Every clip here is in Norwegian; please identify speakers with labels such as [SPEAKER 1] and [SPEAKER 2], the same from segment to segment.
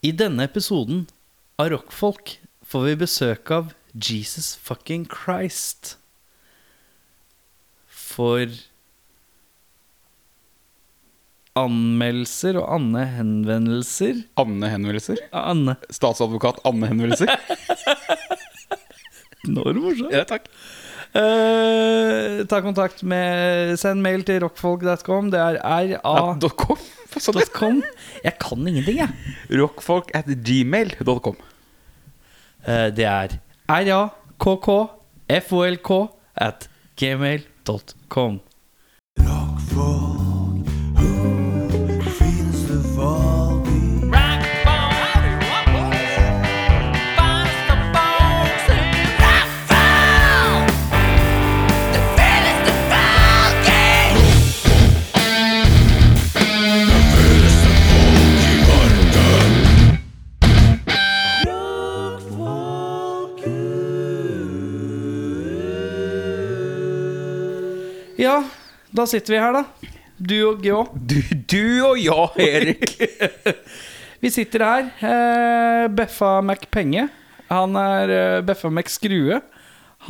[SPEAKER 1] I denne episoden av Rockfolk får vi besøk av Jesus fucking Christ. For anmeldelser og anne henvendelser
[SPEAKER 2] Anne henvendelser?
[SPEAKER 1] Anne.
[SPEAKER 2] Statsadvokat Anne henvendelser?
[SPEAKER 1] Nå er det morsomt.
[SPEAKER 2] ja, takk.
[SPEAKER 1] Eh, ta kontakt med Send mail til rockfolk.com. Det er ra.com.
[SPEAKER 2] .com. Sånn det.
[SPEAKER 1] Jeg kan ingenting, jeg.
[SPEAKER 2] Rockfolk at gmail.com.
[SPEAKER 1] Eh, Det er rakkk at gmail.com. Ja, da sitter vi her, da. Du og Gjå.
[SPEAKER 2] Du, du og jeg, Erik.
[SPEAKER 1] Vi sitter her. Eh, Beffa Mac Penge. Han er eh, Beffa Mac Skrue.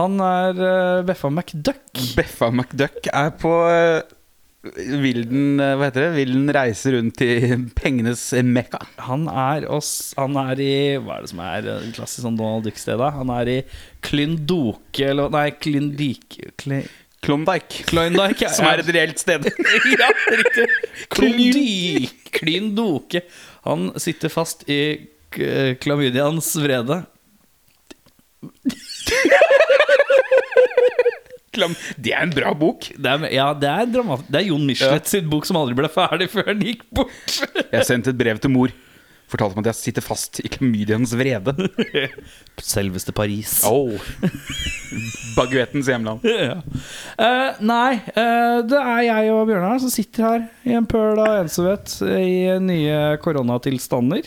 [SPEAKER 1] Han er eh, Beffa Mac Duck.
[SPEAKER 2] Beffa McDuck er på eh, Vilden eh, Hva heter det? Vilden reiser rundt i pengenes mekka.
[SPEAKER 1] Han er oss Han er i Hva er det som er eh, klassisk sånn Donald Duck-sted, da? Han er i Klyndoke, eller Nei, Klyndike Kly,
[SPEAKER 2] Klondyke.
[SPEAKER 1] Klondike, ja.
[SPEAKER 2] Som er et reelt sted.
[SPEAKER 1] ja, riktig. Klyndy- Klyndoke. Han sitter fast i k- klamydiaens vrede.
[SPEAKER 2] Klam- Det er en bra bok.
[SPEAKER 1] Det er, ja, det er, dramat- det er Jon Michelet sitt bok som aldri ble ferdig før han gikk bort.
[SPEAKER 2] Jeg sendte et brev til mor. Fortalte meg at jeg sitter fast i klamydiens vrede.
[SPEAKER 1] Selveste Paris.
[SPEAKER 2] Oh. Baguettens hjemland.
[SPEAKER 1] Ja. Eh, nei, eh, det er jeg og Bjørnar som sitter her i en pøl av ensomhet i nye koronatilstander.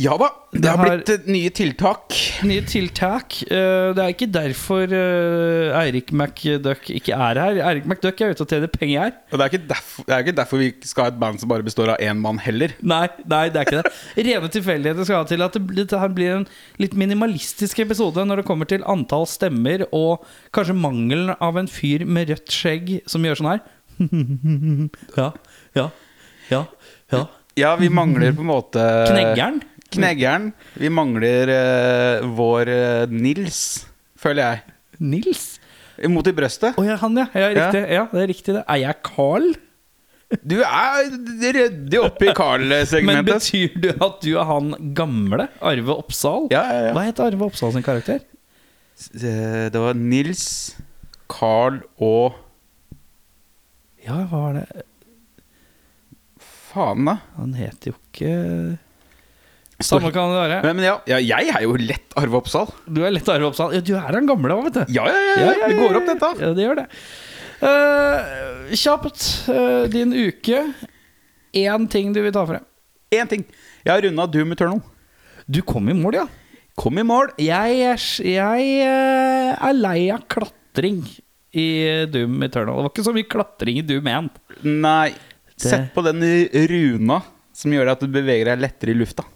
[SPEAKER 2] Ja da, det, har
[SPEAKER 1] har-
[SPEAKER 2] blitt eh, nye tiltak.
[SPEAKER 1] Nye tiltak. Eh, Det er ikke derfor eh, Eirik McDuck ikke er her. Eirik McDuck er ute og tjener penger her.
[SPEAKER 2] Og det er, ikke derfor, det er ikke derfor vi ikke skal ha et band som bare består av én mann heller.
[SPEAKER 1] Nei, nei, det er ikke det. Rene tilfeldigheter skal ha til at det, blir- dette her blir en litt minimalistisk episode når det kommer til antall stemmer og kanskje mangelen av en fyr med rødt skjegg som gjør sånn her. Ja, ja, ja, ja.
[SPEAKER 2] Ja, vi mangler på en måte
[SPEAKER 1] Kneggeren.
[SPEAKER 2] Kneggeren. Vi mangler eh, vår eh, Nils, føler jeg.
[SPEAKER 1] Nils.
[SPEAKER 2] Mot i brøstet.
[SPEAKER 1] Å ja, han, ja. ja. Riktig. Ja, det er riktig, det. Er jeg Carl?
[SPEAKER 2] Du er ryddig oppe i
[SPEAKER 1] Men
[SPEAKER 2] Carl-segmentet.
[SPEAKER 1] betyr det at du er han gamle Arve Oppsal?
[SPEAKER 2] Ja, ja, ja.
[SPEAKER 1] Hva heter Arve Oppsal sin karakter?
[SPEAKER 2] Eh, Det var Nils, Carl og
[SPEAKER 1] Ja, hva var det
[SPEAKER 2] Faen, da.
[SPEAKER 1] Han heter jo ikke Samme kan det være.
[SPEAKER 2] Men, men ja, ja, jeg er jo lett Arve Oppsal.
[SPEAKER 1] Du er lett Arve Oppsal. sånn. Ja, du er han gamle òg, vet du.
[SPEAKER 2] Ja, ja, ja, ja, det går opp, dette.
[SPEAKER 1] Ja, det gjør det. Eh, kjapt, eh, din uke. Én ting du vil ta frem.
[SPEAKER 2] Én ting. Jeg har runda Doom Eternal.
[SPEAKER 1] Du kom i mål, ja.
[SPEAKER 2] Kom i mål.
[SPEAKER 1] Jeg er, s- jeg eh, er lei av klatring i Doom Eternal. Det var ikke så mye klatring i Doom 1.
[SPEAKER 2] Nei. Sett på den runa som gjør at du beveger deg lettere i lufta.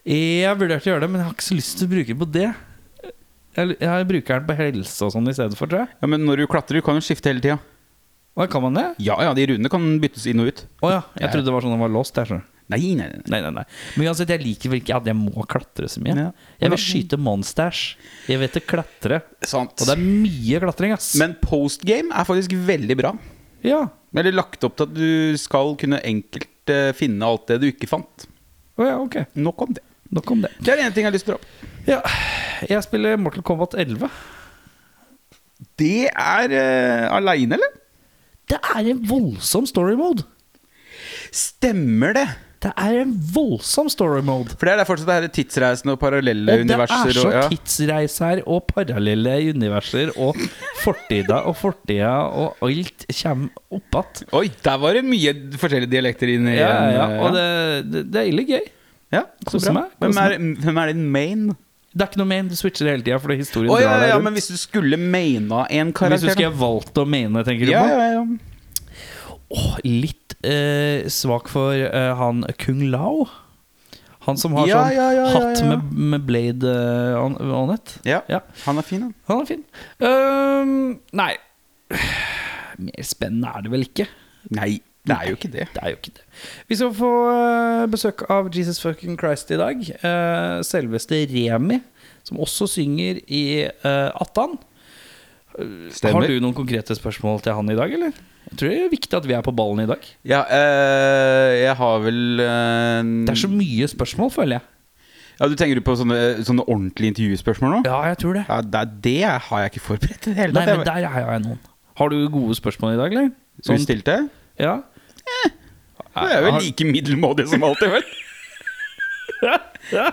[SPEAKER 1] Jeg vurderte å gjøre det, men jeg har ikke så lyst til å bruke den på det. Jeg, jeg bruker den på helse og sånn i stedet for, tror jeg.
[SPEAKER 2] Ja, Men når du klatrer, kan du skifte hele tida.
[SPEAKER 1] Hva, kan man det?
[SPEAKER 2] Ja ja, de runene kan byttes inn og ut.
[SPEAKER 1] Å ja. Jeg trodde det var sånn den var låst. Jeg skjønner.
[SPEAKER 2] Nei, nei, nei.
[SPEAKER 1] Nei, nei, nei. Men uansett, jeg liker vel ikke at jeg må klatre så mye.
[SPEAKER 2] Ja.
[SPEAKER 1] Jeg vil skyte monsters. Jeg vet å klatre.
[SPEAKER 2] Sant.
[SPEAKER 1] Og det er mye klatring, ass.
[SPEAKER 2] Men postgame er faktisk veldig bra.
[SPEAKER 1] Ja.
[SPEAKER 2] Eller lagt opp til at du skal kunne enkelt eh, finne alt det du ikke fant.
[SPEAKER 1] Å ja, ok.
[SPEAKER 2] Nok om det.
[SPEAKER 1] Nok om det.
[SPEAKER 2] Det er én ting jeg har lyst til å dra opp.
[SPEAKER 1] Ja. Jeg spiller Mortal Kombat 11.
[SPEAKER 2] Det er uh, aleine, eller?
[SPEAKER 1] Det er en voldsom story mode.
[SPEAKER 2] Stemmer det?
[SPEAKER 1] Det er en voldsom story mode.
[SPEAKER 2] For det er der fortsatt det her tidsreisende og parallelle
[SPEAKER 1] Og det er
[SPEAKER 2] universer.
[SPEAKER 1] så
[SPEAKER 2] og- ja.
[SPEAKER 1] tidsreiser og parallelle universer og fortida og fortida og alt kommer opp igjen.
[SPEAKER 2] Oi, der var det mye forskjellige dialekter inn i
[SPEAKER 1] Ja,
[SPEAKER 2] en,
[SPEAKER 1] ja,
[SPEAKER 2] eh,
[SPEAKER 1] og det, det, det er ille gøy.
[SPEAKER 2] Ja,
[SPEAKER 1] Koser
[SPEAKER 2] så bra.
[SPEAKER 1] meg,
[SPEAKER 2] Hvem
[SPEAKER 1] koser
[SPEAKER 2] er, hvem er din main?
[SPEAKER 1] Det er ikke noe main, du switcher hele tida fordi historien
[SPEAKER 2] Å ja,
[SPEAKER 1] drar
[SPEAKER 2] ja,
[SPEAKER 1] deg
[SPEAKER 2] ja,
[SPEAKER 1] rundt.
[SPEAKER 2] men hvis du skulle maina en
[SPEAKER 1] Hvis du
[SPEAKER 2] karakter
[SPEAKER 1] skulle valgt å mene, tenker du
[SPEAKER 2] ja,
[SPEAKER 1] på?
[SPEAKER 2] ja, ja.
[SPEAKER 1] Åh, litt eh, svak for eh, han Kung Lao. Han som har
[SPEAKER 2] Ja,
[SPEAKER 1] sånn
[SPEAKER 2] ja, ja, ja,
[SPEAKER 1] hatt
[SPEAKER 2] ja.
[SPEAKER 1] Med, med Blade eh, on, on it.
[SPEAKER 2] Ja,
[SPEAKER 1] Ja.
[SPEAKER 2] han er fin, han.
[SPEAKER 1] Han er fin. Ehm, nei Mer spennende er det vel ikke.
[SPEAKER 2] Nei, det er jo ikke det.
[SPEAKER 1] Det er jo ikke det. Vi skal få eh, besøk av Jesus fucking Christ i dag. Eh, Selveste Remi, som også synger i eh, Attan. Har
[SPEAKER 2] Stemmer.
[SPEAKER 1] du noen konkrete spørsmål til han i dag, eller? Jeg tror det er viktig at vi er på ballen i dag.
[SPEAKER 2] Ja, eh, jeg har vel eh,
[SPEAKER 1] Det er så mye spørsmål, føler jeg.
[SPEAKER 2] Ja, Du tenker på sånne, sånne ordentlige intervjuspørsmål nå?
[SPEAKER 1] Ja, jeg tror det.
[SPEAKER 2] Ja, det, det har jeg ikke forberedt i det hele
[SPEAKER 1] Nei,
[SPEAKER 2] tatt.
[SPEAKER 1] men der har jeg noen. Har du gode spørsmål i dag, eller? Sånn-
[SPEAKER 2] Så du stilte?
[SPEAKER 1] ja.
[SPEAKER 2] Det er vel
[SPEAKER 1] Har-
[SPEAKER 2] like middelmådig som alltid, vel?
[SPEAKER 1] ja.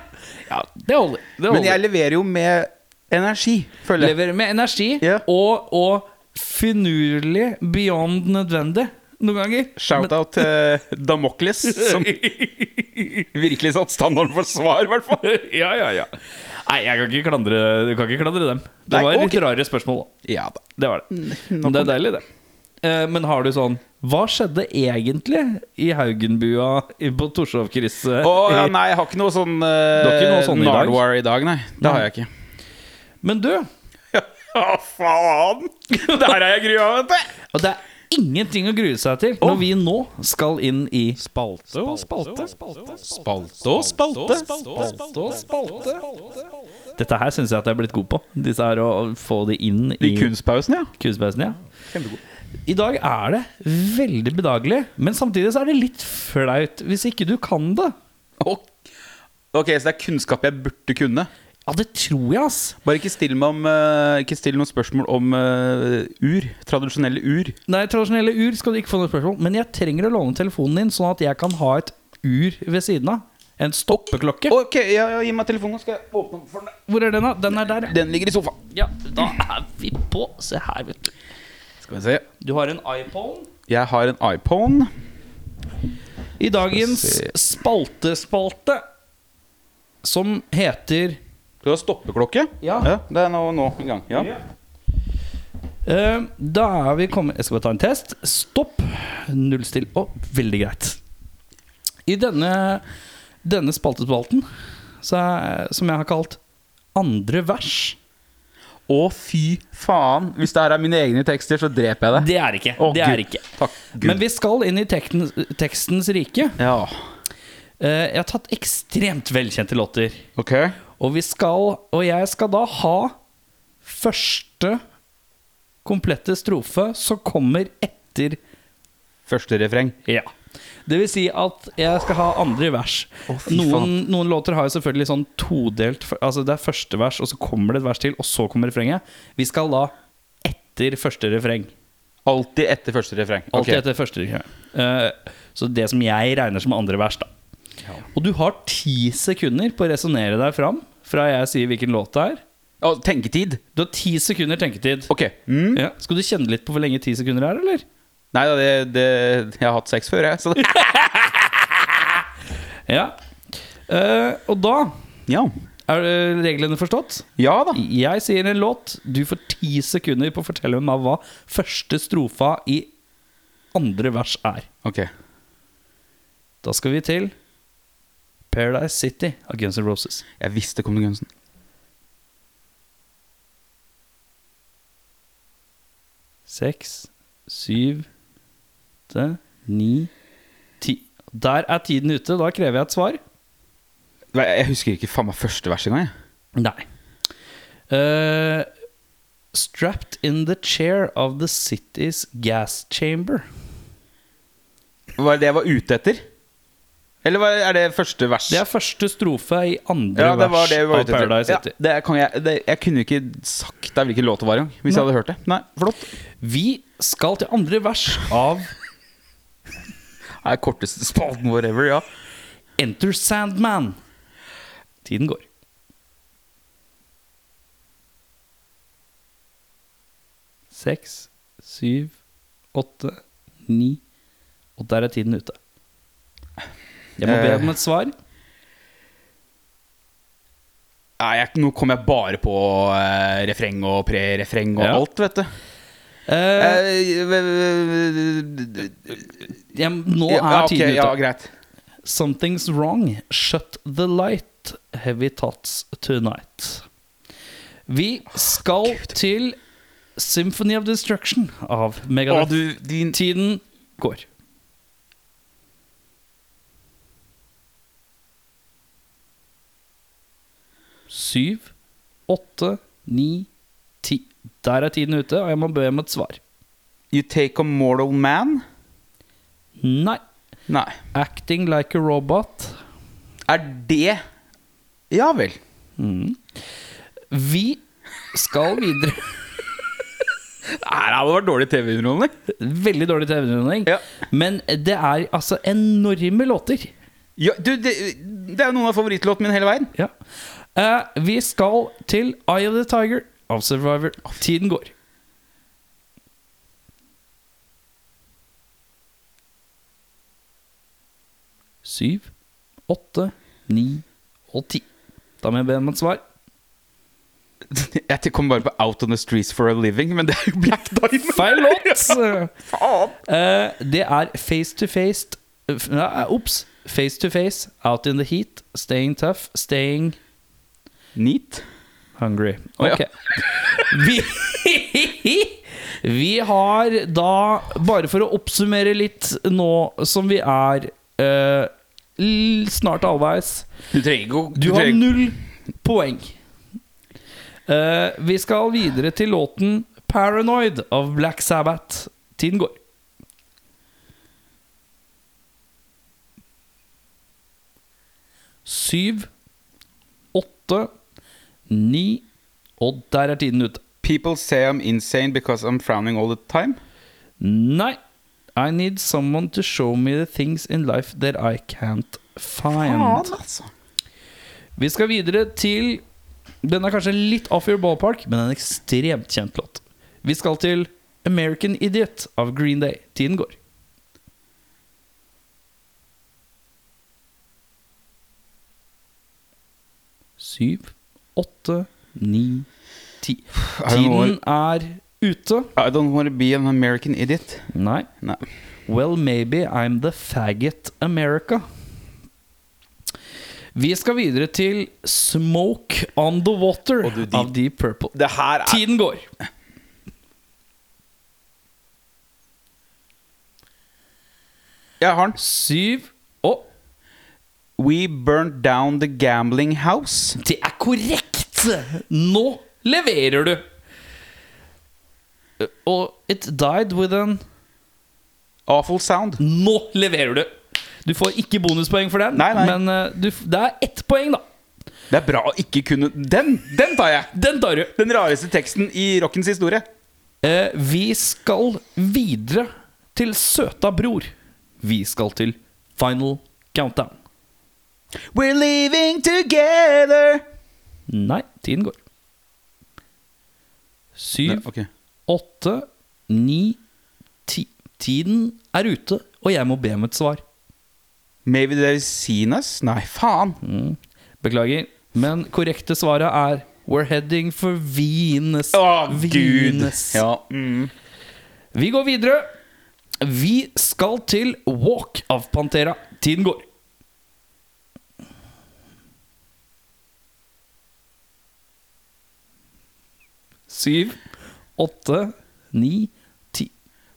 [SPEAKER 1] ja, det holder. Det holder.
[SPEAKER 2] Men jeg leverer jo med energi, føler jeg.
[SPEAKER 1] lever med energi
[SPEAKER 2] Ja.
[SPEAKER 1] og, og finurlig beyond nødvendig noen ganger.
[SPEAKER 2] Shout-out til Damokles, som virkelig satte standarden for svar, i hvert fall.
[SPEAKER 1] ja, ja, ja. Nei, jeg kan ikke klandre, du kan ikke klandre dem. Det
[SPEAKER 2] Nei,
[SPEAKER 1] var litt
[SPEAKER 2] ok.
[SPEAKER 1] rare spørsmål, da.
[SPEAKER 2] Ja da.
[SPEAKER 1] Det var det. Men det er deilig, det. Eh, Men har du sånn Hva skjedde egentlig i Haugenbua i- på Torshov-krysset?
[SPEAKER 2] Å, ja, nei, jeg har ikke noe sånn
[SPEAKER 1] Du har ikke noe
[SPEAKER 2] uh,
[SPEAKER 1] sånn i dag?
[SPEAKER 2] Nardwar i dag, nei. Det har jeg ikke.
[SPEAKER 1] Men du,
[SPEAKER 2] Å, faen! Der er jeg grua, vet du.
[SPEAKER 1] og det er ingenting å grue seg til når vi nå skal inn i Spalte og spalte.
[SPEAKER 2] Spalte og spalte.
[SPEAKER 1] Dette her syns jeg at jeg er blitt god på. Disse her Å å få det inn
[SPEAKER 2] I
[SPEAKER 1] i
[SPEAKER 2] kunstpausen, ja.
[SPEAKER 1] kunstpausen. Ja. I dag er det veldig bedagelig, men samtidig så er det litt flaut hvis ikke du kan det.
[SPEAKER 2] Ok, Ok, så det er kunnskap jeg burde kunne.
[SPEAKER 1] Ja, det tror jeg, ass.
[SPEAKER 2] Bare ikke still, meg om, eh, ikke still noen spørsmål om eh, ur. Tradisjonelle ur.
[SPEAKER 1] Nei, tradisjonelle ur skal du ikke få noe spørsmål, men jeg trenger å låne telefonen din, sånn at jeg kan ha et ur ved siden av. En stoppeklokke.
[SPEAKER 2] Ok, ja, ja, Gi meg telefonen, skal jeg åpne opp for den.
[SPEAKER 1] Hvor er den, da? Den er der, ja.
[SPEAKER 2] Den ligger i sofaen.
[SPEAKER 1] Ja, da er vi på. Se her, vet du.
[SPEAKER 2] Skal vi se.
[SPEAKER 1] Du har en iPhone.
[SPEAKER 2] Jeg har en iPhone.
[SPEAKER 1] I dagens
[SPEAKER 2] Skal
[SPEAKER 1] spaltespalte, som heter
[SPEAKER 2] Du har stoppeklokke?
[SPEAKER 1] Ja.
[SPEAKER 2] Det er nå, nå i gang. Ja.
[SPEAKER 1] Eh, Da er vi kommet Jeg skal bare ta en test. Stopp. Nullstill. Å, veldig greit. I denne, denne spaltespalten, så er, som jeg har kalt andre vers
[SPEAKER 2] Å, fy faen. Hvis det her er mine egne tekster, så dreper jeg deg.
[SPEAKER 1] Det er ikke.
[SPEAKER 2] Å,
[SPEAKER 1] det er
[SPEAKER 2] Gud.
[SPEAKER 1] ikke.
[SPEAKER 2] Takk. Gud.
[SPEAKER 1] Men vi skal inn i tekten, tekstens rike.
[SPEAKER 2] Ja.
[SPEAKER 1] Eh, Jeg har tatt ekstremt velkjente låter.
[SPEAKER 2] Ok.
[SPEAKER 1] Og vi skal Og jeg skal da ha første komplette strofe som kommer etter
[SPEAKER 2] Første refreng.
[SPEAKER 1] Ja. Det vil si at jeg skal ha andre vers.
[SPEAKER 2] Å, fy
[SPEAKER 1] noen,
[SPEAKER 2] faen.
[SPEAKER 1] noen låter har jo selvfølgelig sånn todelt Altså Det er første vers, og så kommer det et vers til, og så kommer refrenget. Vi skal da etter første refreng.
[SPEAKER 2] Alltid etter første refreng.
[SPEAKER 1] Alltid
[SPEAKER 2] Ok.
[SPEAKER 1] etter første refreng. Eh, så det som jeg regner som andre vers, da.
[SPEAKER 2] Ja.
[SPEAKER 1] Og du har ti sekunder på å resonnere deg fram fra jeg sier hvilken låt det er.
[SPEAKER 2] Å, tenketid.
[SPEAKER 1] Du har ti sekunder tenketid.
[SPEAKER 2] Ok. Mm.
[SPEAKER 1] Ja. Skal du kjenne litt på hvor lenge ti sekunder er, eller?
[SPEAKER 2] Nei da, det, det, jeg har hatt sex før, jeg. Så det.
[SPEAKER 1] Ja. Eh, og da
[SPEAKER 2] Ja.
[SPEAKER 1] er eh, reglene forstått.
[SPEAKER 2] ja da.
[SPEAKER 1] Jeg sier en låt. Du får ti sekunder på å fortelle meg hva første strofa i andre vers er.
[SPEAKER 2] Ok.
[SPEAKER 1] Da skal vi til Paradise City av Guns N' Roses.
[SPEAKER 2] Jeg visste kom til Gunsen.
[SPEAKER 1] Seks, syv, åtte, ni, ti. Der er tiden ute. Da krever jeg et svar.
[SPEAKER 2] Nei, Jeg husker ikke faen meg første vers engang. jeg.
[SPEAKER 1] Nei. Eh, strapped in the chair of the city's gas chamber.
[SPEAKER 2] Var det det jeg var ute etter? Eller var, er det første vers?
[SPEAKER 1] Det er første strofe i andre
[SPEAKER 2] ja, det var
[SPEAKER 1] vers
[SPEAKER 2] det vi var
[SPEAKER 1] av
[SPEAKER 2] ute etter.
[SPEAKER 1] Paradise
[SPEAKER 2] Ja,
[SPEAKER 1] City.
[SPEAKER 2] det kan jeg, det, jeg kunne ikke sagt deg hvilken låt det var engang. Hvis
[SPEAKER 1] Nei.
[SPEAKER 2] jeg hadde hørt det. Nei, flott.
[SPEAKER 1] Vi skal til andre vers av
[SPEAKER 2] Det er korteste spalten whatever, ja.
[SPEAKER 1] Enter Sandman. Tiden går. Seks, syv, åtte, ni Og der er tiden ute. Jeg må be
[SPEAKER 2] Eh.
[SPEAKER 1] om et svar.
[SPEAKER 2] Nei, jeg, nå kom jeg bare på eh, refreng og pre-refreng og
[SPEAKER 1] Ja.
[SPEAKER 2] alt, vet du.
[SPEAKER 1] Eh,
[SPEAKER 2] Eh, v- v- v-
[SPEAKER 1] jeg, nå
[SPEAKER 2] ja,
[SPEAKER 1] er
[SPEAKER 2] ok,
[SPEAKER 1] tiden
[SPEAKER 2] ja,
[SPEAKER 1] ute.
[SPEAKER 2] greit.
[SPEAKER 1] Something's wrong. Shut the light. Heavy tots tonight. Vi skal til Symphony of Destruction av
[SPEAKER 2] Å,
[SPEAKER 1] Megadeth.
[SPEAKER 2] du, din
[SPEAKER 1] Tiden går. Syv, åtte, ni, ti. Der er tiden ute, og jeg må be om et svar.
[SPEAKER 2] You take a mortal man?
[SPEAKER 1] Nei.
[SPEAKER 2] Nei.
[SPEAKER 1] Acting like a robot.
[SPEAKER 2] Er det Ja vel.
[SPEAKER 1] Vi skal videre.
[SPEAKER 2] Nei, det hadde vært dårlig TV-underholdning.
[SPEAKER 1] Veldig dårlig TV-underholdning.
[SPEAKER 2] Ja.
[SPEAKER 1] Men det er altså enorme låter.
[SPEAKER 2] Ja, du, det, det er jo noen av favorittlåtene mine hele veien.
[SPEAKER 1] Ja. Eh, vi skal til Eye of the Tiger av Survivor. Tiden går. Syv, åtte, ni og ti. Da må jeg be om et svar.
[SPEAKER 2] Jeg kom bare på Out on the Streets for a Living, men det er jo Black Diamond.
[SPEAKER 1] Feil låt!
[SPEAKER 2] Faen.
[SPEAKER 1] Eh, det er Face to Face eh, Nei, Ops! Face to Face, Out in the Heat, Staying Tough, Staying
[SPEAKER 2] Neat.
[SPEAKER 1] Hungry.
[SPEAKER 2] Å, ja.
[SPEAKER 1] Ok. Vi, vi har da, bare for å oppsummere litt nå som vi er eh, l- snart halvveis
[SPEAKER 2] Du trenger ikke å
[SPEAKER 1] Du har
[SPEAKER 2] trenger-
[SPEAKER 1] null poeng. Eh, vi skal videre til låten 'Paranoid' av Black Sabbath. Tiden går. Syv, åtte, ni Og der er tiden ute.
[SPEAKER 2] People say I'm insane because I'm frowning all the time.
[SPEAKER 1] Nei. I need someone to show me the things in life that I can't find.
[SPEAKER 2] altså.
[SPEAKER 1] Vi skal videre til Den er kanskje litt off your ballpark, men en ekstremt kjent låt. Vi skal til American Idiot av Green Day. Tiden går. Syv, åtte, ni, ti.
[SPEAKER 2] Er det noe-
[SPEAKER 1] Tiden er ute.
[SPEAKER 2] I don't want to be an American idiot.
[SPEAKER 1] Nei.
[SPEAKER 2] Nei.
[SPEAKER 1] Well, maybe I'm the faggot America. Vi skal videre til Smoke on the Water
[SPEAKER 2] Og du, de-
[SPEAKER 1] av Deep Purple.
[SPEAKER 2] Det her er
[SPEAKER 1] Tiden går.
[SPEAKER 2] Jeg har den.
[SPEAKER 1] Syv Å,
[SPEAKER 2] We burned down the gambling house.
[SPEAKER 1] det er korrekt! Nå leverer du! Eh, Og It died with an
[SPEAKER 2] Awful sound.
[SPEAKER 1] Nå leverer du! Du får ikke bonuspoeng for den,
[SPEAKER 2] Nei, nei.
[SPEAKER 1] men eh, du, f- det er ett poeng, da.
[SPEAKER 2] Det er bra å ikke kunne Den! Den tar jeg!
[SPEAKER 1] Den tar du.
[SPEAKER 2] Den rareste teksten i rockens historie.
[SPEAKER 1] Eh, vi skal videre til søta bror. Vi skal til final countdown.
[SPEAKER 2] We're living together.
[SPEAKER 1] Nei, tiden går.
[SPEAKER 2] Nei,
[SPEAKER 1] Syv,
[SPEAKER 2] ok.
[SPEAKER 1] åtte, ni, ti. Tiden er ute, og jeg må be om et svar.
[SPEAKER 2] Maybe they've seen us? Nei, faen.
[SPEAKER 1] Mm. Beklager, men korrekte svaret er We're heading for Venus.
[SPEAKER 2] Å, gud.
[SPEAKER 1] Venus.
[SPEAKER 2] Ja. Mm.
[SPEAKER 1] Vi går videre. Vi skal til Walk av Pantera. Tiden går. Syv, åtte, ni, ti.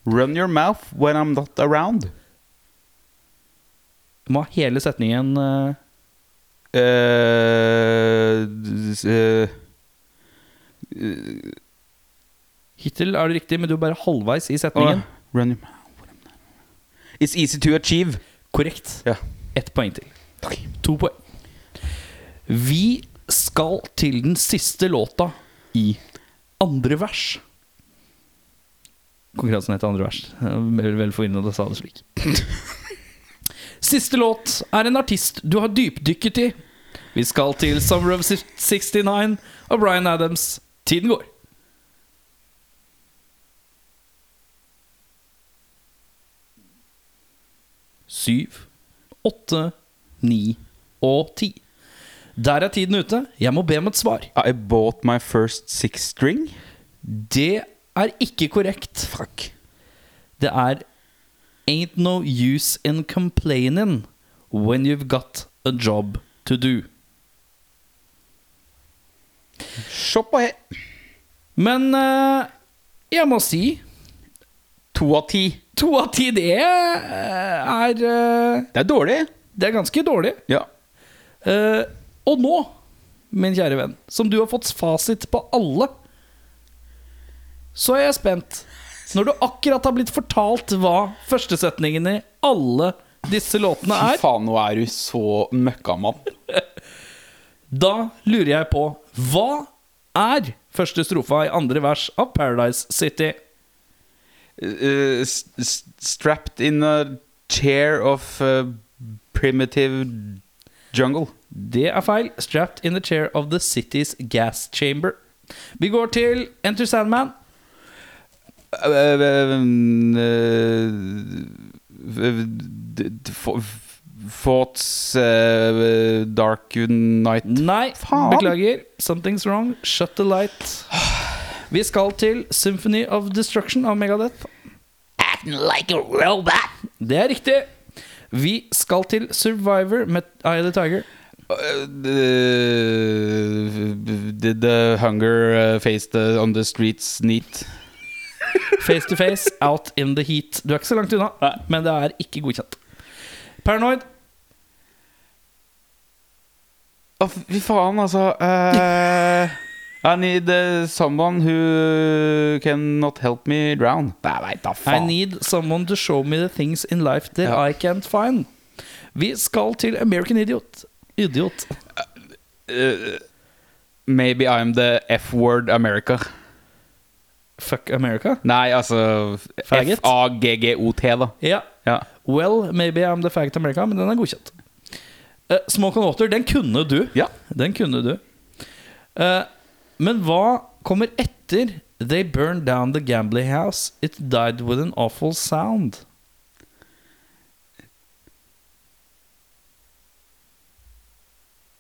[SPEAKER 2] Run your mouth when I'm not around.
[SPEAKER 1] Må ha hele setningen eh,
[SPEAKER 2] Eh, d- eh,
[SPEAKER 1] Hittil er det riktig, men du er bare halvveis i
[SPEAKER 2] åh,
[SPEAKER 1] setningen.
[SPEAKER 2] run your mouth when I'm not around. It's easy to achieve.
[SPEAKER 1] Korrekt.
[SPEAKER 2] Ja.
[SPEAKER 1] Ett poeng til. To poeng. Vi skal til den siste låta i andre vers. Konkurransen heter andre vers. Jeg er Vel, vel forvirrende at jeg sa det slik. Siste låt er en artist du har dypdykket i. Vi skal til Summer of 69 og Bryan Adams. Tiden går. Syv, åtte, ni og ti. Der er tiden ute. Jeg må be om et svar.
[SPEAKER 2] I bought my first six string.
[SPEAKER 1] Det er ikke korrekt.
[SPEAKER 2] Fuck.
[SPEAKER 1] Det er Ain't no use in complaining When you've got a job to do.
[SPEAKER 2] Se på he...
[SPEAKER 1] Men eh, jeg må si
[SPEAKER 2] To av ti.
[SPEAKER 1] to av ti, det eh, er eh,
[SPEAKER 2] Det er dårlig.
[SPEAKER 1] Det er ganske dårlig.
[SPEAKER 2] Ja.
[SPEAKER 1] Eh, og nå, min kjære venn, som du har fått fasit på alle, så er jeg spent. Når du akkurat har blitt fortalt hva førstesetningene i alle disse låtene
[SPEAKER 2] Fy
[SPEAKER 1] er,
[SPEAKER 2] faen, nå er du så møkkamann.
[SPEAKER 1] da lurer jeg på Hva er første strofa i andre vers av Paradise City?
[SPEAKER 2] Eh, s- s- strapped in a chair of eh, primitive jungle.
[SPEAKER 1] Det er feil. Strapped in the chair of the city's gas chamber. Vi går til Enter Sandman.
[SPEAKER 2] Eh, eh, eh, eh, d- d- fa- Thoughts eh, Dark Night
[SPEAKER 1] Nei,
[SPEAKER 2] Faen.
[SPEAKER 1] beklager. Something's wrong. Shut the light. Vi skal til Symphony of Destruction av Megadeth.
[SPEAKER 3] acting like a robot.
[SPEAKER 1] Det er riktig. Vi skal til Survivor med Eye of the Tiger.
[SPEAKER 2] Eh, d- Did the hunger eh, face the, on the streets neat?
[SPEAKER 1] Face to face, out in the heat. Du er ikke så langt unna, men det er ikke godkjent. Paranoid.
[SPEAKER 2] Å, fy faen, altså. eh, I need eh, someone who cannot help me drown. Nei, nei, da
[SPEAKER 1] I need someone to show me the things in life that
[SPEAKER 2] Ja.
[SPEAKER 1] I can't find. Vi skal til American Idiot. Idiot.
[SPEAKER 2] Maybe I'm the F-word America.
[SPEAKER 1] Fuck America.
[SPEAKER 2] Nei, altså
[SPEAKER 1] Faggot.
[SPEAKER 2] F-A-G-G-O-T, da.
[SPEAKER 1] Ja.
[SPEAKER 2] Ja.
[SPEAKER 1] Well, maybe I'm the faggot America, men den er godkjent. Eh, Smoke on Water, den kunne du.
[SPEAKER 2] Ja.
[SPEAKER 1] Den kunne du. Eh, men hva kommer etter They burned down the gambling house. It died with an awful sound.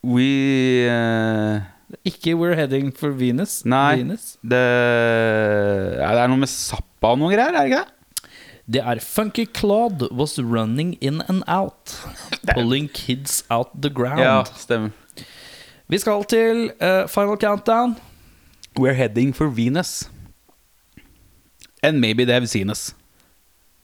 [SPEAKER 2] We eh,
[SPEAKER 1] Ikke We're heading for Venus.
[SPEAKER 2] Nei.
[SPEAKER 1] Venus.
[SPEAKER 2] det, ja, det er noe med Zappa og noe greier, er det ikke det?
[SPEAKER 1] Det er Funky Claude was running in and out. Pulling kids out the ground.
[SPEAKER 2] Ja, stemmer.
[SPEAKER 1] Vi skal til eh, Final Countdown.
[SPEAKER 2] We're heading for Venus. And maybe they've seen us.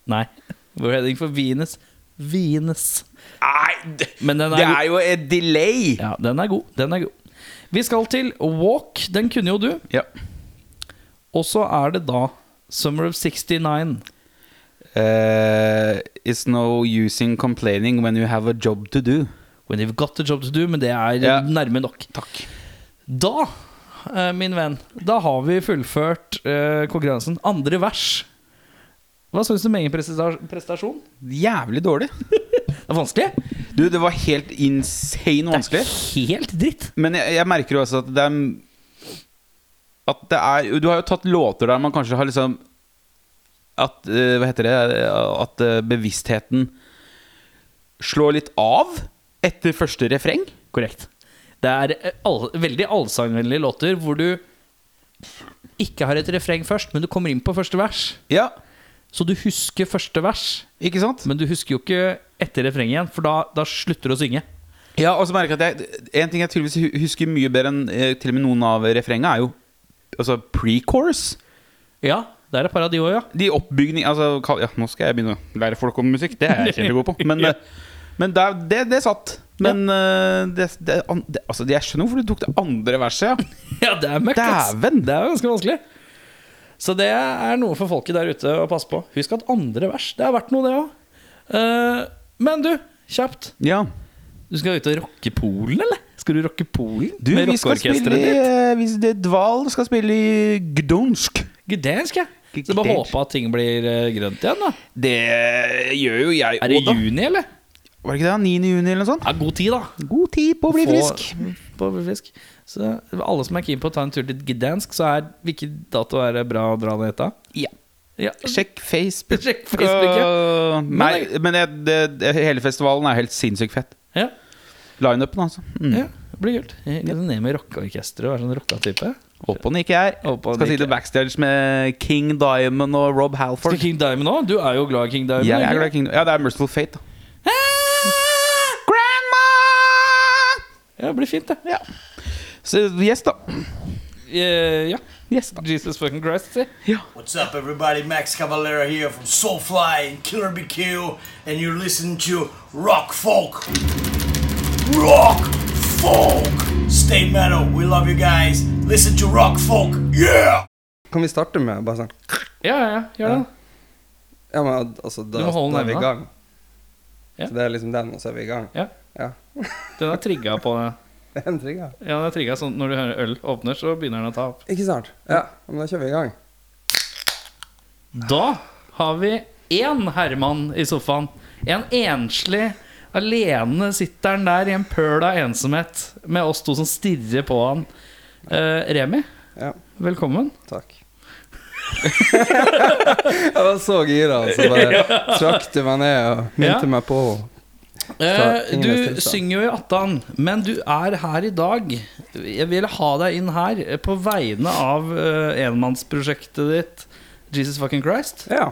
[SPEAKER 1] Nei. We're heading for Venus. Venus.
[SPEAKER 2] Nei, det,
[SPEAKER 1] Men den er
[SPEAKER 2] det er jo et delay!
[SPEAKER 1] Ja, den er god. Den er god. Vi skal til Walk. Den kunne jo du.
[SPEAKER 2] Ja.
[SPEAKER 1] Og så er det da Summer of 69.
[SPEAKER 2] Eh, it's no using complaining when you have a job to do.
[SPEAKER 1] When you've got a job to do, men det er
[SPEAKER 2] Ja.
[SPEAKER 1] nærme nok.
[SPEAKER 2] Takk.
[SPEAKER 1] Da, eh, min venn, da har vi fullført eh, konkurransen. Andre vers. Hva syns du om egen presta- prestasjon?
[SPEAKER 2] Jævlig dårlig.
[SPEAKER 1] Det er vanskelig.
[SPEAKER 2] Du, det var helt insane vanskelig.
[SPEAKER 1] Helt dritt.
[SPEAKER 2] Men jeg, jeg merker jo også at det er At det er Du har jo tatt låter der man kanskje har liksom At eh, Hva heter det? At eh, bevisstheten slår litt av etter første refreng.
[SPEAKER 1] Korrekt. Det er eh, all, veldig allsangvennlige låter hvor du ikke har et refreng først, men du kommer inn på første vers.
[SPEAKER 2] Ja,
[SPEAKER 1] Så du husker første vers.
[SPEAKER 2] ikke sant?
[SPEAKER 1] Men du husker jo ikke etter refrenget igjen, for da, da slutter du å synge.
[SPEAKER 2] Ja, og så merker jeg at jeg, En ting jeg tydeligvis hu- husker mye bedre enn eh, til og med noen av refrenga, er jo Altså pre-chorus.
[SPEAKER 1] Ja, det er et par av de òg, ja.
[SPEAKER 2] De oppbygning altså, kall- ja, Nå skal jeg begynne å lære folk om musikk. Det er jeg kjempegod på. Men, eh, men det, er- det, det satt. Men eh, det, det, an- det, altså, jeg skjønner hvorfor du tok det andre verset. Ja.
[SPEAKER 1] Ja, det er møkk, ass.
[SPEAKER 2] Dæven!
[SPEAKER 1] Det er ganske vanskelig. Så det er noe for folket der ute å passe på. Husk at andre vers, det er verdt noe, det òg. men du, kjapt.
[SPEAKER 2] Ja.
[SPEAKER 1] Du skal ut og rocke Polen, eller? Skal du rocke Polen
[SPEAKER 2] Du, vi skal spille i eh, hvis det, Dval skal spille i Gdansk.
[SPEAKER 1] Gdansk, ja. Så bare
[SPEAKER 2] Gdansk.
[SPEAKER 1] håpe at ting blir eh, grønt igjen, da.
[SPEAKER 2] Det gjør jo jeg
[SPEAKER 1] Er det
[SPEAKER 2] også, da.
[SPEAKER 1] juni, eller?
[SPEAKER 2] Var det ikke det? 9. juni eller noe sånt?
[SPEAKER 1] Ja, god tid, da.
[SPEAKER 2] God tid på å bli
[SPEAKER 1] Få-
[SPEAKER 2] frisk.
[SPEAKER 1] På å bli frisk. Så alle som er keen på å ta en tur til Gdansk, så er hvilken dato er det bra å dra ned etter?
[SPEAKER 2] Ja.
[SPEAKER 1] Ja.
[SPEAKER 2] Sjekk Facebook.
[SPEAKER 1] Sjekk Facebook,
[SPEAKER 2] ja. Nei, men jeg, det, det, hele festivalen er helt sinnssykt fett.
[SPEAKER 1] ja.
[SPEAKER 2] Lineupen, altså. Mm.
[SPEAKER 1] ja. Det blir kult. Jeg kan Ned med rockeorkesteret og være sånn rocka-type.
[SPEAKER 2] Opp og nikke her.
[SPEAKER 1] Opp og
[SPEAKER 2] Skal
[SPEAKER 1] nikke.
[SPEAKER 2] sitte backstage med King Diamond og Rob
[SPEAKER 1] Skal
[SPEAKER 2] Halford.
[SPEAKER 1] King Diamond òg? Du er jo glad i King Diamond.
[SPEAKER 2] Jeg er
[SPEAKER 1] ikke
[SPEAKER 2] glad i King Ja, det er Merciful Fate, da.
[SPEAKER 1] Ah! Ja, det blir fint, det.
[SPEAKER 2] Ja. Så yes, da.
[SPEAKER 1] Eh, ja.
[SPEAKER 2] Yes, da.
[SPEAKER 1] Jesus fucking Christ, si.
[SPEAKER 4] What's up, everybody? Max Cavalera here from Soulfly and Killer BQ, and you're listening to Rock Folk. Rock Folk! Stay metal, we love you guys. Listen to Rock Folk, yeah!
[SPEAKER 5] Kan vi starte med bare sånn
[SPEAKER 1] Ja, ja, ja, gjør det.
[SPEAKER 5] Ja, men altså, da,
[SPEAKER 1] Du må holde
[SPEAKER 5] da er vi i
[SPEAKER 1] den, da.
[SPEAKER 5] gang.
[SPEAKER 1] Ja.
[SPEAKER 5] Så det er liksom den, og så er vi i gang.
[SPEAKER 1] Ja.
[SPEAKER 5] Ja.
[SPEAKER 1] Den er trigga på
[SPEAKER 5] Det er en trigger.
[SPEAKER 1] Ja, den er trigget sånn når du hører øl åpner, så begynner den å ta opp.
[SPEAKER 5] Ikke sant? Ja, men da kjører vi i gang.
[SPEAKER 1] Da har vi én Herman i sofaen. En enslig, alene sitter han der i en pøl av ensomhet med oss to som stirrer på han. Eh, Remi,
[SPEAKER 5] Ja,
[SPEAKER 1] velkommen.
[SPEAKER 5] takk. jeg var så gira, og så bare trakk du meg ned og
[SPEAKER 1] Ja.
[SPEAKER 5] minte meg på henne.
[SPEAKER 1] Eh,
[SPEAKER 5] Fra Ingenes
[SPEAKER 1] du
[SPEAKER 5] tilstand.
[SPEAKER 1] synger jo i Attan, men du er her i dag. Jeg vil ha deg inn her eh, på vegne av eh, enmannsprosjektet ditt. Jesus fucking Christ.
[SPEAKER 5] Ja.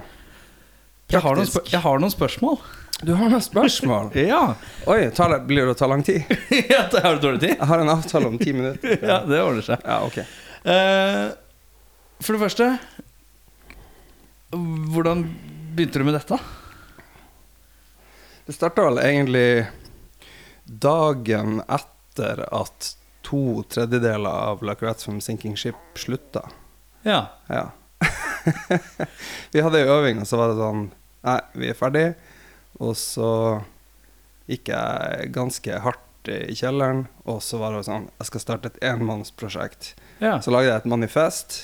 [SPEAKER 1] Jeg har noen, spør jeg har noen spørsmål.
[SPEAKER 5] Du har noen spørsmål?
[SPEAKER 1] Ja.
[SPEAKER 5] Oi, tar det, blir det å ta lang tid?
[SPEAKER 1] har du dårlig tid?
[SPEAKER 5] Jeg har en avtale om ti minutter.
[SPEAKER 1] Ja, det ordner seg.
[SPEAKER 5] Ja, ok.
[SPEAKER 1] Eh, for det første Hvordan begynte du med dette?
[SPEAKER 5] Det starta vel egentlig dagen etter at to tredjedeler av La Croix from Sinking Ship slutta.
[SPEAKER 1] Ja.
[SPEAKER 5] Ja. vi hadde ei øving, og så var det sånn Nei, vi er ferdig. Og så gikk jeg ganske hardt i kjelleren, og så var det sånn Jeg skal starte et enmannsprosjekt.
[SPEAKER 1] ja.
[SPEAKER 5] Så lagde jeg et manifest.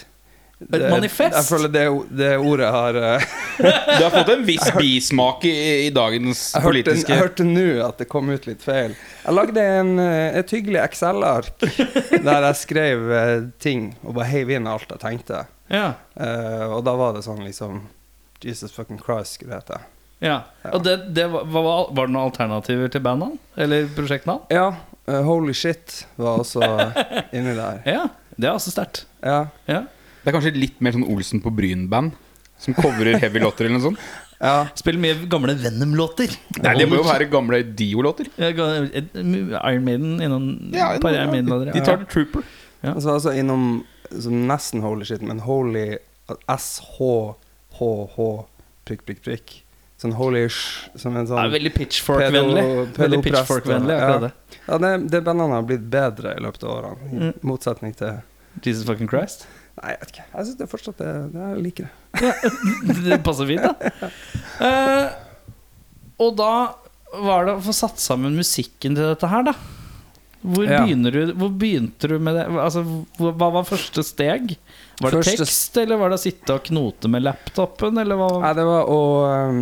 [SPEAKER 5] Et
[SPEAKER 1] manifest?
[SPEAKER 5] Jeg føler det, det ordet har eh,
[SPEAKER 2] Du har fått en viss bismak i, i dagens
[SPEAKER 5] Jeg hørte,
[SPEAKER 2] politiske
[SPEAKER 5] jeg hørte nå at det kom ut litt feil. Jeg lagde en, eh, et hyggelig Excel-ark der jeg skrev eh, ting og bare heiv inn alt jeg tenkte.
[SPEAKER 1] ja.
[SPEAKER 5] Eh, og da var det sånn liksom Jesus fucking Christ skulle det hete.
[SPEAKER 1] ja. Og det, det var, var, var det noen alternativer til bandnavn? Eller prosjektnavn?
[SPEAKER 5] Ja, eh, Holy Shit var også inni der.
[SPEAKER 1] Ja. Det er også sterkt.
[SPEAKER 5] Ja.
[SPEAKER 1] Ja.
[SPEAKER 2] Det er kanskje litt mer sånn Olsen på Bryn-band? Som coverer heavy låter eller noe sånt?
[SPEAKER 5] ja.
[SPEAKER 1] Spiller mye gamle Venom-låter.
[SPEAKER 2] Nei, det må jo være gamle Dio-låter.
[SPEAKER 1] Ja, ga- et- Iron Maiden innom
[SPEAKER 2] Ja,
[SPEAKER 1] et par Iron Maiden-låter.
[SPEAKER 2] De tar The Trooper.
[SPEAKER 1] Ja.
[SPEAKER 5] Og så var jeg altså innom så nesten Holy Shit, men Holy SHHH prikk, prikk, prikk. Sånn Holy Sh som en
[SPEAKER 1] Ja,
[SPEAKER 5] sånn
[SPEAKER 1] veldig pitchfork-vennlig.
[SPEAKER 5] Pedo-
[SPEAKER 1] Veldig
[SPEAKER 5] pedoprest,
[SPEAKER 1] pitchfork-vennlig,
[SPEAKER 5] ja.
[SPEAKER 1] akkurat det.
[SPEAKER 5] Ja, det, det bandene har blitt bedre i løpet av årene, i motsetning til
[SPEAKER 1] Jesus fucking Christ.
[SPEAKER 5] Nei, jeg vet ikke. Jeg syns det fortsatt det, det jeg liker det.
[SPEAKER 1] Det passer fint, da. Eh, og da var det å få satt sammen musikken til dette her, da. Hvor,
[SPEAKER 5] Ja.
[SPEAKER 1] begynner du, hvor begynte du med det? Altså, hva hva var første steg? Var det
[SPEAKER 5] Første
[SPEAKER 1] tekst, eller var det å sitte og knote med laptopen? Eller hva?
[SPEAKER 5] Nei, det var å ehm,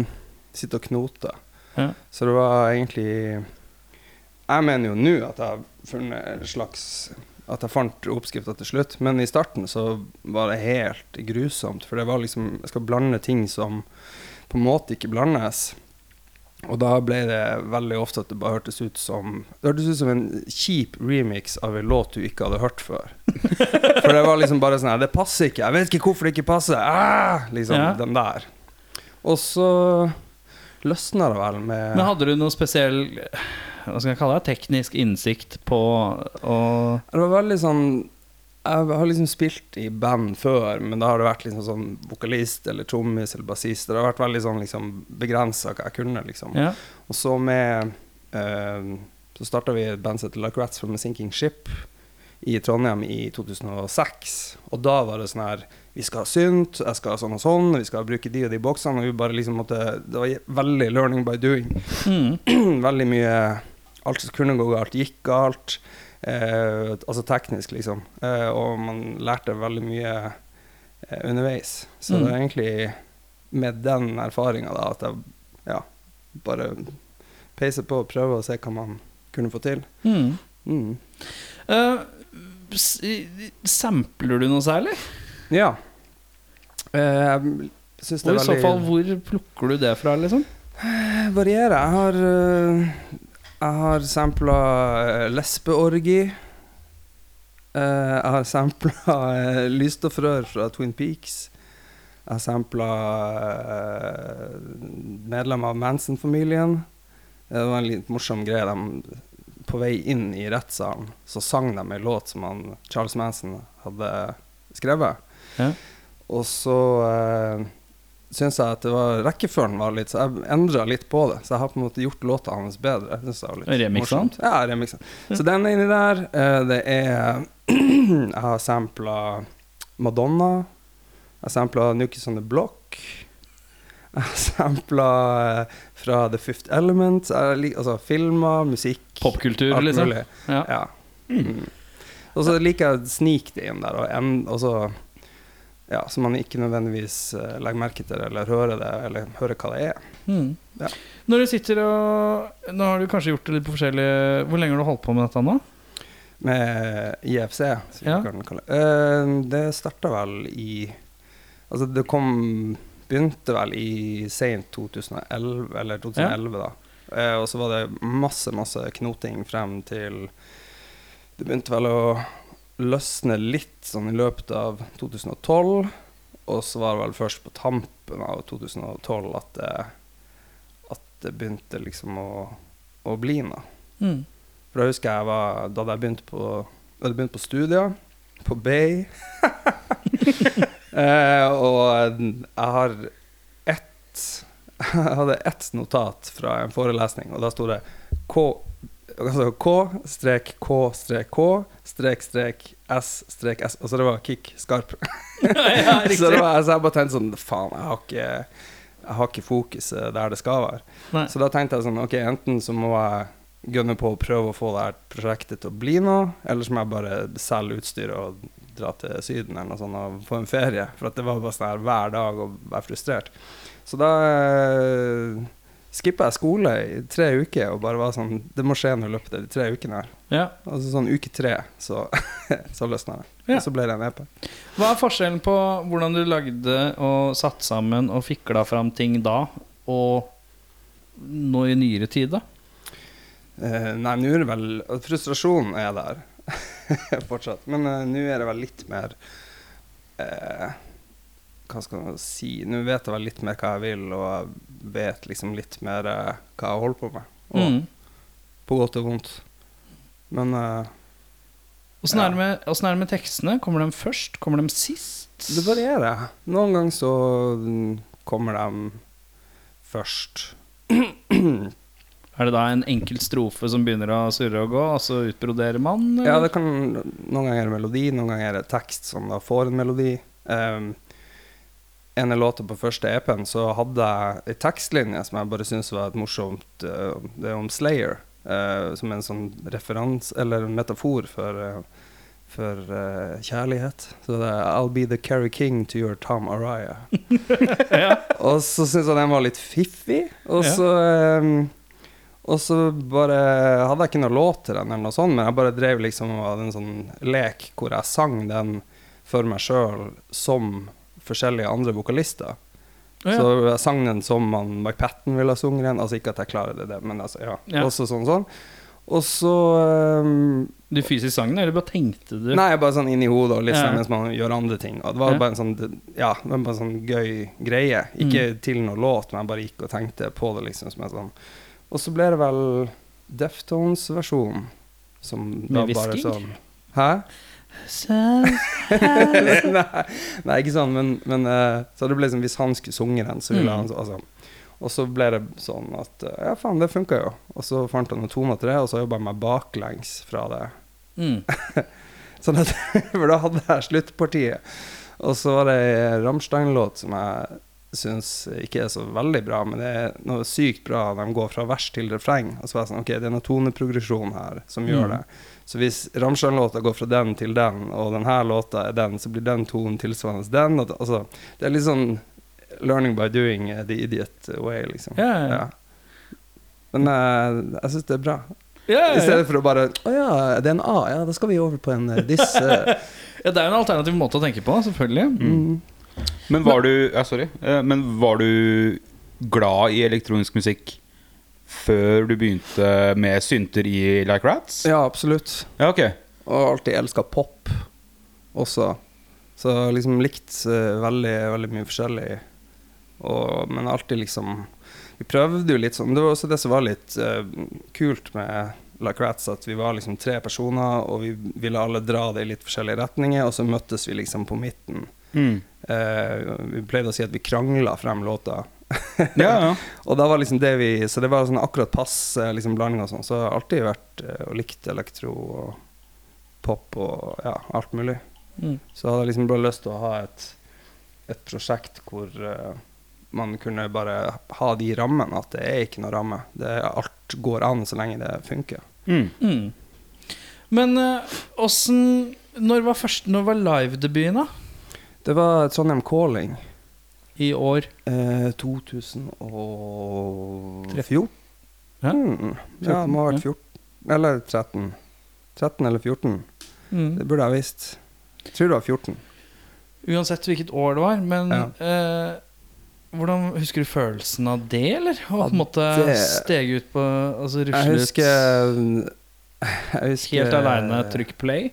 [SPEAKER 5] sitte og knote.
[SPEAKER 1] Ja.
[SPEAKER 5] Så det var egentlig Jeg mener jo nå at jeg har funnet en slags At jeg fant oppskrifta til slutt, men i starten så var det helt grusomt. For det var liksom Jeg skal blande ting som på en måte ikke blandes. Og da ble det veldig ofte at det bare hørtes ut som Det hørtes ut som en kjip remix av en låt du ikke hadde hørt før. For det var liksom bare sånn her Det passer ikke. Jeg vet ikke hvorfor det ikke passer. Ah! Liksom
[SPEAKER 1] Ja.
[SPEAKER 5] den der. Og så løsna det vel med
[SPEAKER 1] Men hadde du noe spesiell hva skal jeg kalle det, teknisk innsikt på å
[SPEAKER 5] Det var veldig sånn Jeg har liksom spilt i band før, men da har det vært liksom sånn vokalist eller trommis eller bassist. Det har vært veldig sånn liksom begrensa hva jeg kunne, liksom.
[SPEAKER 1] ja.
[SPEAKER 5] Og så med eh, Så starta vi et band som heter Like Rats from a Sinking Ship i Trondheim i 2006. Og da var det sånn her Vi skal ha synt, jeg skal ha sånn og sånn, vi skal bruke de og de boksene. Og vi bare liksom måtte Det var veldig learning by doing.
[SPEAKER 1] Mm.
[SPEAKER 5] veldig mye Alt som kunne gå galt, gikk galt. Eh, altså teknisk, liksom. Eh, og man lærte veldig mye eh, underveis. Så
[SPEAKER 1] Mm.
[SPEAKER 5] det er egentlig med den erfaringa da at jeg ja, bare peiser på og prøver å se hva man kunne få til.
[SPEAKER 1] Mm.
[SPEAKER 5] Mm.
[SPEAKER 1] Eh, s- sampler du noe særlig?
[SPEAKER 5] Ja. Eh, jeg syns det
[SPEAKER 1] Og
[SPEAKER 5] er
[SPEAKER 1] i så
[SPEAKER 5] veldig
[SPEAKER 1] fall, hvor plukker du det fra, liksom?
[SPEAKER 5] Det Eh, varierer. Jeg har, øh, jeg har sampla øh, lesbeorgi. Eh, jeg har sampla øh, lysstoffrør fra Twin Peaks. Jeg har eh, sampla øh, medlemmer av Manson-familien. Det var en litt morsom greie. De på vei inn i rettssalen, så sang de en låt som han, Charles Manson hadde skrevet.
[SPEAKER 1] Ja.
[SPEAKER 5] Og så eh, syns jeg at det var rekkefølgen var litt Så jeg endra litt på det. Så jeg har på en måte gjort låta hans bedre. Jeg synes det var litt
[SPEAKER 1] Remixa han?
[SPEAKER 5] morsomt. Ja, remiksa. Så den er inni der. Eh, det er Jeg har sampla Madonna. Jeg sampla Nukes on the Block. Jeg har sampla eh, fra The Fifth Element. Jeg lik, altså filmer, musikk
[SPEAKER 1] Popkultur,
[SPEAKER 5] alt
[SPEAKER 1] liksom.
[SPEAKER 5] mulig.
[SPEAKER 1] Ja.
[SPEAKER 5] Ja. Mm. Og så liker jeg å snike det inn der, og, en, og så ja, Så man ikke nødvendigvis eh, legger merke til det, eller hører det, eller hører hva det er.
[SPEAKER 1] Mm.
[SPEAKER 5] Ja.
[SPEAKER 1] Når du sitter og Nå har du kanskje gjort det litt på forskjellige Hvor lenge har du holdt på med dette nå?
[SPEAKER 5] Med IFC, som vi
[SPEAKER 1] Ja.
[SPEAKER 5] kan kalle det. Eh, det starta vel i Altså, det kom Begynte vel i sent 2011, eller 2011, da. Eh, og så var det masse, masse knoting frem til Det begynte vel å løsne litt sånn i løpet av 2012. Og så var det vel først på tampen av 2012 at det, at det begynte liksom å, å bli noe.
[SPEAKER 1] Mm.
[SPEAKER 5] For da husker jeg var, da hadde jeg begynt på, jeg hadde begynt på studier, på Bay. eh, og jeg har ett Jeg hadde ett notat fra en forelesning, og da sto det K Altså K, strek, K, strek, K, strek, strek, S, strek, S. Altså det var kick, skarp. så, det var, altså jeg bare tenkte sånn Faen, jeg har ikke, jeg har ikke fokuset der det skal være.
[SPEAKER 1] Nei.
[SPEAKER 5] Så da tenkte jeg sånn, ok, enten så må jeg gønne på å prøve å få det her prosjektet til å bli noe, eller så må jeg bare selge utstyret og dra til Syden eller noe sånt og få en ferie. For at det var bare sånn her hver dag å være frustrert. Så da eh, skippa jeg skole i tre uker og bare var sånn, det må skje noe i løpet av de tre ukene her.
[SPEAKER 1] Ja.
[SPEAKER 5] Og så sånn uke tre, så, så løsna det.
[SPEAKER 1] Ja.
[SPEAKER 5] Og så ble det en E EP.
[SPEAKER 1] Hva er forskjellen på hvordan du lagde og satte sammen og fikla fram ting da, og nå i nyere tid, da?
[SPEAKER 5] Eh, nei, nå er det vel Frustrasjonen er der fortsatt. Men eh, nå er det vel litt mer eh, Hva skal man si Nå vet jeg vel litt mer hva jeg vil, og jeg vet liksom litt mer eh, hva jeg holder på med. Og,
[SPEAKER 1] Mm.
[SPEAKER 5] På godt og vondt. Men eh,
[SPEAKER 1] Åssen er, det med- åssen er det med tekstene? Kommer de først? Kommer de sist?
[SPEAKER 5] det varierer. Noen ganger så mm, kommer de først.
[SPEAKER 1] Er det da en enkel strofe som begynner å surre og gå, og så utbroderer man? eller?
[SPEAKER 5] Ja, det kan, noen ganger er det melodi, noen ganger er det tekst som da får en melodi. Um, en av låtene på første EP-en så hadde jeg en tekstlinje som jeg bare syntes var et morsomt uh, Det er om Slayer, uh, som er en sånn referans, eller en metafor for, uh, for uh, kjærlighet. Så det er I'll be the Carrie King to your Tom Araya. Og så syntes jeg den var litt fiffig. Og
[SPEAKER 1] Ja.
[SPEAKER 5] så ehm, Og så bare hadde jeg ikke noe låt til den, eller noe sånt, men jeg bare drev liksom og hadde en sånn lek hvor jeg sang den for meg sjøl som forskjellige andre vokalister.
[SPEAKER 1] Å, ja.
[SPEAKER 5] Så jeg sang den som han Mike Patten ville ha sunget den. Altså ikke at jeg klarer det, det men altså, ja.
[SPEAKER 1] Ja.
[SPEAKER 5] Også sånn sånn. Og så ehm,
[SPEAKER 1] Du fysisk sang den, eller bare tenkte du?
[SPEAKER 5] Nei, bare sånn inni hodet og litt
[SPEAKER 1] Ja.
[SPEAKER 5] sånn mens man gjør andre ting. Og det var
[SPEAKER 1] Ja.
[SPEAKER 5] bare en sånn, ja, det var bare en sånn gøy greie. Ikke
[SPEAKER 1] Mm.
[SPEAKER 5] til noe låt, men jeg bare gikk og tenkte på det, liksom. Som en sånn. Og så ble det vel Deftones-versjonen. Som da
[SPEAKER 1] Med
[SPEAKER 5] bare
[SPEAKER 1] hvisking?
[SPEAKER 5] sånn Hæ?
[SPEAKER 1] Så-
[SPEAKER 5] nei, nei, ikke sånn, men, men eh, Så det ble liksom Hvis han skulle sunge den, så ville
[SPEAKER 1] Mm.
[SPEAKER 5] han så- altså, Og så ble det sånn at eh, Ja, faen, det funka jo. Og så fant han noen toner til det, og så jobba jeg meg baklengs fra det.
[SPEAKER 1] Mm.
[SPEAKER 5] Sånn at, for da hadde jeg sluttpartiet. Og så var det en Rammstein-låt som jeg syns ikke er så veldig bra, men det er noe sykt bra. De går fra vers til refreng. Og så var jeg sånn, ok, det er noe toneprogresjon her som
[SPEAKER 1] Mm.
[SPEAKER 5] gjør det. Så hvis Rammstein-låta går fra den til den, og denne låta er den, så blir den tonen tilsvarende den. Og, det- altså, det er litt sånn learning by doing eh, the idiot way, liksom.
[SPEAKER 1] Ja, ja, ja.
[SPEAKER 5] Men eh, jeg syns det er bra.
[SPEAKER 1] Ja,
[SPEAKER 5] I
[SPEAKER 1] ja, ja.
[SPEAKER 5] stedet for å bare Å ja, det er en A. Ja, da skal vi over på en eh, diss. eh."
[SPEAKER 1] ja, det er jo en alternativ måte å tenke på, selvfølgelig.
[SPEAKER 5] Mm.
[SPEAKER 2] Men var du ja, Sorry. Eh, Men var du glad i elektronisk musikk før du begynte med synter i Like Rats?
[SPEAKER 5] Ja, absolutt.
[SPEAKER 2] Ja, ok.
[SPEAKER 5] Og har alltid elska pop også. Så jeg har liksom likt eh, veldig, veldig mye forskjellig. Og, men alltid liksom Vi prøvde jo litt sånn. Det var også det som var litt eh, kult med Like Rats at vi var liksom tre personer, og vi ville alle dra det i litt forskjellige retninger, og så møttes vi liksom på midten.
[SPEAKER 2] Mm.
[SPEAKER 5] Eh, vi pleide å si at vi krangla frem låta.
[SPEAKER 2] Ja, ja.
[SPEAKER 5] og da var liksom det vi Så det var sånn akkurat passe liksom blanding og sånn. Så jeg har alltid vært eh, og likt elektro og pop og ja, alt mulig.
[SPEAKER 1] Mm.
[SPEAKER 5] Så hadde jeg liksom bare lyst til å ha et, et prosjekt hvor eh, man kunne bare ha de rammene, at det er ikke noe ramme. Det, er- alt går an så lenge det funker.
[SPEAKER 2] Mm.
[SPEAKER 1] Mm. Men eh, åssen Når var, først- når var livedebuten, da?
[SPEAKER 5] Det var Trondheim Calling.
[SPEAKER 1] I år?
[SPEAKER 5] Eh, 2014?
[SPEAKER 1] Hæ?
[SPEAKER 5] Mm. Ja, det må ha
[SPEAKER 1] Ja.
[SPEAKER 5] vært 14. Eller 13. 13 eller 14. Det burde jeg visst. Jeg tror det var 14.
[SPEAKER 1] Uansett hvilket år det var, men
[SPEAKER 5] Ja.
[SPEAKER 1] eh, hvordan Husker du følelsen av det, eller? Å på en måte
[SPEAKER 5] det-
[SPEAKER 1] stege ut på Altså
[SPEAKER 5] Jeg
[SPEAKER 1] rusle ut
[SPEAKER 5] husker, eh, jeg husker eh,
[SPEAKER 1] helt aleine, trykk play?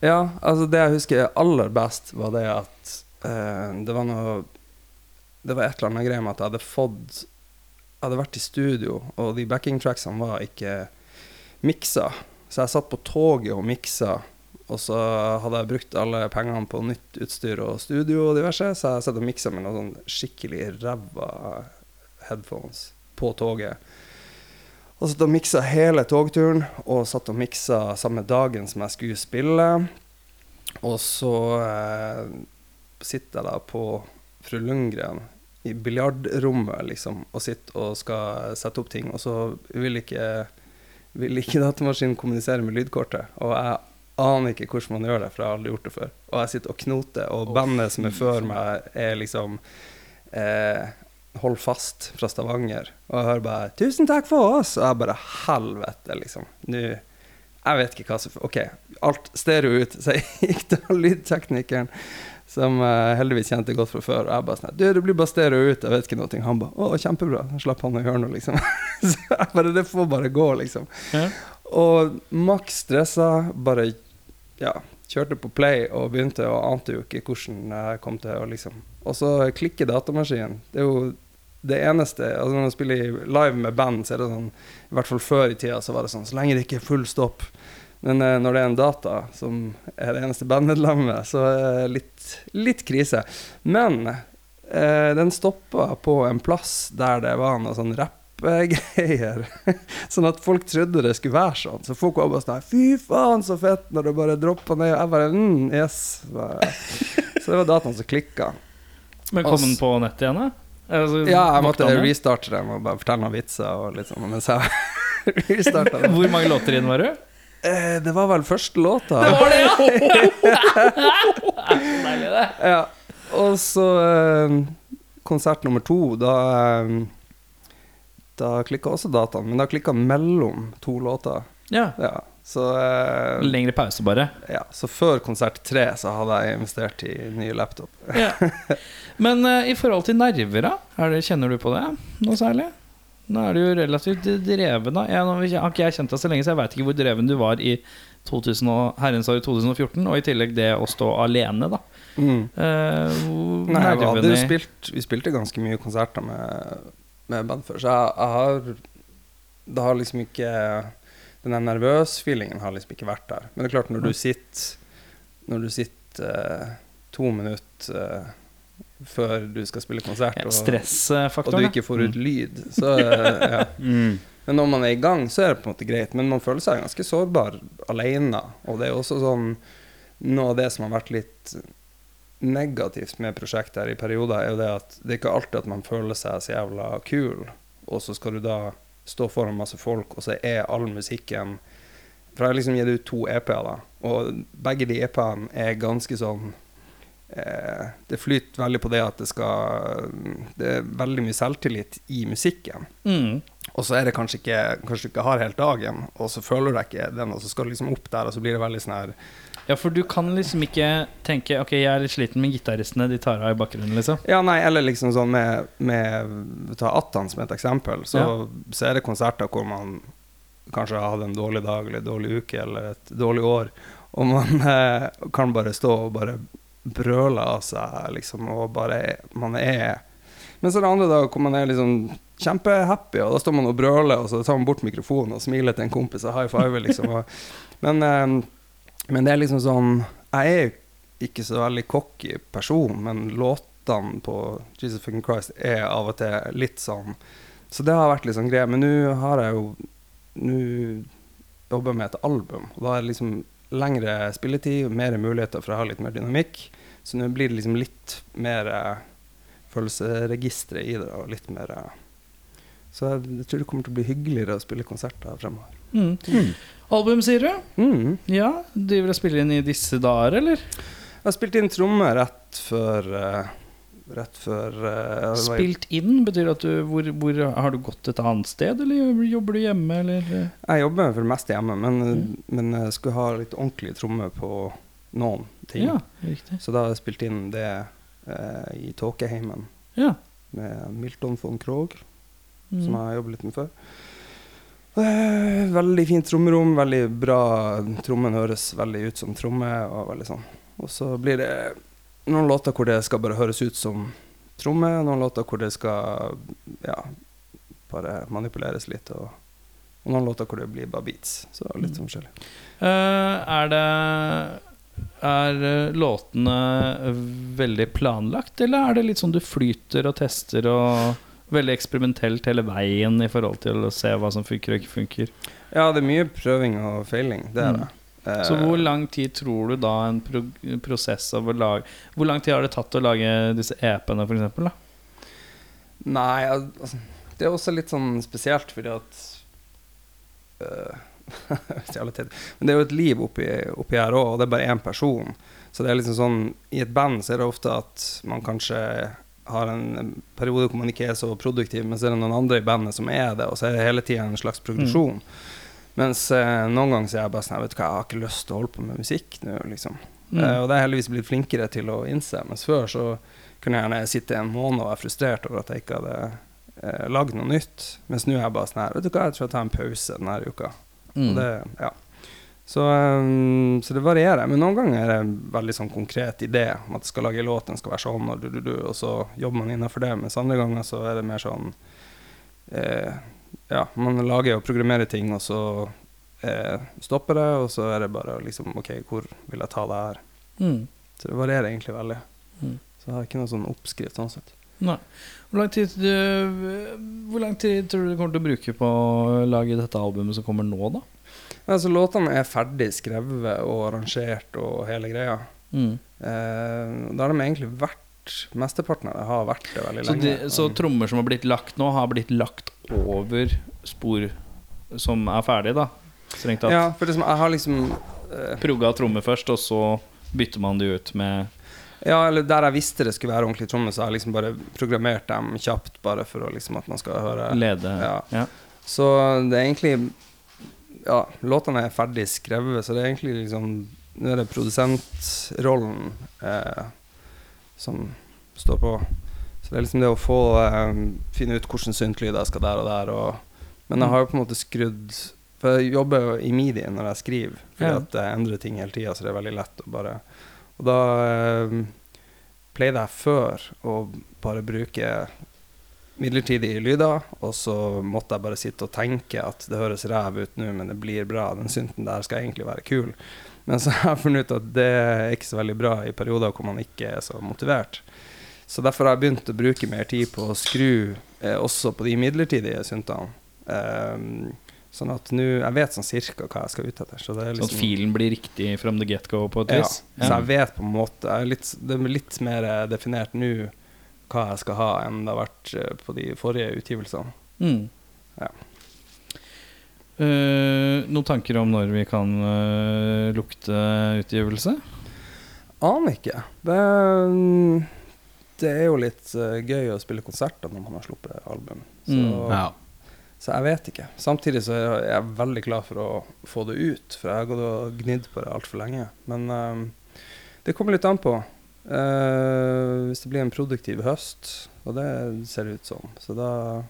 [SPEAKER 5] Ja, altså det jeg husker aller best, var det at eh, det var noe Det var et eller annet greie med at jeg hadde fått Jeg hadde vært i studio, og de backing tracksene var ikke miksa. Så jeg satt på toget og miksa, og så hadde jeg brukt alle pengene på nytt utstyr og studio og diverse, så jeg satt og miksa med noen sånn skikkelig ræva headphones på toget. Og satt og miksa hele togturen, og satt og miksa samme dagen som jeg skulle spille. Og så eh, sitter jeg da på Fru Lundgren i biljardrommet, liksom, og sitter og skal sette opp ting, og så vil ikke, vil ikke datamaskinen kommunisere med lydkortet. Og jeg aner ikke hvordan man gjør det, for jeg har aldri gjort det før. Og jeg sitter og knoter, og bandet som er før meg, er liksom eh, Hold fast fra Stavanger. Og jeg hører bare 'Tusen takk for oss!' Og jeg bare Helvete, liksom. Nå Jeg vet ikke hva som Ok, alt stereo ut. Så jeg gikk til lydteknikeren, som eh, heldigvis kjente godt fra før. Og jeg bare sånn 'Du, det blir bare stereo ut. Jeg vet ikke noe.' Han bare 'Å, kjempebra.' Så slapp han å gjøre noe, liksom. så jeg bare Det får bare gå, liksom.
[SPEAKER 1] Ja.
[SPEAKER 5] Og maks stressa, bare ja, kjørte på play og begynte og ante jo ikke hvordan jeg kom til å liksom Og så klikker datamaskinen. Det er jo det eneste altså Når man spiller i- live med band, så er det sånn I hvert fall før i tida så var det sånn Så lenge det ikke er full stopp. Men eh, når det er en data som er det eneste bandmedlemmet, så er det litt, litt krise. Men eh, den stoppa på en plass der det var noe sånn rappgreier. Sånn at folk trodde det skulle være sånn. Så folk var bare sånn her, Fy faen, så fett! Når det bare droppa ned. Og jeg bare mm, Yes. Bare. Så det var dataen som klikka.
[SPEAKER 1] Men kom
[SPEAKER 5] Ass.
[SPEAKER 1] den på nettet igjen, da? Altså,
[SPEAKER 5] Ja, jeg måtte
[SPEAKER 1] våkna den?
[SPEAKER 5] restarte den og bare fortelle noen vitser og litt sånn. Mens jeg restarta den.
[SPEAKER 1] Hvor mange låter inn var du?
[SPEAKER 5] Eh, Det var vel første låta.
[SPEAKER 1] det, ja!
[SPEAKER 5] Ja. Og så eh, konsert nummer to, da eh, Da klikka også dataen, men da klikka mellom to låter.
[SPEAKER 1] ja.
[SPEAKER 5] Ja, så eh,
[SPEAKER 1] Lengre pause, bare.
[SPEAKER 5] Ja, så før konsert tre så hadde jeg investert i ny laptop.
[SPEAKER 1] Ja. Men eh, i forhold til nerver, da? Er det, kjenner du på det noe særlig? Nå er du jo relativt dreven, da. Jeg, nå, har ikke jeg kjent deg så lenge, så jeg veit ikke hvor dreven du var i 2000 og, herrens år 2014. Og i tillegg det å stå alene, da. Eh, hvor
[SPEAKER 5] Nei, jeg hadde jo
[SPEAKER 1] nervene-
[SPEAKER 5] spilt, vi spilte ganske mye konserter med, med band før, så jeg, jeg har Det har liksom ikke Den der nervøs-feelingen har liksom ikke vært der. Men det er klart, når du sitter Når du sitter eh, to minutter eh, før du skal spille konsert,
[SPEAKER 1] ja,
[SPEAKER 5] og, og du
[SPEAKER 1] Stressfaktoren.
[SPEAKER 5] ikke får ut lyd, så eh, ja.
[SPEAKER 2] Mm.
[SPEAKER 5] Men når man er i gang, så er det på en måte greit. Men man føler seg ganske sårbar alene. Og det er også sånn Noe av det som har vært litt negativt med prosjektet her i perioder, er jo det at det er ikke alltid at man føler seg så jævla kul, og så skal du da stå foran masse folk, og så er all musikken For jeg har liksom gitt ut to EP-er, da, og begge de EP-ene er ganske sånn eh, Det flyter veldig på det at det skal Det er veldig mye selvtillit i musikken.
[SPEAKER 1] da. Mm.
[SPEAKER 5] Og så er det kanskje ikke Kanskje du ikke har helt dagen, og så føler du deg ikke den, og så skal du liksom opp der, og så blir det veldig sånn her
[SPEAKER 1] Ja, for du kan liksom ikke tenke Ok, jeg er litt sliten, men gitaristene de tar av i bakgrunnen, liksom.
[SPEAKER 5] Ja, nei, eller liksom sånn med, med Ta Attan som et eksempel, så, så er det konserter hvor man kanskje har hatt en dårlig dag eller en dårlig uke eller et dårlig år, og man eh, kan bare stå og bare brøle av seg, liksom, og bare Man er Men så er det andre dager hvor man er liksom kjempehappy, og da står man og brøler, og så tar man bort mikrofonen og smiler til en kompis og high fiver, liksom. Og, men, eh, men det er liksom sånn Jeg er jo ikke så veldig cocky person, men låtene på Jesus Fucking Christ er av og til litt sånn Så det har vært litt sånn greie. Men nå har jeg jo Nå jobber jeg med et album, og da er det liksom lengre spilletid, mer muligheter for å ha litt mer dynamikk. Så nå blir det liksom litt mer eh, følelsesregistre i det, og litt mer eh, så jeg, jeg tror det kommer til å bli hyggeligere å spille konserter fremover.
[SPEAKER 1] Mm. Album, sier du?
[SPEAKER 5] Mm.
[SPEAKER 1] Ja. Driver og spiller inn i disse dager, eller?
[SPEAKER 5] Jeg spilte inn tromme rett før eh, Rett før eh, jeg var i-
[SPEAKER 1] Spilt inn betyr at du hvor, hvor Har du gått et annet sted, eller jobber du hjemme, eller eh,
[SPEAKER 5] Jeg jobber for det meste hjemme, men,
[SPEAKER 1] Mm.
[SPEAKER 5] men jeg skulle ha litt ordentlige trommer på noen ting.
[SPEAKER 1] Ja, riktig.
[SPEAKER 5] Så da har jeg spilt inn det eh, i Tåkeheimen
[SPEAKER 1] Ja.
[SPEAKER 5] med Milton von Krogh,
[SPEAKER 1] Mm.
[SPEAKER 5] som jeg har jobbet litt med før. Eh, veldig fint trommerom, veldig bra Trommen høres veldig ut som tromme. Og veldig sånn. Og så blir det noen låter hvor det skal bare høres ut som tromme, og noen låter hvor det skal ja, bare manipuleres litt, og, og noen låter hvor det blir bare beats. Så litt sånn forskjellig.
[SPEAKER 1] Eh, er det Er eh, låtene veldig planlagt, eller er det litt sånn du flyter og tester og Veldig eksperimentelt hele veien i forhold til å se hva som funker og ikke funker.
[SPEAKER 5] Ja, det er mye prøving og feiling, det er det. Eh,
[SPEAKER 1] Mm. Så hvor lang tid tror du da en pro prosess av å lage Hvor lang tid har det tatt å lage disse EP-ene, for eksempel, da?
[SPEAKER 5] Nei, al- altså, det er også litt sånn spesielt, fordi at øh, så jævla teit. Men det er jo et liv oppi, oppi her òg, og det er bare én person. Så det er liksom sånn I et band så er det ofte at man kanskje har en periode hvor man ikke er så produktiv, men så er det noen andre i bandet som er det, og så er det hele tida en slags progresjon. Mens eh, noen ganger så er jeg bare sånn Jeg vet du hva, jeg har ikke lyst til å holde på med musikk nå, liksom. Eh, og det er jeg heldigvis blitt flinkere til å innse, mens før så kunne jeg gjerne sitte en måned og være frustrert over at jeg ikke hadde eh, lagd noe nytt. Mens nå er jeg bare sånn her Vet du hva, jeg tror jeg tar en pause denne her uka.
[SPEAKER 1] Mm.
[SPEAKER 5] Og det, ja. så, um, så det varierer. Men noen ganger er det en veldig sånn konkret idé om at jeg skal lage en låt, den skal være sånn, og, du, du, du, og så jobber man innafor det. Mens andre ganger så er det mer sånn eh, Ja, man lager og programmerer ting, og så eh, stopper det, og så er det bare liksom OK, hvor vil jeg ta det her?
[SPEAKER 1] Mm.
[SPEAKER 5] Så det varierer egentlig veldig.
[SPEAKER 1] Mm.
[SPEAKER 5] Så jeg har ikke noen sånn oppskrift sånn sett.
[SPEAKER 1] Nei. Hvor lang, tid du, hvor lang tid tror du du kommer til å bruke på å lage dette albumet som kommer nå, da?
[SPEAKER 5] Nei, så altså, låtene er ferdig skrevet og arrangert og hele greia.
[SPEAKER 1] Mm.
[SPEAKER 5] Eh, da har de egentlig vært Mesteparten av det har vært det veldig
[SPEAKER 1] Så,
[SPEAKER 5] lenge.
[SPEAKER 1] de, så trommer som har blitt lagt nå, har blitt lagt over spor som er ferdig, da? Strengt tatt.
[SPEAKER 5] ja, for liksom, jeg har liksom eh,
[SPEAKER 1] Progga trommer først, og så bytter man de ut med
[SPEAKER 5] Ja, eller der jeg visste det skulle være ordentlig tromme, så har jeg liksom bare programmert dem kjapt, bare for å liksom at man skal høre
[SPEAKER 1] lede.
[SPEAKER 5] Ja.
[SPEAKER 1] Ja.
[SPEAKER 5] Så det er egentlig Ja, låtene er ferdig skrevet, så det er egentlig liksom Nå er det produsentrollen eh, som står på. Så det er liksom det å få eh, finne ut hvilken syntlyd jeg skal der og der, og Men jeg har jo på en måte skrudd For jeg jobber jo i midi når jeg skriver, fordi
[SPEAKER 1] Ja.
[SPEAKER 5] at jeg endrer ting hele tida, så det er veldig lett å bare Og da eh, pleide jeg før å bare bruke midlertidige lyder, og så måtte jeg bare sitte og tenke at det høres ræv ut nå, men det blir bra. Den synten der skal egentlig være kul. Men så har jeg funnet ut at det er ikke så veldig bra i perioder hvor man ikke er så motivert. Så derfor har jeg begynt å bruke mer tid på å skru eh, også på de midlertidige syntene. Ehm, sånn at nå Jeg vet sånn cirka hva jeg skal ut etter. Så det er
[SPEAKER 1] Sånn at
[SPEAKER 5] liksom
[SPEAKER 1] filen blir riktig from the get-go på et
[SPEAKER 5] ja.
[SPEAKER 1] vis.
[SPEAKER 5] Så jeg vet på en måte jeg er litt, Det er litt mer eh, definert nå hva jeg skal ha, enn det har vært eh, på de forrige utgivelsene.
[SPEAKER 1] Mm.
[SPEAKER 5] Ja.
[SPEAKER 1] Eh, noen tanker om når vi kan eh, lukte utgivelse?
[SPEAKER 5] Aner ikke. Det, er- det er jo litt eh, gøy å spille konserter når man har sluppet album. Så,
[SPEAKER 1] Mm,
[SPEAKER 2] Ja.
[SPEAKER 5] så jeg vet ikke. Samtidig så er jeg- jeg er veldig glad for å få det ut, for jeg har gått og gnidd på det altfor lenge. Men eh, det kommer litt an på. Eh, hvis det blir en produktiv høst, og det ser det ut som, så da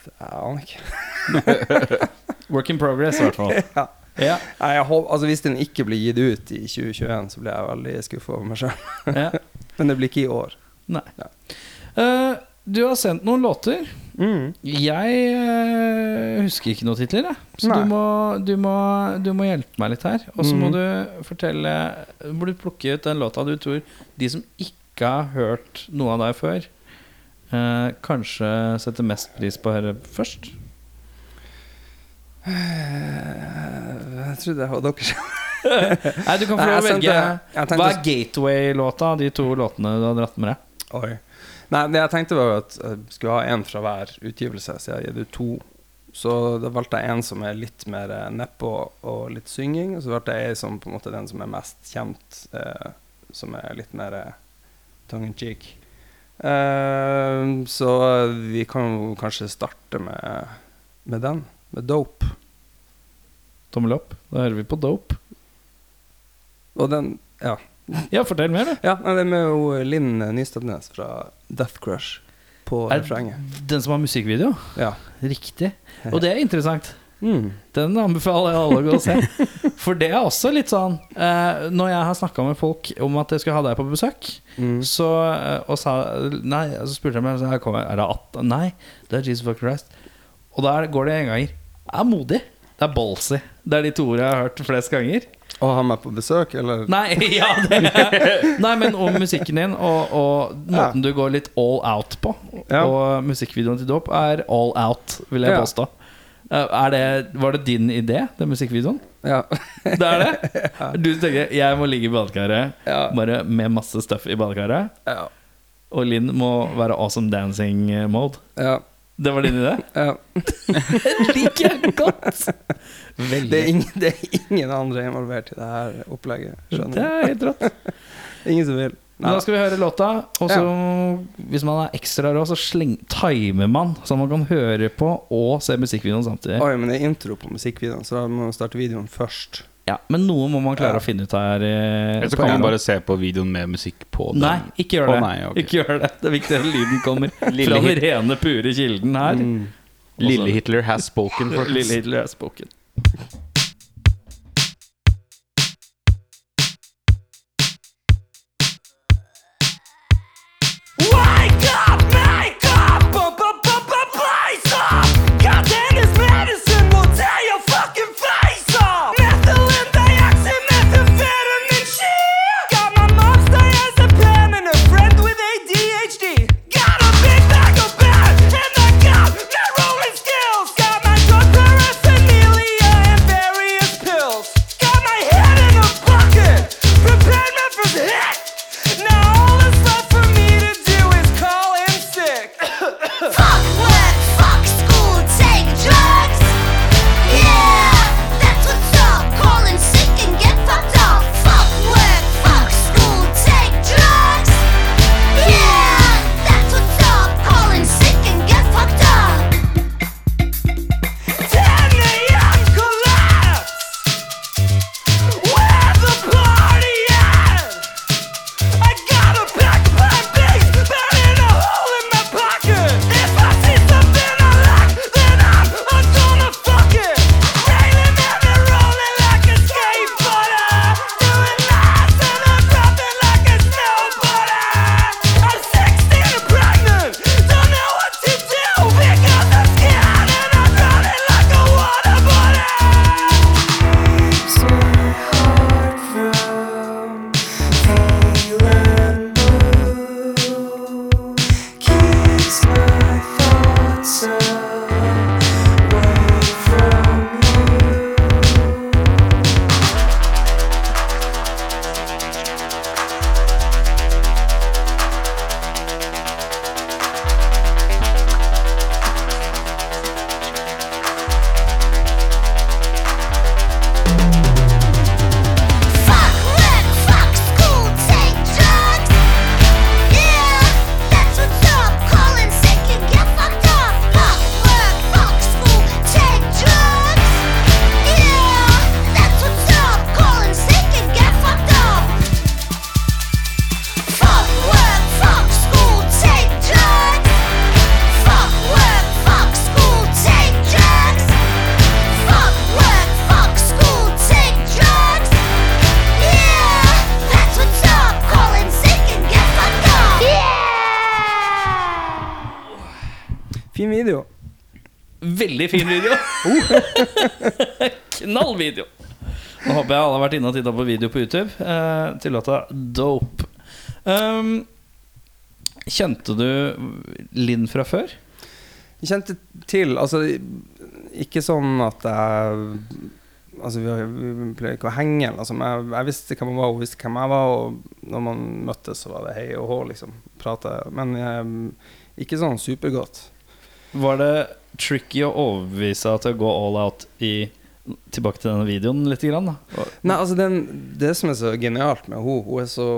[SPEAKER 5] Jeg aner ikke.
[SPEAKER 1] Work in progress, i hvert fall.
[SPEAKER 5] Ja.
[SPEAKER 1] ja.
[SPEAKER 5] Nei, Jeg håper, altså, hvis den ikke blir gitt ut i 2021, så blir jeg veldig skuffa over meg sjøl.
[SPEAKER 1] ja.
[SPEAKER 5] Men det blir ikke i år.
[SPEAKER 1] Nei.
[SPEAKER 5] Ja.
[SPEAKER 1] Eh, Du har sendt noen låter.
[SPEAKER 5] Mm.
[SPEAKER 1] Jeg eh, husker ikke noen titler, jeg. Så
[SPEAKER 5] Nei.
[SPEAKER 1] du må, du, må, du må hjelpe meg litt her. Og så må
[SPEAKER 5] Mhm.
[SPEAKER 1] du fortelle Må du plukke ut den låta du tror de som ikke har hørt noe av deg før, eh, kanskje setter mest pris på å høre først?
[SPEAKER 5] Eh, Jeg trodde jeg hadde dere
[SPEAKER 1] Nei, du kan få lov
[SPEAKER 5] Nei,
[SPEAKER 1] å
[SPEAKER 5] jeg
[SPEAKER 1] velge.
[SPEAKER 5] sendte- jeg tenkte-
[SPEAKER 1] Hva er gateway-låta av de to låtene du har dratt med deg?
[SPEAKER 5] Oi. Nei, det jeg tenkte var jo at jeg skulle ha én fra hver utgivelse, så jeg har gitt ut to. Så da valgte jeg en som er litt mer eh, nedpå og litt synging, og så valgte jeg en som på en måte er den som er mest kjent, eh, som er litt mer eh, tongue in cheek. Eh, så vi kan jo kanskje starte med, med den, med Dope.
[SPEAKER 1] Tommel opp. Da hører vi på Dope.
[SPEAKER 5] Og den Ja,
[SPEAKER 1] Ja, fortell mer, du.
[SPEAKER 5] ja nei, det er med jo Linn Nystadnes fra Death Crush på
[SPEAKER 1] Er
[SPEAKER 5] refrenget.
[SPEAKER 1] Den som har musikkvideo?
[SPEAKER 5] Ja.
[SPEAKER 1] Riktig. Og det er interessant.
[SPEAKER 5] Mm.
[SPEAKER 1] Den anbefaler jeg alle å gå og se. For det er også litt sånn eh, Når jeg har snakka med folk om at jeg skulle ha deg på besøk,
[SPEAKER 5] Mm.
[SPEAKER 1] så, eh, og sa, nei, så spurte jeg meg så her kommer, Er det 18? Nei, det er Jesus fuck Christ. Og der går det enganger. Det er modig. Det er ballsy. Det er de to ordene jeg har hørt flest ganger.
[SPEAKER 5] Og ha meg på besøk, eller?
[SPEAKER 1] Nei, ja, det Nei men om musikken din, og, og måten du går litt all out på.
[SPEAKER 5] Ja.
[SPEAKER 1] Og musikkvideoen til Dåp er all out, vil jeg
[SPEAKER 5] Ja.
[SPEAKER 1] påstå. Eh, Er det, var det din idé, den musikkvideoen?
[SPEAKER 5] Ja.
[SPEAKER 1] Det er det? Du tenker jeg må ligge i badekaret,
[SPEAKER 5] Ja.
[SPEAKER 1] bare med masse stuff i badekaret.
[SPEAKER 5] ja.
[SPEAKER 1] Og Linn må være awesome dancing mode.
[SPEAKER 5] ja.
[SPEAKER 1] Det var din idé?
[SPEAKER 5] ja.
[SPEAKER 1] Den liker jeg godt! Veldig.
[SPEAKER 5] Det, er ingen, det er ingen andre involvert i det her opplegget.
[SPEAKER 1] Det
[SPEAKER 5] Skjønner
[SPEAKER 1] er helt rått.
[SPEAKER 5] du? Ingen som vil.
[SPEAKER 1] Men da skal vi høre låta, og så
[SPEAKER 5] Ja.
[SPEAKER 1] hvis man er ekstra rå, så sleng, timer man, så man kan høre på og se musikkvideoen samtidig.
[SPEAKER 5] Oi, men det er intro på musikkvideoen, så da må vi starte videoen først.
[SPEAKER 1] Ja, men noe må man klare
[SPEAKER 5] Ja.
[SPEAKER 1] å finne ut her. eh,
[SPEAKER 2] Eller
[SPEAKER 1] på
[SPEAKER 2] så kan
[SPEAKER 1] en
[SPEAKER 2] man
[SPEAKER 1] gang.
[SPEAKER 2] bare se på videoen med musikk på den.
[SPEAKER 1] Nei, ikke gjør
[SPEAKER 2] Å,
[SPEAKER 1] det.
[SPEAKER 2] nei, ok.
[SPEAKER 1] Ikke gjør det. Det er viktig at lyden kommer
[SPEAKER 2] Lille
[SPEAKER 1] fra den rene, pure kilden her.
[SPEAKER 5] Mm.
[SPEAKER 2] Lille Hitler has spoken. folkens.
[SPEAKER 1] Lille Hitler er spoken.
[SPEAKER 6] Wake up, make up, bu- bu- bu- bu- blaze up. Goddamn, this medicine will tear your fucking face off. Methylene dioxide, methamphetamine, shit. Got my mom stay as a pen and a friend with ADHD. Got a big bag of bad, and I got my rolling skills. Got my drug paraphernalia and
[SPEAKER 5] video.
[SPEAKER 1] Veldig fin video. Knall video. Nå håper jeg alle har vært inne og titta på video på YouTube eh, til låta 'Dope'. Um, kjente du Linn fra før?
[SPEAKER 5] Jeg kjente til Altså, ikke sånn at jeg Altså, vi, vi pleier ikke å henge, eller noe sånt, men jeg, jeg visste hvem hun var, hun visste hvem jeg var, og når man møttes, så var det hei og hå, liksom. Prate. Men eh, ikke sånn supergodt.
[SPEAKER 1] Var det tricky å overbevise deg til å gå all out i Tilbake til denne videoen litt, grann, da.
[SPEAKER 5] Nei, altså, den, det som er så genialt med henne, hun er så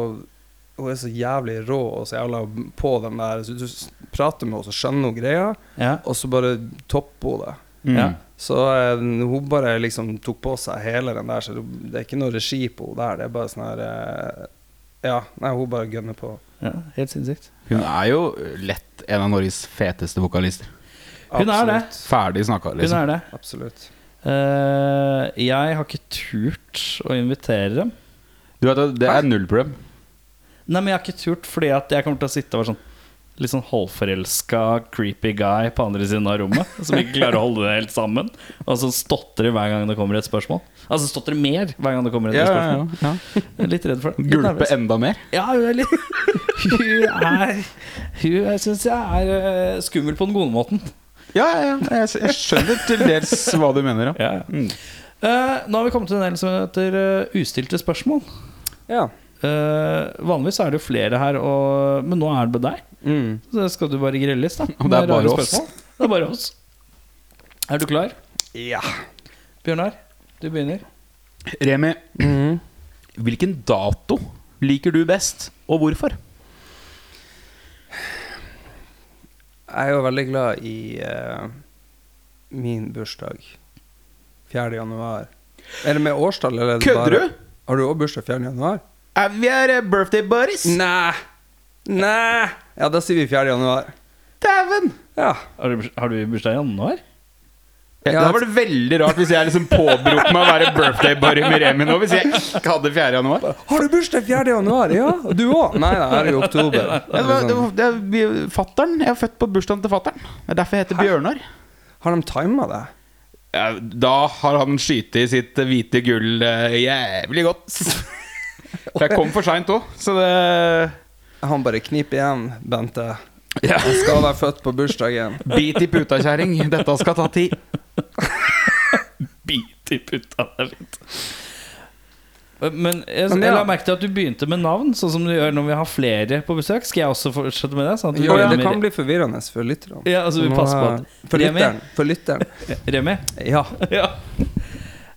[SPEAKER 5] hun er så jævlig rå og så jævla på den der så Du s- prater med henne, så skjønner hun greia,
[SPEAKER 1] Ja.
[SPEAKER 5] og så bare topper hun det.
[SPEAKER 1] Ja.
[SPEAKER 5] Så eh, hun bare liksom tok på seg hele den der, så det er ikke noe regi på henne der. Det er bare sånn her eh, Ja, nei, hun bare gønner på.
[SPEAKER 1] ja, helt sinnssykt.
[SPEAKER 2] Hun er jo lett en av Norges feteste vokalister.
[SPEAKER 1] Hun er det.
[SPEAKER 5] Absolutt.
[SPEAKER 2] Ferdig snakka,
[SPEAKER 1] Hun
[SPEAKER 2] liksom.
[SPEAKER 1] er det.
[SPEAKER 5] Absolutt.
[SPEAKER 1] Eh, jeg har ikke turt å invitere dem.
[SPEAKER 2] Du vet, at det er null problem.
[SPEAKER 1] Nei, men jeg har ikke turt, fordi at jeg kommer til å sitte og være sånn Litt sånn halvforelska, creepy guy på andre siden av rommet. Som ikke klarer å holde det helt sammen. Og som stotrer hver gang det kommer et spørsmål. Altså stotrer mer hver gang det kommer et
[SPEAKER 2] Ja, ja,
[SPEAKER 1] spørsmål.
[SPEAKER 2] ja.
[SPEAKER 1] Jeg er Litt redd for det. Litt
[SPEAKER 2] Gulpe
[SPEAKER 1] nervøs.
[SPEAKER 2] enda mer.
[SPEAKER 1] Ja, hun er litt Hun er Hun er- syns jeg er eh, skummel på den gode måten.
[SPEAKER 2] Ja, ja, ja. Jeg, jeg skjønner til dels hva du mener. Ja.
[SPEAKER 1] Ja, ja. Eh, nå har vi kommet til en del som heter eh, ustilte spørsmål.
[SPEAKER 5] Ja.
[SPEAKER 1] Eh, vanligvis er det jo flere her, og, men nå er det med deg.
[SPEAKER 5] Mm.
[SPEAKER 1] Så skal du bare grilles, da.
[SPEAKER 2] Og det
[SPEAKER 1] med
[SPEAKER 2] er bare
[SPEAKER 1] rare
[SPEAKER 2] oss.
[SPEAKER 1] spørsmål. Det er bare oss. Er du klar?
[SPEAKER 5] ja.
[SPEAKER 1] Bjørnar, du begynner.
[SPEAKER 2] Remi, Mhm. hvilken dato liker du best, og hvorfor?
[SPEAKER 5] Jeg er jo veldig glad i eh, min bursdag. 4. januar. Er det med årstall, eller? er det
[SPEAKER 2] Kødder
[SPEAKER 5] bare-
[SPEAKER 2] du?
[SPEAKER 5] Har du òg bursdag 4. januar?
[SPEAKER 2] Eh, Vi er eh, birthday buddies.
[SPEAKER 5] Nei! Nei! Ja, da sier vi 4. januar.
[SPEAKER 2] Dæven!
[SPEAKER 5] Ja.
[SPEAKER 1] Har du, har du bursdag i januar?
[SPEAKER 2] Ja, altså. det
[SPEAKER 5] Ja.
[SPEAKER 2] hadde vært veldig rart hvis jeg liksom påberopte meg å være birthday buddy med Remi nå. Hvis jeg ikke hadde 4. januar.
[SPEAKER 5] Har du bursdag 4. januar? Ja, og du òg? Nei, det er sånn, i oktober.
[SPEAKER 2] Ja, det var, det var, det er, fatteren, jeg er født på bursdagen til fattern. Det er derfor jeg heter Bjørnar.
[SPEAKER 5] Har de tima det?
[SPEAKER 2] Ja, Da har han skytt i sitt hvite gull eh, jævlig godt. For jeg kom for seint òg, så det
[SPEAKER 5] Han bare kniper igjen, Bente.
[SPEAKER 2] ja.
[SPEAKER 5] Jeg skal være født på bursdagen.
[SPEAKER 2] Bit i puta, kjerring. Dette skal ta tid.
[SPEAKER 1] Bit i putta, det er fint. Eh, Men jeg,
[SPEAKER 5] Men ja.
[SPEAKER 1] jeg la merke til at du begynte med navn, sånn som du gjør når vi har flere på besøk. Skal jeg også fortsette med det? Sånn at vi
[SPEAKER 5] Jo,
[SPEAKER 1] går
[SPEAKER 5] det
[SPEAKER 1] med-
[SPEAKER 5] kan bli forvirrende for lytterne.
[SPEAKER 1] Ja, altså, vi
[SPEAKER 5] Nå,
[SPEAKER 1] passer på at-
[SPEAKER 5] eh, For
[SPEAKER 1] Remi?
[SPEAKER 5] lytteren. For lytteren.
[SPEAKER 1] Remi?
[SPEAKER 5] Ja.
[SPEAKER 1] Ja.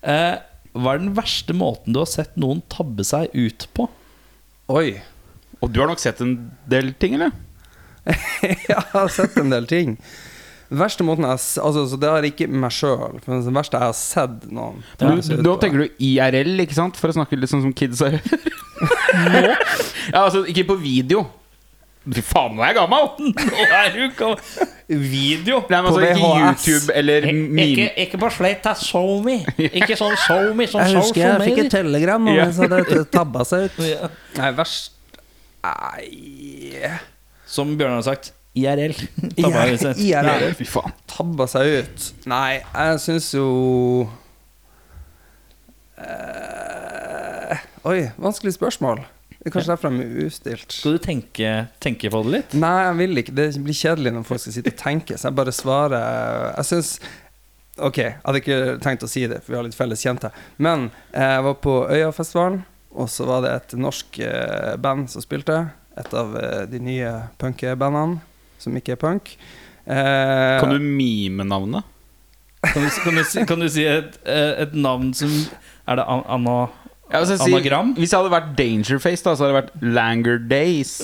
[SPEAKER 1] Eh, hva er den verste måten du har sett noen tabbe seg ut på?
[SPEAKER 5] Oi.
[SPEAKER 2] Og du har nok sett en del ting, eller?
[SPEAKER 5] Ja, jeg har sett en del ting. Verste måten jeg har s- Altså, så det har ikke meg sjøl, men det verste jeg har sett noen
[SPEAKER 2] Du, nå tenker du IRL, ikke sant? For å snakke litt sånn som kids er. ja, altså, ikke på video. Fy faen, nå er jeg gammel!
[SPEAKER 1] Nå er du gammel. Video.
[SPEAKER 2] Nei, men
[SPEAKER 5] På
[SPEAKER 2] altså, ikke
[SPEAKER 5] VHS.
[SPEAKER 2] YouTube eller meme.
[SPEAKER 1] på slett, det er show me. Ikke sånn show me, sånn
[SPEAKER 5] telegram
[SPEAKER 2] om Ja. en som
[SPEAKER 5] hadde tabba seg ut.
[SPEAKER 1] Ja.
[SPEAKER 5] Nei, verst Nei
[SPEAKER 1] Som Bjørnar har sagt, IRL. Tabba vi seg.
[SPEAKER 5] IRL.
[SPEAKER 2] Fy faen.
[SPEAKER 5] Tabba seg ut. Nei, jeg syns jo Eh, Oi, vanskelig spørsmål. Det er kanskje derfor de er ustilt.
[SPEAKER 1] Skal du tenke, tenke på det litt?
[SPEAKER 5] Nei, jeg vil ikke. Det blir kjedelig når folk skal sitte og tenke, så jeg bare svarer eh, Jeg syns Ok, jeg hadde ikke tenkt å si det, for vi har litt felles kjente. Men eh, jeg var på Øyafestivalen, og så var det et norsk eh, band som spilte. Et av eh, de nye punkebandene som ikke er punk. Eh,
[SPEAKER 2] Kan du mime navnet?
[SPEAKER 1] Kan du, kan du, si- kan du si et, eh, et navn som Er det an, Anna
[SPEAKER 2] Ja, altså, si-
[SPEAKER 1] Anagram?
[SPEAKER 2] Hvis jeg hadde vært Dangerface, da, så hadde det vært Langer Days.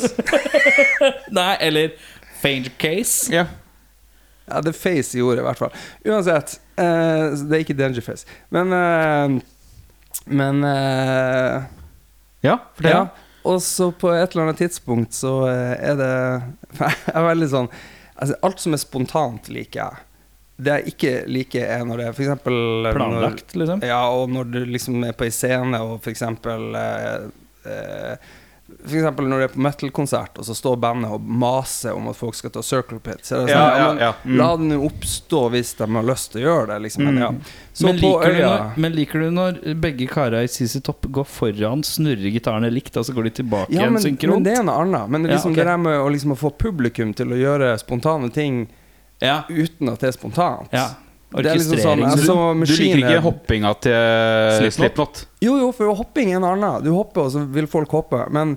[SPEAKER 1] Nei, eller Fanger Case?
[SPEAKER 2] ja.
[SPEAKER 5] Ja, det Face gjorde, i hvert fall. Uansett, eh, så det er ikke Dangerface. Men eh, Men eh,
[SPEAKER 2] ja, fortell.
[SPEAKER 5] Ja, og så på et eller annet tidspunkt så eh, er det Jeg er veldig sånn altså Alt som er spontant, liker jeg. Det jeg ikke liker, er når det er for eksempel eh, når-
[SPEAKER 1] Planlagt, liksom?
[SPEAKER 5] Ja, og når du liksom er på en scene og f.eks. Eh, eh, For eksempel når du er på metal-konsert, og så står bandet og maser om at folk skal ta circle pit. Så er det sånn,
[SPEAKER 2] Ja,
[SPEAKER 5] ja,
[SPEAKER 2] ja,
[SPEAKER 5] men,
[SPEAKER 2] ja. Mm.
[SPEAKER 5] La den jo oppstå hvis de har lyst til å gjøre det. Liksom. Men, ja. Så
[SPEAKER 1] Mm. men,
[SPEAKER 5] på
[SPEAKER 1] liker du
[SPEAKER 5] øya
[SPEAKER 1] når, men liker du når begge kara i CC Topp går foran, snurrer gitarene likt, og så går de tilbake
[SPEAKER 5] ja,
[SPEAKER 1] igjen
[SPEAKER 5] men, men
[SPEAKER 1] synkront?
[SPEAKER 5] det er noe annet. Men
[SPEAKER 1] Ja,
[SPEAKER 5] liksom
[SPEAKER 1] ok.
[SPEAKER 5] det der med å, liksom, å få publikum til å gjøre spontane ting
[SPEAKER 1] ja.
[SPEAKER 5] uten at det er spontant
[SPEAKER 1] ja.
[SPEAKER 5] Det er liksom sånn,
[SPEAKER 1] Orkestrering.
[SPEAKER 5] jeg så
[SPEAKER 2] Du liker
[SPEAKER 5] Machine
[SPEAKER 2] ikke
[SPEAKER 5] Head-
[SPEAKER 2] hoppinga til
[SPEAKER 1] Slipknot?
[SPEAKER 2] Slipknot?
[SPEAKER 5] Jo, jo, for hopping er en annen. Du hopper, og så vil folk hoppe. Men,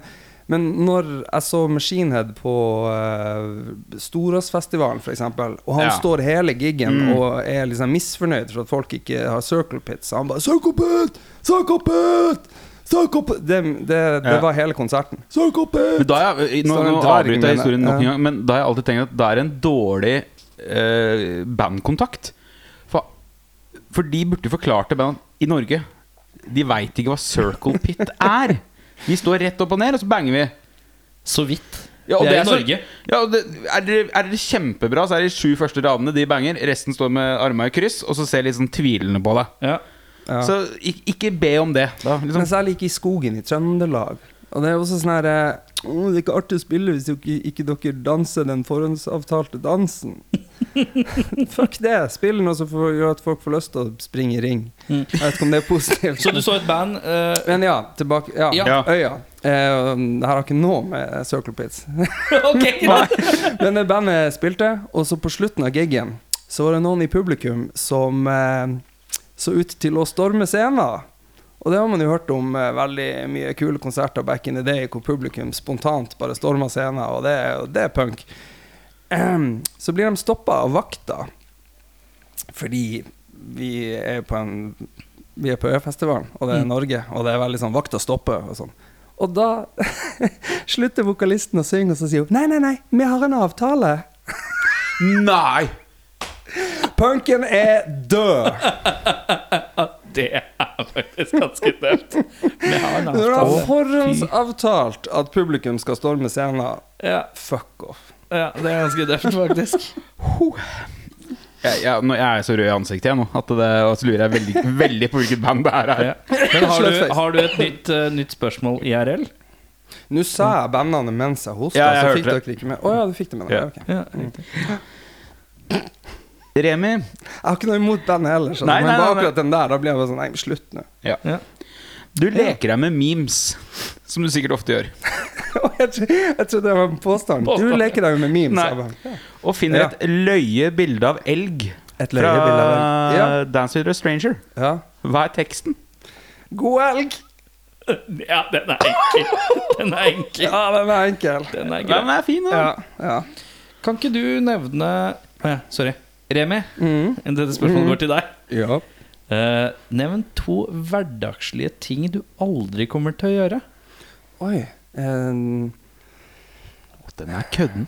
[SPEAKER 5] men når jeg så Machinehead på uh, Storåsfestivalen, f.eks., og han
[SPEAKER 2] Ja. Mm.
[SPEAKER 5] står hele giggen og er liksom misfornøyd for at folk ikke har circle pits, han bare 'Circle pit! Circle pit! Circle pit!» Det, det, det
[SPEAKER 2] Ja.
[SPEAKER 5] var hele konserten. Circle
[SPEAKER 2] Men
[SPEAKER 5] pit!
[SPEAKER 2] da har jeg, nå
[SPEAKER 5] Så er det
[SPEAKER 2] nå
[SPEAKER 5] en dverg,
[SPEAKER 2] avbryter jeg historien
[SPEAKER 5] mener
[SPEAKER 2] nok en
[SPEAKER 5] jeg.
[SPEAKER 2] gang, men da har jeg alltid tenkt at det er en dårlig eh, bandkontakt. For, for de burde forklart til band i Norge De veit ikke hva circle pit er. Vi står rett opp og ned, og så banger vi.
[SPEAKER 1] Så vidt.
[SPEAKER 2] Ja, og
[SPEAKER 1] det, er i
[SPEAKER 2] så-
[SPEAKER 1] Norge.
[SPEAKER 2] Ja, og det, er, dere, er dere kjempebra, så er de sju første radene de banger. Resten står med arma i kryss, og så ser litt sånn tvilende på deg.
[SPEAKER 1] Ja.
[SPEAKER 2] Så ikke, ikke be om det. Da, liksom.
[SPEAKER 5] Men særlig ikke i skogen i Trøndelag. Og det er også sånn her eh, «Åh, Det er ikke artig å spille hvis ikke, ikke dere danser den forhåndsavtalte dansen. Fuck det. Spill noe som får- gjør at folk får lyst til å springe i ring. Jeg vet ikke om det er positivt.
[SPEAKER 1] Mm. Så du så et band eh,
[SPEAKER 5] Men ja, tilbake Ja,
[SPEAKER 1] Ja.
[SPEAKER 5] Øya. Eh, det her har ikke noe med Circle Pits.
[SPEAKER 1] Ok, greit.
[SPEAKER 5] Men det bandet spilte, og så på slutten av giggen så var det noen i publikum som eh, så ut til å storme scenen. Og det har man jo hørt om eh, veldig mye kule konserter back in the day hvor publikum spontant bare storma scenen, og det, og det er punk. Ehm, så blir de stoppa av vakta fordi vi er på en Vi er på Øyafestivalen, og det er Norge, og det er veldig sånn vakta stopper og sånn. Og da slutter vokalisten å synge, og så sier hun nei, nei, nei, vi har en avtale.
[SPEAKER 2] Nei!
[SPEAKER 5] Punken er død!
[SPEAKER 1] Det er faktisk ganske døvt. Vi har en
[SPEAKER 5] Når du
[SPEAKER 1] avtale.
[SPEAKER 5] har forhåndsavtalt at publikum skal storme scenen,
[SPEAKER 1] Ja,
[SPEAKER 5] fuck off.
[SPEAKER 1] ja, det er ganske døvt, faktisk.
[SPEAKER 2] Jeg, jeg, nå- jeg er så rød i ansiktet jeg nå at det, og så lurer jeg veldig, veldig på hvilket band det her er.
[SPEAKER 1] Ja. Men har du,
[SPEAKER 5] Sløvt face.
[SPEAKER 1] har du et nytt, eh, nytt spørsmål IRL?
[SPEAKER 5] Nå sa jeg bandene mens jeg hosta,
[SPEAKER 2] Ja, jeg
[SPEAKER 5] så
[SPEAKER 2] hørte
[SPEAKER 5] fikk
[SPEAKER 2] det.
[SPEAKER 5] dere ikke med. Å ja, du fikk det med deg.
[SPEAKER 2] Ja.
[SPEAKER 5] ok.
[SPEAKER 1] Ja, riktig.
[SPEAKER 2] Remi.
[SPEAKER 5] Jeg har ikke noe imot bandet heller, så
[SPEAKER 2] Nei,
[SPEAKER 5] men
[SPEAKER 2] nei,
[SPEAKER 5] bare
[SPEAKER 2] nei,
[SPEAKER 5] akkurat den der, da blir jeg bare sånn Nei, slutt nå.
[SPEAKER 1] Ja.
[SPEAKER 2] Du leker deg med memes, som du sikkert ofte gjør.
[SPEAKER 5] jeg tro- jeg trodde det var en påstand. Du
[SPEAKER 1] Påstand.
[SPEAKER 5] leker deg jo med memes.
[SPEAKER 2] Nei.
[SPEAKER 5] jeg bare, ja.
[SPEAKER 2] Og finner et løye bilde av elg
[SPEAKER 5] Et løye
[SPEAKER 2] fra
[SPEAKER 5] bilde av elg. Ja.
[SPEAKER 2] Dance with a Stranger.
[SPEAKER 5] Ja.
[SPEAKER 2] Hva er teksten?
[SPEAKER 5] God elg!
[SPEAKER 1] ja, den er enkel. Den er enkel.
[SPEAKER 5] Ja, den er enkel.
[SPEAKER 1] Den er grei.
[SPEAKER 2] Den er fin, da.
[SPEAKER 5] Ja, ja.
[SPEAKER 1] Kan ikke du nevne Å ja, Sorry. Remi,
[SPEAKER 5] Mm.
[SPEAKER 1] dette spørsmålet går til deg.
[SPEAKER 5] ja.
[SPEAKER 1] Eh, nevn to hverdagslige ting du aldri kommer til å gjøre.
[SPEAKER 5] Oi. eh, En,
[SPEAKER 2] Den er kødden.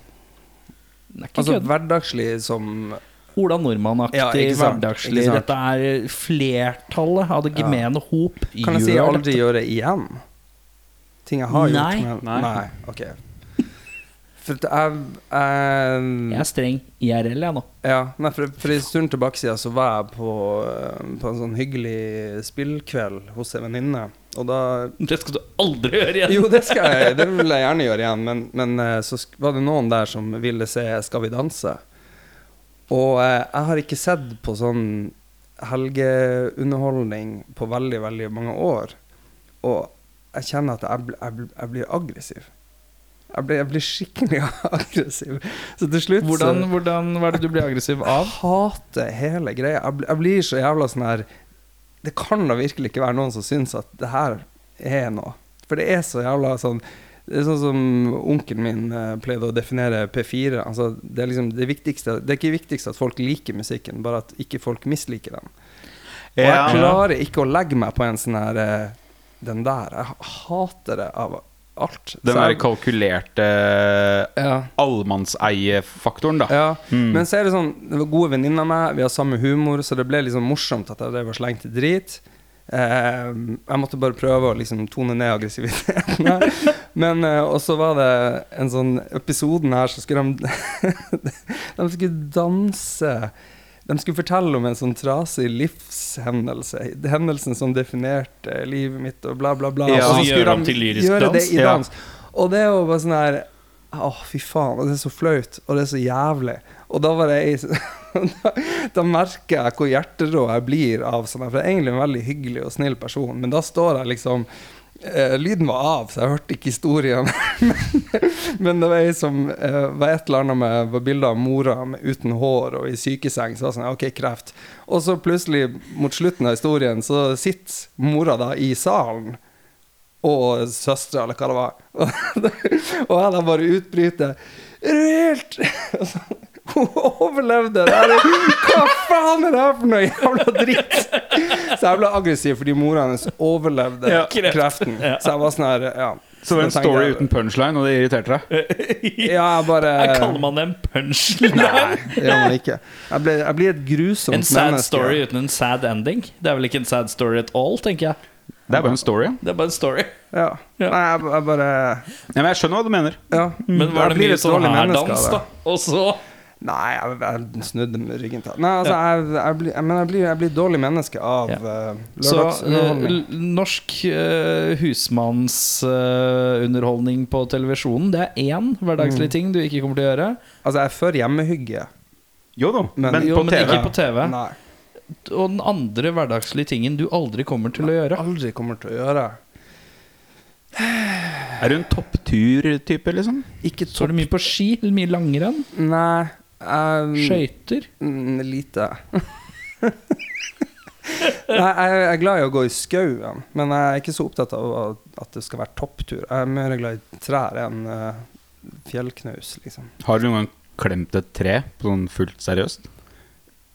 [SPEAKER 1] Det er ikke
[SPEAKER 5] altså
[SPEAKER 1] kødd.
[SPEAKER 5] hverdagslig som
[SPEAKER 1] Ola Nordmann-aktig,
[SPEAKER 5] Ja, ikke sant,
[SPEAKER 1] hverdagslig.
[SPEAKER 5] ikke sant.
[SPEAKER 1] Dette er eh, flertallet av det gemene hop.
[SPEAKER 5] Kan jeg si
[SPEAKER 1] gjør
[SPEAKER 5] aldri
[SPEAKER 1] dette.
[SPEAKER 5] gjøre igjen? Ting jeg har
[SPEAKER 1] Nei.
[SPEAKER 5] gjort, men
[SPEAKER 2] Nei.
[SPEAKER 5] Nei. Ok. For at jeg, jeg
[SPEAKER 1] Jeg er streng IRL, jeg nå.
[SPEAKER 5] Ja, nei, for, for en stund tilbake siden så var jeg på, eh, på en sånn hyggelig spillkveld hos en venninne. Og da
[SPEAKER 1] Det skal du aldri gjøre igjen.
[SPEAKER 5] Jo, det skal jeg, det vil jeg gjerne gjøre igjen, men, men eh, så sk- var det noen der som ville se 'Skal vi danse'. Og eh, jeg har ikke sett på sånn helgeunderholdning på veldig, veldig mange år. Og jeg kjenner at jeg, bl- jeg, bl- jeg blir aggressiv. Jeg blir, jeg blir skikkelig aggressiv. Så til slutt så-
[SPEAKER 1] Hvordan, hvordan hva er det du blir aggressiv av?
[SPEAKER 5] jeg hater hele greia. Jeg, bl- jeg blir så jævla sånn her Det kan da virkelig ikke være noen som syns at det her er noe. For det er så jævla sånn Det er sånn som onkelen min eh, pleide å definere P4. Altså, det er liksom det viktigste Det er ikke viktigst at folk liker musikken, bare at ikke folk misliker den. Og
[SPEAKER 2] Ja.
[SPEAKER 5] jeg klarer ikke å legge meg på en sånn her eh, Den der. Jeg hater det av alt. Så
[SPEAKER 2] Den
[SPEAKER 5] jeg-
[SPEAKER 2] der kalkulerte
[SPEAKER 5] ja.
[SPEAKER 2] allemannseie-faktoren, da.
[SPEAKER 5] Ja, men så er det sånn Det var gode venninner av meg, vi har samme humor, så det ble liksom morsomt at jeg drev og slengte drit. Eh, jeg måtte bare prøve å liksom tone ned aggressiviteten. her. Men eh, Og så var det en sånn episoden her, så skulle de De skulle danse De skulle fortelle om en sånn trasig livshendelse. Hendelsen som definerte livet mitt, og bla, bla, bla.
[SPEAKER 2] Ja.
[SPEAKER 1] Og
[SPEAKER 5] Og
[SPEAKER 1] så gjøre om
[SPEAKER 5] de
[SPEAKER 1] til lyrisk
[SPEAKER 5] gjøre det
[SPEAKER 1] dans?
[SPEAKER 5] i
[SPEAKER 2] Ja.
[SPEAKER 5] dans. Og det er jo bare sånn her Å, fy faen. Det er så flaut, og det er så jævlig. Og da var det ei som- da, da merker jeg hvor hjerterå jeg blir av sånn her. For jeg er egentlig en veldig hyggelig og snill person, men da står jeg liksom eh, Lyden var av, så jeg hørte ikke historien. men, men det var ei som eh, var et eller annet med var bilde av mora med, uten hår og i sykeseng. Så var det sånn, ok, kreft. Og så plutselig, mot slutten av historien, så sitter mora da i salen og søstre, eller hva det var. Og jeg da bare utbryter Er du helt Altså, Hun overlevde! Det er, hva faen er det her for noe jævla dritt? Så jeg ble aggressiv fordi mora hennes overlevde
[SPEAKER 1] Ja.
[SPEAKER 5] kreften. Så jeg var sånn her Ja.
[SPEAKER 2] Så det var en
[SPEAKER 5] da tenkte
[SPEAKER 2] story
[SPEAKER 5] jeg-
[SPEAKER 2] uten punchline, og det irriterte deg?
[SPEAKER 5] Ja, jeg bare
[SPEAKER 1] Her kaller man det en punchline.
[SPEAKER 5] Nei, det gjør man ikke. Jeg blir, jeg blir et grusomt
[SPEAKER 1] En sad
[SPEAKER 5] menneske.
[SPEAKER 1] story uten en sad ending. Det er vel ikke en sad story at all, tenker jeg.
[SPEAKER 2] Det er bare en story.
[SPEAKER 1] Det er bare en story.
[SPEAKER 5] Ja.
[SPEAKER 1] Ja.
[SPEAKER 5] Nei, jeg, jeg bare
[SPEAKER 2] Ja, men jeg skjønner hva du mener.
[SPEAKER 5] Ja.
[SPEAKER 1] Men var det
[SPEAKER 5] Jeg blir
[SPEAKER 1] mye
[SPEAKER 5] et
[SPEAKER 1] sånn
[SPEAKER 5] dårlig
[SPEAKER 1] her
[SPEAKER 5] menneske av
[SPEAKER 1] dans,
[SPEAKER 5] det.
[SPEAKER 1] da? Og så
[SPEAKER 5] Nei, jeg, jeg snudde med ryggen til Nei, altså, jeg, jeg, blir, men jeg, blir, jeg blir dårlig menneske av
[SPEAKER 1] Ja.
[SPEAKER 5] ja.
[SPEAKER 1] Så eh,
[SPEAKER 5] lørdagsunderholdning.
[SPEAKER 1] l- norsk eh, husmannsunderholdning på televisjonen, det er én hverdagslig ting du ikke kommer til å gjøre.
[SPEAKER 5] altså, jeg er for hjemmehygge.
[SPEAKER 2] Jo da,
[SPEAKER 5] Men-
[SPEAKER 2] men,
[SPEAKER 5] jo,
[SPEAKER 2] på
[SPEAKER 1] men
[SPEAKER 2] TV.
[SPEAKER 1] ikke på TV.
[SPEAKER 5] Nei,
[SPEAKER 1] Og den andre hverdagslige tingen du aldri kommer til å gjøre.
[SPEAKER 5] aldri kommer til å gjøre.
[SPEAKER 2] Er du en topptur-type, liksom?
[SPEAKER 5] Ikke
[SPEAKER 1] Så er du mye på ski, mye langrenn,
[SPEAKER 5] Nei. Jeg,
[SPEAKER 1] skøyter.
[SPEAKER 5] mm, lite. Nei, jeg jeg er glad i å gå i skauen, men jeg er ikke så opptatt av at- at det skal være topptur. Jeg er mer glad i trær enn eh, fjellknaus, liksom.
[SPEAKER 2] Har du noen gang klemt et tre på sånn fullt seriøst?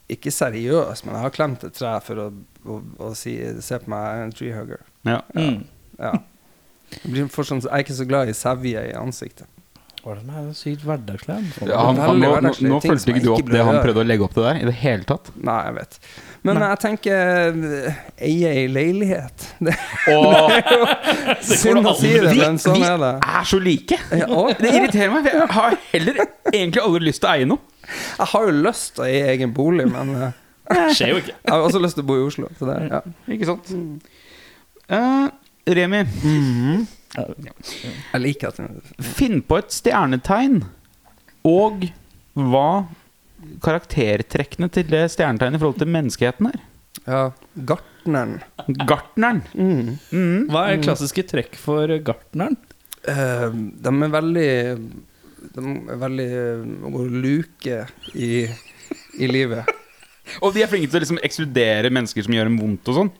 [SPEAKER 5] Ikke seriøs, men jeg har klemt et tre for å, å, å si, se på meg, jeg er en treehugger.
[SPEAKER 2] Ja.
[SPEAKER 1] Mm.
[SPEAKER 5] Ja. Jeg, blir for sånn, jeg er ikke så glad i sevje i ansiktet.
[SPEAKER 1] Hva er det med sykt hverdagslig?
[SPEAKER 2] Ja, han, han,
[SPEAKER 5] Veldig
[SPEAKER 2] nå nå,
[SPEAKER 5] hverdagslige
[SPEAKER 2] nå
[SPEAKER 5] ting som
[SPEAKER 2] fulgte
[SPEAKER 5] jeg
[SPEAKER 2] ikke du
[SPEAKER 5] ikke
[SPEAKER 2] opp
[SPEAKER 5] burde
[SPEAKER 2] det han
[SPEAKER 5] gjøre.
[SPEAKER 2] prøvde å legge opp til der i det hele tatt.
[SPEAKER 5] Nei, jeg vet. Men jeg tenker eh, eie ei leilighet. Det
[SPEAKER 2] Åh,
[SPEAKER 5] er synd å si det, men sånn er det.
[SPEAKER 2] er så like!
[SPEAKER 5] Ja, og-
[SPEAKER 2] Det irriterer meg, for jeg har heller egentlig aldri lyst til å eie noe.
[SPEAKER 5] Jeg har jo lyst til å eie egen bolig, men eh,
[SPEAKER 1] skjer jo ikke.
[SPEAKER 5] jeg har også lyst til å bo i Oslo. Så det, ja.
[SPEAKER 2] Ikke sant?
[SPEAKER 5] Mm.
[SPEAKER 2] Eh, Remi,
[SPEAKER 5] Jeg liker at
[SPEAKER 2] finn på et stjernetegn og hva karaktertrekkene til det stjernetegnet i forhold til menneskeheten er.
[SPEAKER 5] ja, Gartneren
[SPEAKER 2] Gartneren.
[SPEAKER 5] Mm.
[SPEAKER 1] Hva er klassiske trekk for gartneren?
[SPEAKER 5] eh, De er veldig De er veldig eh, går luke i, i livet.
[SPEAKER 2] Og de er flinke til å liksom ekskludere mennesker som gjør dem vondt og sånn.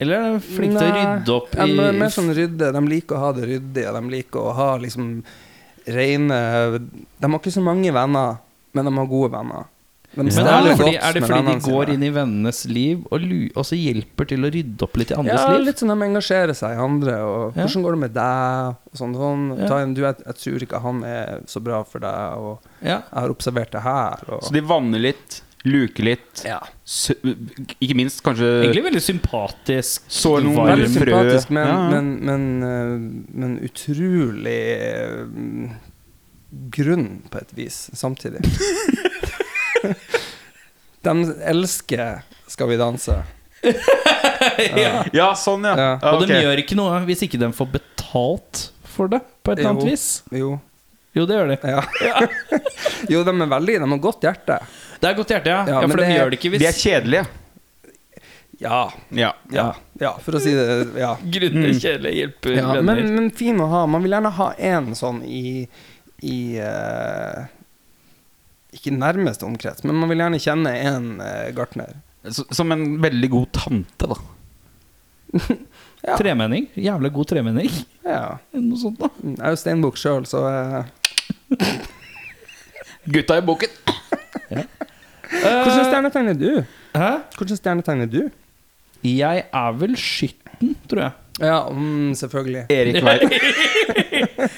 [SPEAKER 1] Eller er de flinke til å
[SPEAKER 5] Nei,
[SPEAKER 1] rydde opp
[SPEAKER 5] ja,
[SPEAKER 1] i
[SPEAKER 5] men mer sånn rydde. De liker å ha det ryddig, og de liker å ha liksom rene De har ikke så mange venner, men de har gode venner. De
[SPEAKER 1] Men er det
[SPEAKER 5] steller
[SPEAKER 1] fordi,
[SPEAKER 5] godt
[SPEAKER 1] er det
[SPEAKER 5] med
[SPEAKER 1] fordi de
[SPEAKER 5] vennene sine.
[SPEAKER 1] går inn i vennenes liv og, lu, og så hjelper til å rydde opp litt i andres
[SPEAKER 5] ja,
[SPEAKER 1] liv?
[SPEAKER 5] litt sånn de engasjerer seg i andre. Og
[SPEAKER 1] Ja.
[SPEAKER 5] 'Hvordan går det med deg?' og sånn. sånn.
[SPEAKER 1] Ja.
[SPEAKER 5] Ta en, du, jeg, 'Jeg tror ikke han er så bra for deg', og
[SPEAKER 1] Ja.
[SPEAKER 5] 'Jeg har observert det her', og
[SPEAKER 2] Så de vanner litt, luker litt.
[SPEAKER 5] Ja.
[SPEAKER 2] sø- Ikke minst kanskje
[SPEAKER 1] Egentlig veldig sympatisk.
[SPEAKER 2] Sår Eh, noen
[SPEAKER 1] varm.
[SPEAKER 5] Veldig
[SPEAKER 2] frø.
[SPEAKER 5] sympatisk, men,
[SPEAKER 2] Ja, ja.
[SPEAKER 5] men, men, eh, men utrolig eh, grunn på et vis samtidig. De elsker 'Skal vi danse'.
[SPEAKER 2] Ja, sånn, ja.
[SPEAKER 5] Ja.
[SPEAKER 2] Ja,
[SPEAKER 1] Og de
[SPEAKER 2] ok.
[SPEAKER 1] gjør ikke noe hvis ikke de får betalt for det, på et eller annet
[SPEAKER 5] Jo.
[SPEAKER 1] vis.
[SPEAKER 5] Jo.
[SPEAKER 1] Jo, det gjør de.
[SPEAKER 5] Ja. jo, de er veldig De har godt hjerte.
[SPEAKER 1] Det er godt hjerte, ja.
[SPEAKER 5] Ja,
[SPEAKER 1] ja,
[SPEAKER 5] men
[SPEAKER 1] for de
[SPEAKER 5] det-
[SPEAKER 1] gjør det ikke
[SPEAKER 2] De er
[SPEAKER 1] hvis
[SPEAKER 2] kjedelige.
[SPEAKER 5] Ja.
[SPEAKER 2] Ja.
[SPEAKER 5] Ja. ja. For å si det Ja.
[SPEAKER 1] grunner kjedelig
[SPEAKER 2] Mm.
[SPEAKER 1] hjelper
[SPEAKER 5] ja
[SPEAKER 1] venner.
[SPEAKER 5] men, men fin å ha. Man vil gjerne ha én sånn i, i eh, Ikke nærmeste omkrets, men man vil gjerne kjenne én gartner.
[SPEAKER 2] S- Som en veldig god tante, da.
[SPEAKER 5] ja.
[SPEAKER 1] Tremenning. Jævlig god tremenning.
[SPEAKER 5] Ja.
[SPEAKER 1] Noe sånt, da.
[SPEAKER 5] Jeg er jo steinbukk sjøl, så eh,
[SPEAKER 2] Gutta i boken. Eh.
[SPEAKER 5] Hvordan stjernetegn er du?
[SPEAKER 1] Hæ?
[SPEAKER 5] Hvordan stjernetegn er du?
[SPEAKER 1] Jeg er vel skytten, tror jeg.
[SPEAKER 5] Ja, mm, selvfølgelig.
[SPEAKER 2] Erik veit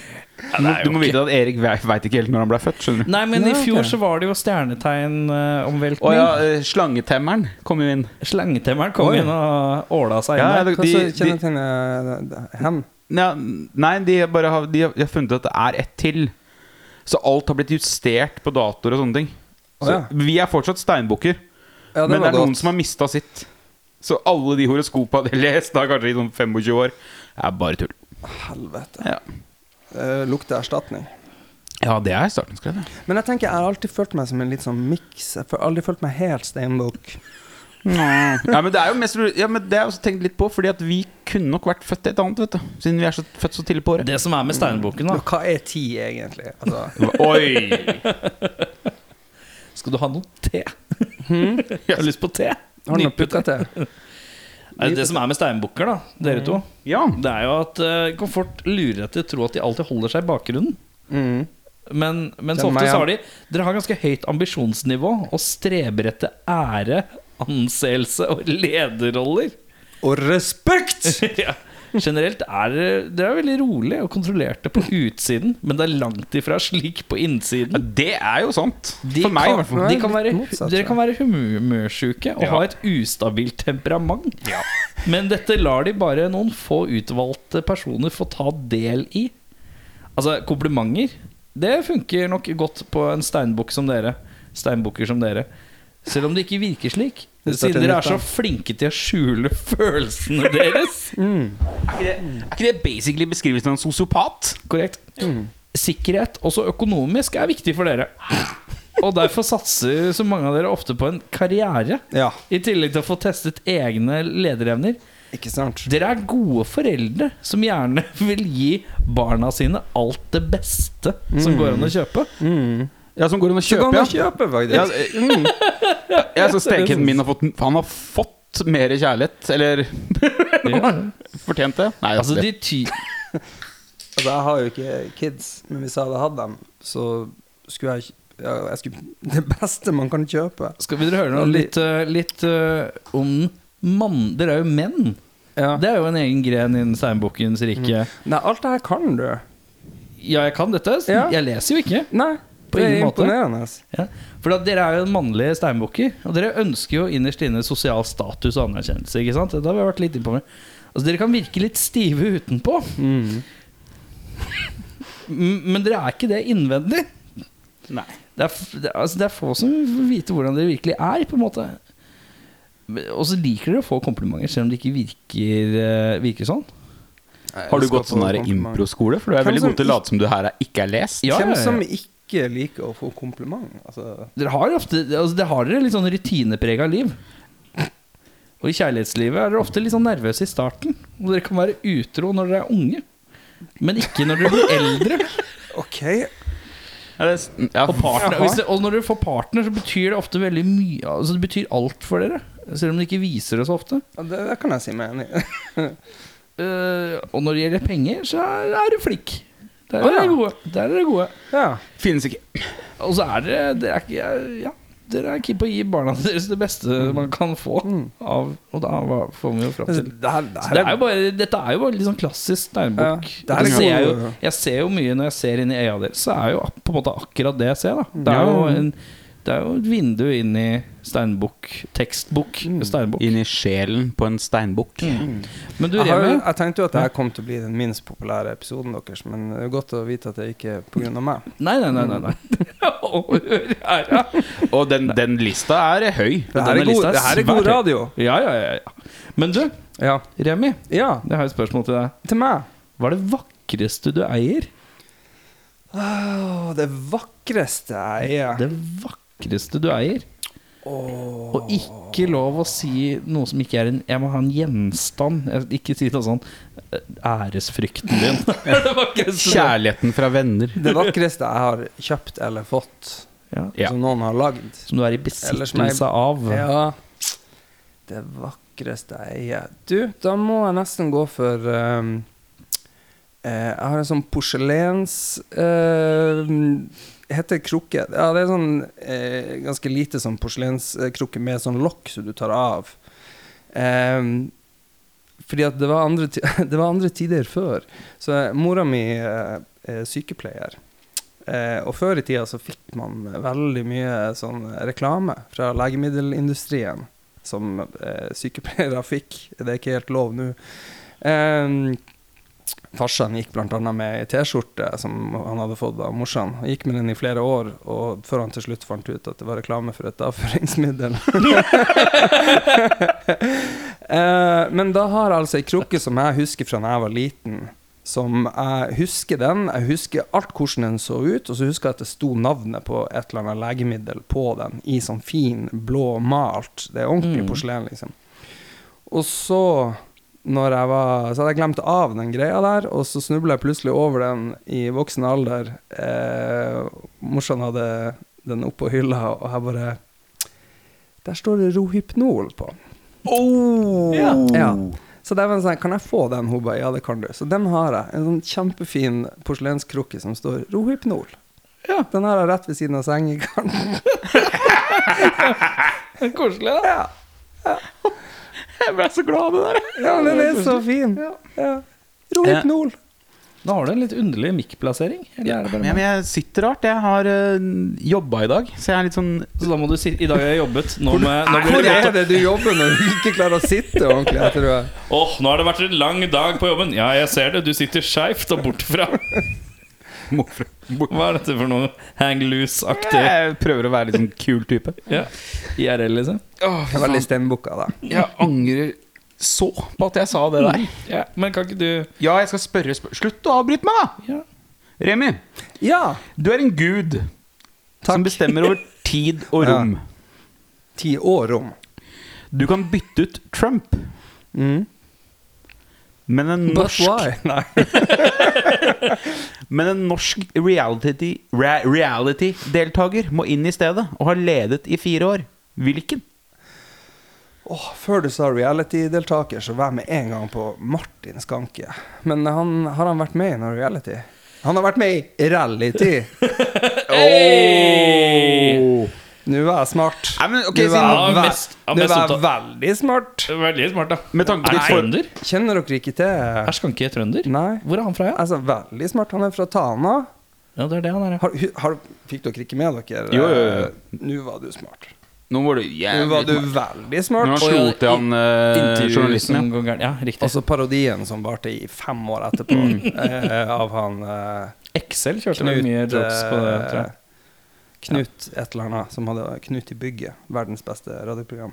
[SPEAKER 2] Du må vite at Erik veit ikke helt når han ble født, skjønner du.
[SPEAKER 1] Nei, men i
[SPEAKER 5] Ja, ok.
[SPEAKER 1] fjor så var det jo
[SPEAKER 2] Å
[SPEAKER 1] stjernetegnomveltning.
[SPEAKER 2] ja, eh, slangetemmeren kom jo inn.
[SPEAKER 1] Slangetemmeren kom
[SPEAKER 5] Oi.
[SPEAKER 1] inn og åla seg inn
[SPEAKER 2] Ja,
[SPEAKER 1] der.
[SPEAKER 2] det-
[SPEAKER 5] Hva
[SPEAKER 2] de-
[SPEAKER 5] så
[SPEAKER 2] de-
[SPEAKER 5] kjennetegn er hen?
[SPEAKER 2] Ja, nei, de, bare har, de, har, de har funnet at det er ett til. Så alt har blitt justert på datoer og sånne ting.
[SPEAKER 5] Å,
[SPEAKER 2] Så
[SPEAKER 5] ja.
[SPEAKER 2] Vi er fortsatt steinbukker,
[SPEAKER 5] Ja,
[SPEAKER 2] men det er noen som har mista sitt. Så alle de horoskopene de har lest da kanskje i sånn 25 år, er bare tull.
[SPEAKER 5] Helvete.
[SPEAKER 2] Ja.
[SPEAKER 5] eh, lukter erstatning.
[SPEAKER 2] Ja, det er starten, skrev jeg.
[SPEAKER 5] Men jeg tenker, jeg har alltid følt meg som en litt sånn miks. Jeg har aldri følt meg helt steinbukk.
[SPEAKER 2] Ja, men det er jo mest ja, men Det har jeg også tenkt litt på, Fordi at vi kunne nok vært født i et annet, vet du. Siden vi er så, født så tidlig på året.
[SPEAKER 1] Det som er med steinbukken, da
[SPEAKER 5] Men Hva er ti, egentlig? Altså,
[SPEAKER 2] Oi!
[SPEAKER 1] Skal du ha noe te?
[SPEAKER 2] Hmm?
[SPEAKER 1] Jeg har lyst på te.
[SPEAKER 5] har du noe
[SPEAKER 1] Nyputt.
[SPEAKER 5] putta til?
[SPEAKER 1] Nei, Det som er med steinbukker, da, dere to,
[SPEAKER 5] Mm.
[SPEAKER 2] Ja.
[SPEAKER 1] det er jo at eh, komfort lurer deg til å tro at de alltid holder seg i bakgrunnen.
[SPEAKER 5] Mm.
[SPEAKER 1] Men, men
[SPEAKER 5] Det
[SPEAKER 1] så
[SPEAKER 5] er
[SPEAKER 1] ofte
[SPEAKER 5] meg,
[SPEAKER 1] så
[SPEAKER 5] ja.
[SPEAKER 1] har de Dere har ganske høyt ambisjonsnivå og streber etter ære, anseelse og lederroller.
[SPEAKER 5] Og respekt!
[SPEAKER 1] ja. Generelt er det- dere er veldig rolig og kontrollerte på utsiden, men det er langt ifra slik på
[SPEAKER 2] Ja,
[SPEAKER 1] innsiden.
[SPEAKER 2] Det er jo sant.
[SPEAKER 1] De
[SPEAKER 2] For meg, i
[SPEAKER 1] kan,
[SPEAKER 2] hvert fall.
[SPEAKER 1] de kan
[SPEAKER 5] Nei,
[SPEAKER 1] være,
[SPEAKER 5] litt motsatt,
[SPEAKER 1] dere
[SPEAKER 5] tror
[SPEAKER 1] kan være humørsjuke og
[SPEAKER 2] Ja.
[SPEAKER 1] ha et ustabilt temperament. Men dette lar de bare noen få utvalgte personer få ta del i. Altså, komplimenter Det funker nok godt på en steinbukk som dere. Steinbukker som dere. Selv om det ikke virker slik.
[SPEAKER 5] Det starter
[SPEAKER 1] Siden dere
[SPEAKER 5] nytt,
[SPEAKER 1] er så
[SPEAKER 5] da.
[SPEAKER 1] flinke til å skjule følelsene deres.
[SPEAKER 2] Er ikke det basically beskrivelsen av en sosiopat?
[SPEAKER 1] Korrekt. Sikkerhet, også økonomisk, er viktig for dere. Og derfor satser så mange av dere ofte på en karriere.
[SPEAKER 5] Ja,
[SPEAKER 1] I tillegg til å få testet egne lederevner.
[SPEAKER 5] ikke sant?
[SPEAKER 1] Dere er gode foreldre som gjerne vil gi barna sine alt det beste som går an å kjøpe.
[SPEAKER 5] Mm.
[SPEAKER 2] Ja, som går an å
[SPEAKER 5] Du kan
[SPEAKER 2] kjøpe,
[SPEAKER 5] jo
[SPEAKER 2] ja.
[SPEAKER 5] kjøpe,
[SPEAKER 2] ja
[SPEAKER 5] faktisk.
[SPEAKER 2] eh, ja, så stekekjeden min har fått Han har fått mer kjærlighet, eller fortjent det. Nei,
[SPEAKER 1] Altså,
[SPEAKER 2] det,
[SPEAKER 1] de ty
[SPEAKER 5] Altså, jeg har jo ikke kids, men hvis jeg hadde hatt dem, så skulle jeg, ja, jeg skulle, Det beste man kan kjøpe.
[SPEAKER 1] Skal vi dere høre noe litt, eh, litt eh, om mann... Dere er jo menn.
[SPEAKER 5] Ja. Mm.
[SPEAKER 1] Det er jo en egen gren innen steinbukkens rike.
[SPEAKER 5] Nei, alt det her kan du.
[SPEAKER 1] Ja, jeg kan dette.
[SPEAKER 5] Ja.
[SPEAKER 1] Jeg leser jo ikke.
[SPEAKER 5] Nei,
[SPEAKER 1] På
[SPEAKER 5] det er
[SPEAKER 1] ingen måte.
[SPEAKER 5] imponerende.
[SPEAKER 1] Ja. For at dere er jo en mannlige steinbukker, og dere ønsker jo innerst inne sosial status og anerkjennelse. ikke sant? Det har vi vært litt innpå med. Altså, dere kan virke litt stive utenpå,
[SPEAKER 5] Mm.
[SPEAKER 1] m- men dere er ikke det innvendig.
[SPEAKER 2] Nei.
[SPEAKER 1] Det er, f- det, altså, det er få som vil vite hvordan dere virkelig er, på en måte. Men- Og så liker dere å få komplimenter, selv om det ikke virker, eh, virker sånn.
[SPEAKER 2] Har du gått sånn der impro-skole? For du sånn er
[SPEAKER 5] Hvem
[SPEAKER 2] veldig
[SPEAKER 5] som
[SPEAKER 2] god til å late som du her er- ikke er lest.
[SPEAKER 1] Ja, ja,
[SPEAKER 5] Hvem
[SPEAKER 1] ja.
[SPEAKER 5] som ikke liker å få kompliment? Altså,
[SPEAKER 1] Dere har ofte altså, Dere har dere litt sånn rutineprega liv. Og i kjærlighetslivet er dere ofte litt sånn nervøse i starten. Og dere kan være utro når dere er unge, men ikke når dere blir eldre.
[SPEAKER 5] OK.
[SPEAKER 2] Ja, det, er- Mm, ja.
[SPEAKER 1] Og, partner,
[SPEAKER 5] Jaha.
[SPEAKER 1] hvis det, og når dere får partner, så betyr det ofte veldig mye. Altså Det betyr alt for dere, selv om det ikke viser det så ofte.
[SPEAKER 5] Ja, det, det kan jeg si meg enig i.
[SPEAKER 1] Eh, og når det gjelder penger, så er, er dere flink. Der er
[SPEAKER 5] Å, ja.
[SPEAKER 1] dere gode. Der er dere gode.
[SPEAKER 5] Ja.
[SPEAKER 2] Finnes ikke.
[SPEAKER 1] Og så er dere Dere er, ikke- ja, dere er keen på å gi barna deres det beste man kan få. Av, og da hva- får vi jo fram
[SPEAKER 5] Mm. Altså,
[SPEAKER 1] til
[SPEAKER 5] det her, det
[SPEAKER 1] Så
[SPEAKER 5] her
[SPEAKER 1] det er jo bare, dette er jo bare litt sånn klassisk
[SPEAKER 5] Ja,
[SPEAKER 1] steinbukk.
[SPEAKER 5] det er
[SPEAKER 1] Jeg
[SPEAKER 5] liksom- jo-
[SPEAKER 1] ser jeg, jo, jeg ser jo mye når jeg ser inn i øya deres, så er jo ak- på en måte akkurat det jeg ser. Da. Det, er jo en, det er jo et vindu inn i steinbukk, tekstbukk,
[SPEAKER 5] Mm.
[SPEAKER 1] steinbukk.
[SPEAKER 2] Inn i sjelen på en steinbukk.
[SPEAKER 1] Men du,
[SPEAKER 5] jeg, har, jo-
[SPEAKER 1] Remi,
[SPEAKER 5] jeg tenkte jo at det her kom til å bli den minst populære episoden deres, men det er godt å vite at det ikke er pga. meg.
[SPEAKER 1] nei, nei, nei. nei, nei. Å, hør her, ja.
[SPEAKER 2] Og den, den lista er høy.
[SPEAKER 5] Det her
[SPEAKER 1] denne
[SPEAKER 5] er god,
[SPEAKER 1] lista er
[SPEAKER 5] det her er god
[SPEAKER 1] svært høy.
[SPEAKER 5] radio.
[SPEAKER 1] Ja, ja, ja, ja. Men du,
[SPEAKER 5] Ja.
[SPEAKER 1] Remi,
[SPEAKER 5] ja,
[SPEAKER 1] jeg har et spørsmål til deg.
[SPEAKER 5] til meg.
[SPEAKER 1] Hva er det vakreste du eier?
[SPEAKER 5] Åh, det vakreste jeg er
[SPEAKER 1] Det vakreste du eier? Og ikke lov å si noe som ikke er en Jeg må ha en gjenstand. Jeg- Ikke si noe sånn eh, Æresfrykten din. det var ikke så-
[SPEAKER 2] Kjærligheten fra venner.
[SPEAKER 5] Det vakreste jeg har kjøpt eller fått,
[SPEAKER 1] Ja,
[SPEAKER 2] Ja.
[SPEAKER 5] som noen har lagd.
[SPEAKER 1] som du er i
[SPEAKER 5] Eller som jeg-
[SPEAKER 1] besittelse av.
[SPEAKER 5] Ja. Det vakreste jeg eier. Du, da må jeg nesten gå for um, eh, Jeg har en sånn porselens... Uh, heter det krukke. Ja, det er sånn eh, ganske lite sånn porselenskrukke med sånn lokk som du tar av. Em, fordi at det var, andre ti det var andre tider før. Så mora mi eh, er sykepleier. Eh, og før i tida så fikk man veldig mye sånn reklame fra legemiddelindustrien som eh, sykepleiere fikk. Det er ikke helt lov nå. Eh, farsan gikk bl.a. med ei T-skjorte som han hadde fått av morsan. Han gikk med den i flere år, og før han til slutt fant ut at det var reklame for et avføringsmiddel. Eh, men da har jeg altså ei krukke som jeg husker fra da jeg var liten, som jeg husker den. Jeg husker alt hvordan den så ut, og så husker jeg at det sto navnet på et eller annet legemiddel på den, i sånn fin, blå malt. Det er ordentlig porselen, liksom. Og så, når jeg var Så hadde jeg glemt av den greia der, og så snubla jeg plutselig over den i voksen alder. Eh, morsan hadde den oppå hylla, og jeg bare Der står det Rohypnol på.
[SPEAKER 2] Mm.
[SPEAKER 5] Ja. Så det var sånn, kan jeg få den? Hun ba, ja, det kan du. Så den har jeg. En sånn kjempefin porselenskrukke som står Rohypnol.
[SPEAKER 1] Ja.
[SPEAKER 5] Den har jeg rett ved siden av sengekanten.
[SPEAKER 1] Koselig, da.
[SPEAKER 5] Ja.
[SPEAKER 2] Jeg ble så glad av det der.
[SPEAKER 5] ja, men den er så fin. Ja. Rohypnol.
[SPEAKER 1] Da har du en litt underlig mikkplassering. Eller er det bare
[SPEAKER 2] men
[SPEAKER 1] meg?
[SPEAKER 2] jeg sitter rart. Jeg har uh, jobba i dag, så jeg er litt sånn
[SPEAKER 1] Så da må du si I dag har jeg jobbet. Nå, med, nå blir
[SPEAKER 5] Hvor
[SPEAKER 1] det
[SPEAKER 5] er
[SPEAKER 1] godt.
[SPEAKER 5] det du jobber når du ikke klarer å sitte ordentlig? Jeg tror jeg.
[SPEAKER 1] Åh, nå har det vært en lang dag på jobben. Ja, jeg ser det. Du sitter skeivt og bortfra. Hva er dette for noe hang loose-aktig?
[SPEAKER 2] Jeg prøver å være litt sånn kul type.
[SPEAKER 1] Ja. IRL, liksom?
[SPEAKER 5] jeg er veldig steinbukka da.
[SPEAKER 2] Jeg angrer så på at jeg sa det der.
[SPEAKER 1] Ja, men kan ikke du
[SPEAKER 2] Ja, jeg skal spørre spør Slutt å avbryte meg, da!
[SPEAKER 1] Ja.
[SPEAKER 2] Remi,
[SPEAKER 5] Ja.
[SPEAKER 2] du er en gud som bestemmer over tid og
[SPEAKER 5] Ja.
[SPEAKER 2] rom.
[SPEAKER 5] Ti år om.
[SPEAKER 2] Du kan bytte ut Trump,
[SPEAKER 5] Mm.
[SPEAKER 2] men en
[SPEAKER 5] But
[SPEAKER 2] norsk,
[SPEAKER 5] why? Nei.
[SPEAKER 2] men en norsk reality, re, reality-deltaker må inn i stedet og har ledet i fire år. Hvilken?
[SPEAKER 5] Åh, før du sa reality-deltaker, så var jeg med en gang på Martin Skanke. Men han, har han vært med i noe reality? Han har vært med i reality! Oh! Nå var jeg smart.
[SPEAKER 2] Nei, men, ok,
[SPEAKER 5] Nå
[SPEAKER 2] siden-
[SPEAKER 5] var jeg
[SPEAKER 1] Ja,
[SPEAKER 5] ve-
[SPEAKER 1] mest- ja,
[SPEAKER 5] Nå
[SPEAKER 1] mest
[SPEAKER 5] var jeg
[SPEAKER 1] opptatt-
[SPEAKER 5] veldig smart.
[SPEAKER 1] Veldig smart, da.
[SPEAKER 2] Med tanke på
[SPEAKER 1] Er
[SPEAKER 2] ditt
[SPEAKER 1] han
[SPEAKER 2] forhold
[SPEAKER 1] trønder?
[SPEAKER 5] Kjenner dere ikke til
[SPEAKER 1] Er Skanke trønder?
[SPEAKER 5] Nei.
[SPEAKER 1] Hvor er han fra? Ja?
[SPEAKER 5] Altså, veldig smart. Han er fra Tana.
[SPEAKER 1] ja, det er det han er, ja.
[SPEAKER 5] Har, hu- har, fikk dere ikke med dere?
[SPEAKER 2] Jo, jo, jo.
[SPEAKER 5] eh, Nå var du smart.
[SPEAKER 2] Nå var du
[SPEAKER 5] Nå var du
[SPEAKER 2] jævlig
[SPEAKER 5] veldig
[SPEAKER 2] Når han
[SPEAKER 5] smart.
[SPEAKER 1] Oi,
[SPEAKER 2] slo
[SPEAKER 1] ja,
[SPEAKER 2] til han eh,
[SPEAKER 1] Intervju
[SPEAKER 2] journalisten,
[SPEAKER 5] liksom.
[SPEAKER 1] som
[SPEAKER 2] ja.
[SPEAKER 1] går gærent. Ja, riktig.
[SPEAKER 5] Og så parodien som varte i fem år etterpå, eh, av han eh,
[SPEAKER 1] Excel kjørte vel
[SPEAKER 5] Knut eh,
[SPEAKER 1] mye jokes på det, tror jeg.
[SPEAKER 5] Knut et eller annet, som hadde Knut i bygget. Verdens beste radioprogram.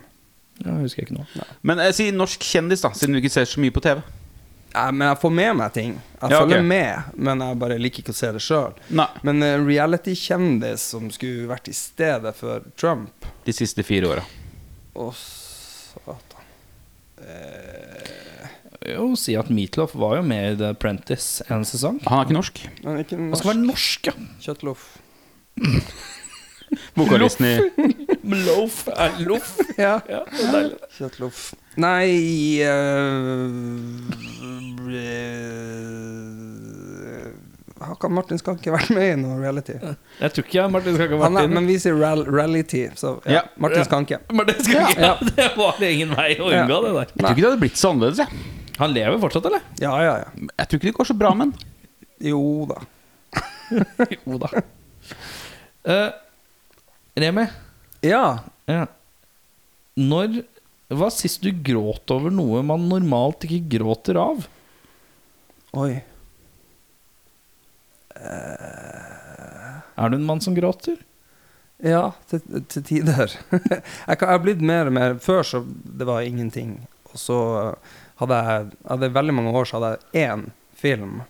[SPEAKER 1] Ja, jeg husker ikke noe.
[SPEAKER 2] Men eh, si norsk kjendis, da, siden du ikke ser så mye på TV.
[SPEAKER 5] Nei, men jeg får med meg ting. Jeg
[SPEAKER 2] Ja, ok.
[SPEAKER 5] følger med, men jeg bare liker ikke å se det sjøl.
[SPEAKER 2] Nei.
[SPEAKER 5] Men eh, reality-kjendis som skulle vært i stedet for Trump
[SPEAKER 2] De siste fire åra.
[SPEAKER 5] Å, satan.
[SPEAKER 1] Jo, si at Meatloaf var jo med i The Apprentice en sesong.
[SPEAKER 2] Han er ikke norsk.
[SPEAKER 5] Men ikke
[SPEAKER 1] Han skal
[SPEAKER 5] norsk
[SPEAKER 1] være norsk, ja.
[SPEAKER 5] kjøttloff.
[SPEAKER 2] Vokalisten i
[SPEAKER 1] Loaf er loff.
[SPEAKER 5] Ja.
[SPEAKER 1] Ja, det er deilig.
[SPEAKER 5] Kjøttloff. Nei eh, eh, Har ikke han Martin Skanke vært med i noe reality?
[SPEAKER 1] Jeg tror ikke Martin skal ikke ha
[SPEAKER 5] Han
[SPEAKER 1] vært
[SPEAKER 5] er,
[SPEAKER 1] inne.
[SPEAKER 5] men vi sier ral reality, så ja.
[SPEAKER 2] Ja.
[SPEAKER 5] Martin Skanke.
[SPEAKER 1] Martin skal ikke
[SPEAKER 5] Ja, ja.
[SPEAKER 1] Det var ingen vei å unngå det der.
[SPEAKER 2] Jeg tror ikke det hadde blitt så annerledes. Jeg
[SPEAKER 1] Han lever fortsatt, eller?
[SPEAKER 5] Ja, ja, ja.
[SPEAKER 2] Jeg tror ikke det går så bra med han.
[SPEAKER 5] Jo da.
[SPEAKER 1] Jo da. Eh, Remi,
[SPEAKER 5] Ja.
[SPEAKER 1] ja. når var sist du gråt over noe man normalt ikke gråter av?
[SPEAKER 5] Oi.
[SPEAKER 1] Er du en mann som gråter?
[SPEAKER 5] Ja, til, til tider. jeg kan- jeg har blitt mer og mer Før så det var ingenting. Og så hadde jeg hadde veldig mange år så hadde jeg én film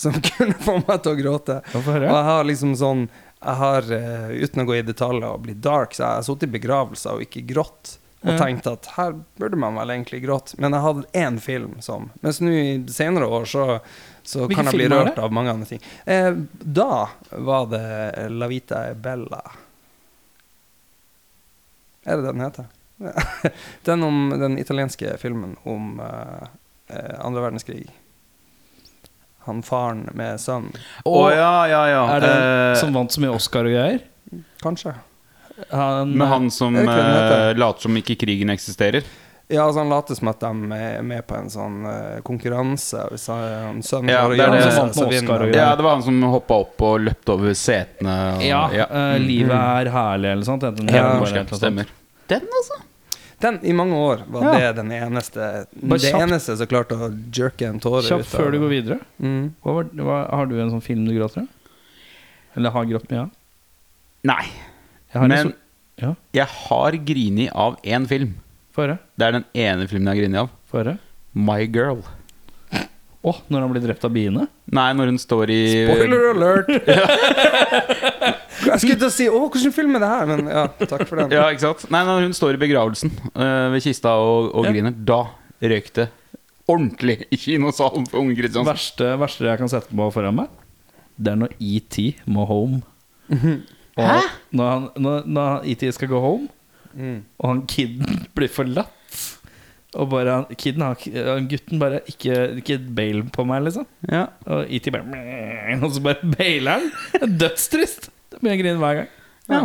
[SPEAKER 5] som kunne få meg til å gråte.
[SPEAKER 1] Ja, få høre.
[SPEAKER 5] Og jeg har liksom sånn Jeg har, eh, uten å gå i detaljer og bli dark, så jeg har sittet i begravelser og ikke grått.
[SPEAKER 1] Ja.
[SPEAKER 5] Og tenkt at her burde man vel egentlig gråte. Men jeg hadde én film som Mens nå i senere år så, så
[SPEAKER 1] Hvilken
[SPEAKER 5] kan jeg bli
[SPEAKER 1] film var det?
[SPEAKER 5] rørt av mange andre ting. Eh, da var det La Vita e Bella. Er det det den heter? den om den italienske filmen om eh, eh, andre verdenskrig. Han faren med sønnen.
[SPEAKER 2] Å ja, ja, ja.
[SPEAKER 1] Er det
[SPEAKER 2] Eh,
[SPEAKER 1] som vant så mye Oscar og greier?
[SPEAKER 5] Kanskje.
[SPEAKER 1] Han,
[SPEAKER 2] med han som
[SPEAKER 5] Er det ikke den heter?
[SPEAKER 2] eh, later som ikke krigen eksisterer.
[SPEAKER 5] Ja, altså Han later som at de er med på en sånn eh, konkurranse. Hvis han, eh, han sønnen
[SPEAKER 2] Ja,
[SPEAKER 5] klarer å
[SPEAKER 2] det er
[SPEAKER 5] gjøre
[SPEAKER 2] det.
[SPEAKER 5] seg,
[SPEAKER 1] Han som vant
[SPEAKER 5] så
[SPEAKER 1] med
[SPEAKER 5] vinner
[SPEAKER 1] Oscar og
[SPEAKER 5] han.
[SPEAKER 1] greier.
[SPEAKER 2] Ja, det var han som hoppa opp og løpte over setene. Og,
[SPEAKER 1] Ja, eh, Livet er herlig, eller sånt. Enten det
[SPEAKER 5] Ja,
[SPEAKER 1] eller
[SPEAKER 2] norsk,
[SPEAKER 1] bare et
[SPEAKER 2] ja,
[SPEAKER 1] eller annet
[SPEAKER 2] Stemmer. Den, altså.
[SPEAKER 5] Den, I mange år var
[SPEAKER 2] Ja.
[SPEAKER 5] det den eneste
[SPEAKER 1] Bare
[SPEAKER 5] Det
[SPEAKER 1] kjapt.
[SPEAKER 5] eneste som klarte å jerke en tåre
[SPEAKER 1] sånt. Kjapt
[SPEAKER 5] ut
[SPEAKER 1] før du går videre.
[SPEAKER 5] Mm.
[SPEAKER 1] Hva var, hva, har du en sånn film du gråter av? Eller har grått mye av?
[SPEAKER 2] Nei.
[SPEAKER 1] Jeg har en
[SPEAKER 2] Men
[SPEAKER 1] stor- Ja,
[SPEAKER 2] jeg har grini av én film.
[SPEAKER 1] få høre.
[SPEAKER 2] Det er den ene filmen jeg har grini av.
[SPEAKER 1] Få høre.
[SPEAKER 2] My Girl.
[SPEAKER 1] Å, når han blir drept av biene?
[SPEAKER 2] Nei, når hun står i
[SPEAKER 5] Spoiler alert! Jeg skulle til å si 'Å, hvilken film er det her?' Men ja, takk for den.
[SPEAKER 2] Ja, ikke sant? Nei, når hun står i begravelsen eh, ved kista og, og
[SPEAKER 1] Ja.
[SPEAKER 2] griner, da røyk det ordentlig i kinosalen for unge Kristiansen.
[SPEAKER 1] Verste, verste jeg kan sette på foran meg, det er når ET må home. Og Når, han, når, når han- ET skal gå home, og han kiden blir forlatt Og bare han, kiden har, ikke- han gutten bare ikke, ikke bail på meg, liksom.
[SPEAKER 2] Ja.
[SPEAKER 1] Og ET bare meh, Og så bare bailer han. Det er Dødstrist. Da begynner jeg å grine hver gang.
[SPEAKER 2] Ja.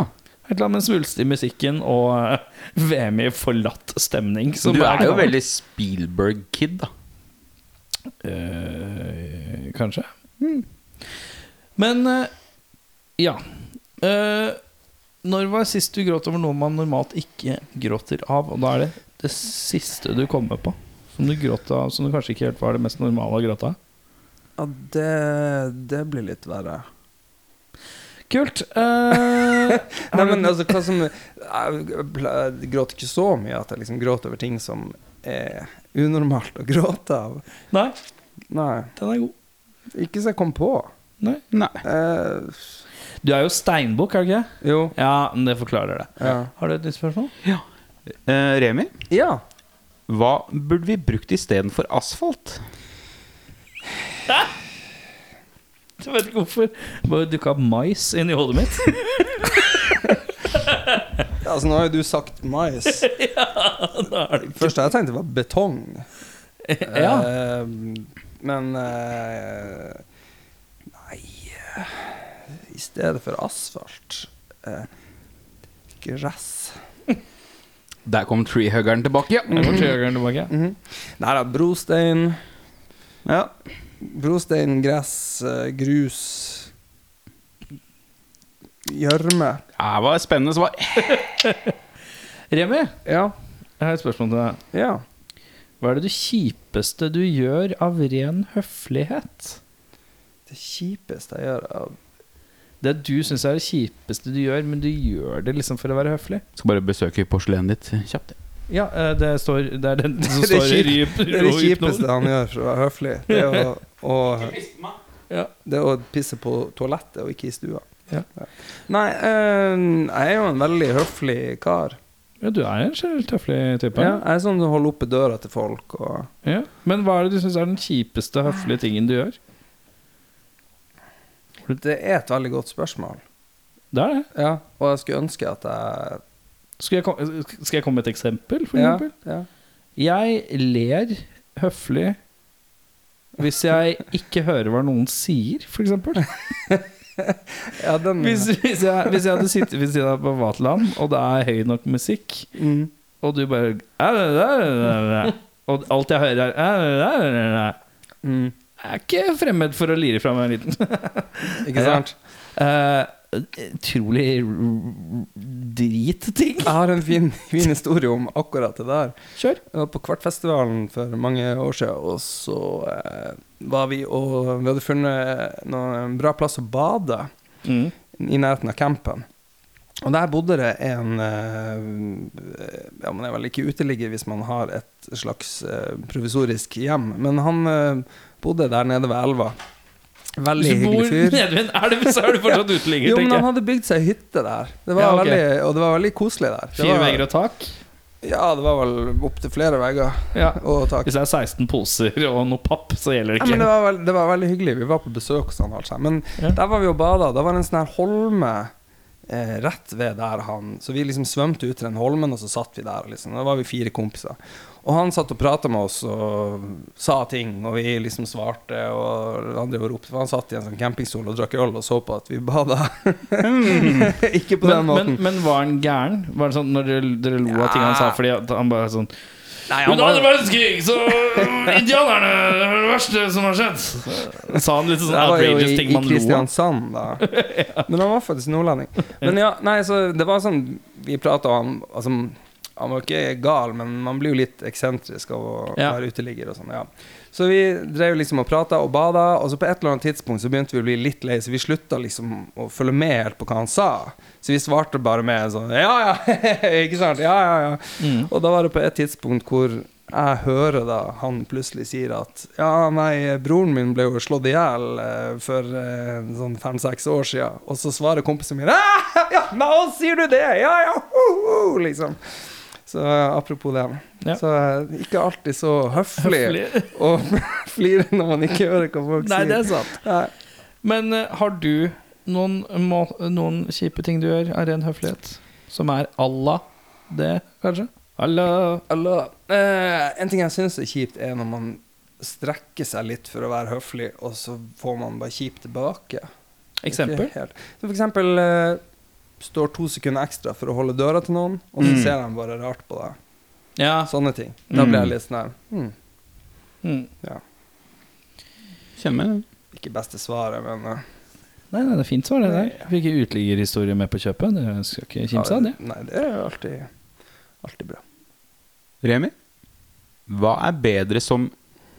[SPEAKER 1] Et eller annet med svulst i musikken og eh, VM i forlatt stemning. som
[SPEAKER 2] Du er jo
[SPEAKER 1] knall.
[SPEAKER 2] veldig Spielberg-kid, da.
[SPEAKER 1] Eh, kanskje. Men eh, ja. Eh, når var sist du gråt over noe man normalt ikke gråter av? Og da er det det siste du kommer på som du gråt av, som du kanskje ikke helt var det mest normale å gråte av?
[SPEAKER 5] Ja, det, det blir litt verre.
[SPEAKER 1] Kult. Eh,
[SPEAKER 5] Nei, men altså, hva som Jeg ble- gråter ikke så mye at jeg liksom gråter over ting som er unormalt å gråte av.
[SPEAKER 1] nei,
[SPEAKER 5] Nei,
[SPEAKER 1] den er god.
[SPEAKER 5] ikke så jeg kom på.
[SPEAKER 1] Nei.
[SPEAKER 2] Nei.
[SPEAKER 5] Eh,
[SPEAKER 1] Du er jo steinbukk, er du ikke? det?
[SPEAKER 5] jo.
[SPEAKER 1] Ja, men det forklarer det.
[SPEAKER 5] Ja.
[SPEAKER 1] Har du et nytt spørsmål?
[SPEAKER 2] Eh, Remi,
[SPEAKER 5] ja.
[SPEAKER 2] hva burde vi brukt istedenfor asfalt?
[SPEAKER 1] Jeg vet ikke hvorfor. Bare dukka opp mais inn i hodet mitt.
[SPEAKER 5] Altså, nå har jo du sagt mais. Første jeg tenkte, var betong.
[SPEAKER 1] ja.
[SPEAKER 5] Eh, men eh, Nei eh, I stedet for asfalt eh, Gress.
[SPEAKER 2] Der kom treehuggeren tilbake.
[SPEAKER 1] Jeg får tre ganger tilbake.
[SPEAKER 5] Nei da, brostein.
[SPEAKER 2] Ja.
[SPEAKER 5] Brostein, gress, eh, grus Gjørme.
[SPEAKER 2] Det var et spennende svar.
[SPEAKER 1] Remi,
[SPEAKER 5] Ja.
[SPEAKER 1] jeg har et spørsmål til deg.
[SPEAKER 5] Ja.
[SPEAKER 1] Hva er det du kjipeste du gjør av ren høflighet?
[SPEAKER 5] Det kjipeste jeg gjør av
[SPEAKER 1] Det du syns er det kjipeste du gjør, men du gjør det liksom for å være høflig.
[SPEAKER 2] Skal bare besøke porselenet ditt kjapt.
[SPEAKER 1] Ja, eh, det, står, det er den som
[SPEAKER 5] Det er
[SPEAKER 1] står i ryp.
[SPEAKER 5] Det er det
[SPEAKER 1] og
[SPEAKER 5] kjipeste
[SPEAKER 1] hypnosen.
[SPEAKER 5] han gjør for å være høflig. Det er å, å,
[SPEAKER 1] Ja.
[SPEAKER 5] det er å pisse på toalettet og ikke i stua.
[SPEAKER 1] Ja.
[SPEAKER 5] Nei, eh, jeg er jo en veldig høflig kar.
[SPEAKER 1] Ja, du er en generelt høflig type.
[SPEAKER 5] Ja, jeg er sånn som holder oppe døra til folk og
[SPEAKER 1] Ja. Men hva er det du syns er den kjipeste høflige tingen du gjør?
[SPEAKER 5] Det er et veldig godt spørsmål.
[SPEAKER 1] Det er det.
[SPEAKER 5] Ja, og jeg skulle ønske at jeg
[SPEAKER 1] Skal jeg, kom- skal jeg komme med et eksempel? For
[SPEAKER 5] ja,
[SPEAKER 1] eksempel?
[SPEAKER 5] ja.
[SPEAKER 1] Jeg ler høflig hvis jeg ikke hører hva noen sier, for eksempel.
[SPEAKER 5] ja, den
[SPEAKER 1] Hvis, hvis, jeg, hvis jeg hadde sittet ved siden av på Vaterland, og det er høy nok musikk,
[SPEAKER 5] mm.
[SPEAKER 1] og du bare "Æ, æ, æ, æ, æ", Og alt jeg hører, er "Æ, æ, æ, æ, æ",
[SPEAKER 5] Mm.
[SPEAKER 1] Jeg er ikke fremmed for å lire fra meg en liten.
[SPEAKER 5] Ikke sant?
[SPEAKER 1] Eh, Utrolig r- dritting.
[SPEAKER 5] Jeg har en fin, fin historie om akkurat det der.
[SPEAKER 1] Kjør.
[SPEAKER 5] Jeg var på Kvartfestivalen for mange år siden, og så eh, var vi og Vi hadde funnet noen, en bra plass å bade
[SPEAKER 1] Mm.
[SPEAKER 5] i nærheten av campen. Og der bodde det en eh, Ja, man er vel ikke uteligger hvis man har et slags eh, provisorisk hjem, men han eh, bodde der nede ved elva. Veldig
[SPEAKER 1] Hvis du bor
[SPEAKER 5] hyggelig
[SPEAKER 1] nede
[SPEAKER 5] fyr.
[SPEAKER 1] ved en elv, så er du fortsatt uteligger,
[SPEAKER 5] Jo, men han
[SPEAKER 1] tenker jeg.
[SPEAKER 5] hadde bygd seg hytte der, det var
[SPEAKER 1] Ja, ok.
[SPEAKER 5] veldig, og det var veldig koselig der. Det
[SPEAKER 1] Fire
[SPEAKER 5] var-
[SPEAKER 1] vegger og tak.
[SPEAKER 5] Ja, det var vel opptil flere vegger
[SPEAKER 1] Ja.
[SPEAKER 5] og tak.
[SPEAKER 1] Hvis det er 16 poser og noe papp, så gjelder det
[SPEAKER 5] Ja, men det,
[SPEAKER 1] ikke.
[SPEAKER 5] var veld, det var veldig hyggelig. Vi var på besøk hos han. Altså. Men
[SPEAKER 1] Ja.
[SPEAKER 5] der var vi og bada. Da var det en sånn her holme eh, rett ved der han Så vi liksom svømte ut til den holmen, og så satt vi der. Liksom. Da var vi fire kompiser. Og han satt og prata med oss og sa ting, og vi liksom svarte. Og han drev og ropte, for han satt i en sånn campingstol og drakk øl og så på at vi bada. Ikke på
[SPEAKER 1] Hmm. Men, men,
[SPEAKER 5] den måten.
[SPEAKER 1] men var han gæren? Var det sånn når dere, dere lo av ting han sa
[SPEAKER 5] Ja.
[SPEAKER 1] fordi at han bare sånn
[SPEAKER 5] Nei, han
[SPEAKER 1] Under
[SPEAKER 5] var-
[SPEAKER 1] andre verdenskrig, så øh, indianerne er det verste som har skjedd. Sa han litt sånn
[SPEAKER 5] Det var jo
[SPEAKER 1] outrageous
[SPEAKER 5] i,
[SPEAKER 1] ting
[SPEAKER 5] i
[SPEAKER 1] man lo av.
[SPEAKER 5] Kristiansand, da. Men han var faktisk nordlending. Men ja, nei, så det var sånn Vi prata om altså, Han var ikke gal, men man blir jo litt eksentrisk av å
[SPEAKER 1] Ja.
[SPEAKER 5] være uteligger og sånn. Ja. Så vi drev liksom og prata og bada, og så på et eller annet tidspunkt så begynte vi å bli litt lei, så vi slutta liksom å følge med helt på hva han sa. Så vi svarte bare med sånn Ja, ja, ikke sant? Ja, ja, ja. Og da var det på et tidspunkt hvor jeg hører da han plutselig sier at Ja, nei, broren min ble jo slått i hjel eh, for eh, sånn fem-seks år sia. Og så svarer kompisen min «Ah, Ja, nå sier du det! Ja, ja! Ho, ho, liksom. Så eh, apropos det.
[SPEAKER 1] Ja.
[SPEAKER 5] Så eh, ikke alltid så høflig,
[SPEAKER 1] Høflig.
[SPEAKER 5] å flire når man ikke hører hva folk
[SPEAKER 1] Nei,
[SPEAKER 5] sier.
[SPEAKER 1] det er sant.
[SPEAKER 5] Nei.
[SPEAKER 1] Men eh, har du noen, må, noen kjipe ting du gjør av ren høflighet? Som er Allah det, kanskje? Allah
[SPEAKER 5] Hallo. Eh, en ting jeg syns er kjipt, er når man strekker seg litt for å være høflig, og så får man bare kjipt tilbake.
[SPEAKER 1] Eksempel?
[SPEAKER 5] Ikke helt. Så for eksempel eh, står to sekunder ekstra for å holde døra til noen, og så
[SPEAKER 2] Mm.
[SPEAKER 5] ser de bare rart på deg.
[SPEAKER 1] Ja.
[SPEAKER 5] Sånne ting. Da blir
[SPEAKER 2] Mm.
[SPEAKER 5] jeg litt sånn her hmm,
[SPEAKER 1] Mm.
[SPEAKER 5] ja.
[SPEAKER 2] Kjenner meg den.
[SPEAKER 5] Ikke beste svaret, men eh,
[SPEAKER 1] Nei, nei, det er fint svar, det der. Fikk en uteliggerhistorie med på kjøpet. Det skal ikke kimse av, det.
[SPEAKER 5] Nei, det er alltid, alltid bra.
[SPEAKER 2] Remi, hva er bedre som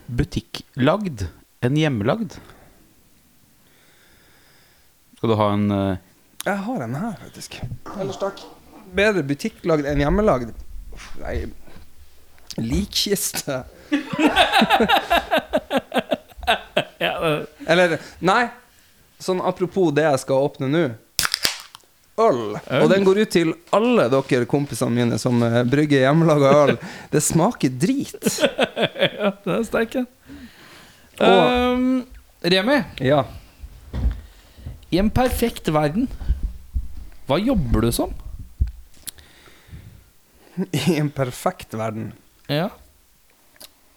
[SPEAKER 2] butikklagd enn hjemmelagd? Skal du ha en eh,
[SPEAKER 5] Jeg har en her, faktisk. Ellers takk. Bedre butikklagd enn hjemmelagd? Uff, Nei Likkiste. Eller Nei, sånn apropos det jeg skal åpne nå. Øl. Og den går ut til alle dere kompisene mine som eh, brygger hjemmelaga øl. Det smaker drit.
[SPEAKER 1] Ja, det er sterk, ja.
[SPEAKER 5] Og-
[SPEAKER 1] Ehm, Remi,
[SPEAKER 5] Ja.
[SPEAKER 1] i en perfekt verden, hva jobber du som?
[SPEAKER 5] I en perfekt verden.
[SPEAKER 1] Ja.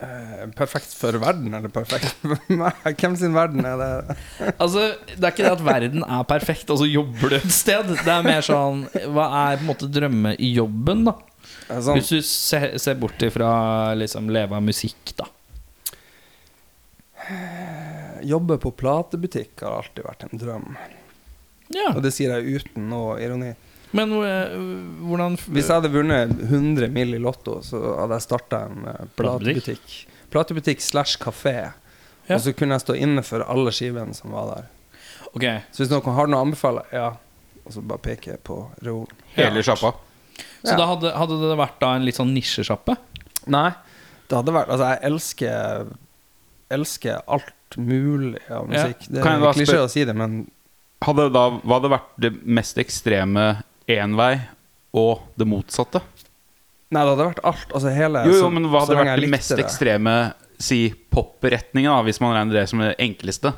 [SPEAKER 5] Eh, Perfekt for verden, eller perfekt for meg? Hvem sin verden er det?
[SPEAKER 1] Altså, Det er ikke det at verden er perfekt, og så jobber du et sted. Det er mer sånn Hva er på en måte drømmejobben, da?
[SPEAKER 5] Eh, Sånn.
[SPEAKER 1] Hvis du ser, ser bort ifra liksom leve av musikk, da.
[SPEAKER 5] Jobbe på platebutikk har alltid vært en drøm.
[SPEAKER 1] Ja.
[SPEAKER 5] Og det sier jeg uten noe ironi.
[SPEAKER 1] Men eh, hvordan
[SPEAKER 5] Hvis jeg hadde vunnet 100 mill i Lotto, så hadde jeg starta en eh,
[SPEAKER 1] Platebutikk?
[SPEAKER 5] platebutikk. Platebutikk slash kafé.
[SPEAKER 1] Ja.
[SPEAKER 5] Og så kunne jeg stå inne for alle skivene som var der.
[SPEAKER 1] Ok.
[SPEAKER 5] Så hvis noen har noe å anbefale, ja. Og så bare peker jeg på reolen.
[SPEAKER 2] hele sjappa?
[SPEAKER 1] Så
[SPEAKER 5] Ja.
[SPEAKER 1] da hadde, hadde det vært da en litt sånn nisjesjappe?
[SPEAKER 5] Nei, det hadde vært Altså, jeg elsker Elsker alt mulig av
[SPEAKER 1] Ja.
[SPEAKER 5] musikk. Det
[SPEAKER 2] Kan jeg
[SPEAKER 5] er
[SPEAKER 2] bare
[SPEAKER 5] klisjé
[SPEAKER 2] spørre-
[SPEAKER 5] å si det, men
[SPEAKER 2] Hadde da, hva hadde vært det mest ekstreme én vei og det motsatte?
[SPEAKER 5] Nei, det hadde vært alt. Altså hele
[SPEAKER 2] Jo, jo,
[SPEAKER 5] så-
[SPEAKER 2] men hva
[SPEAKER 5] så
[SPEAKER 2] hadde
[SPEAKER 5] lenge
[SPEAKER 2] vært
[SPEAKER 5] jeg
[SPEAKER 2] det
[SPEAKER 5] likte
[SPEAKER 2] mest ekstreme si pop-retningen, da, hvis man regner det som det enkleste?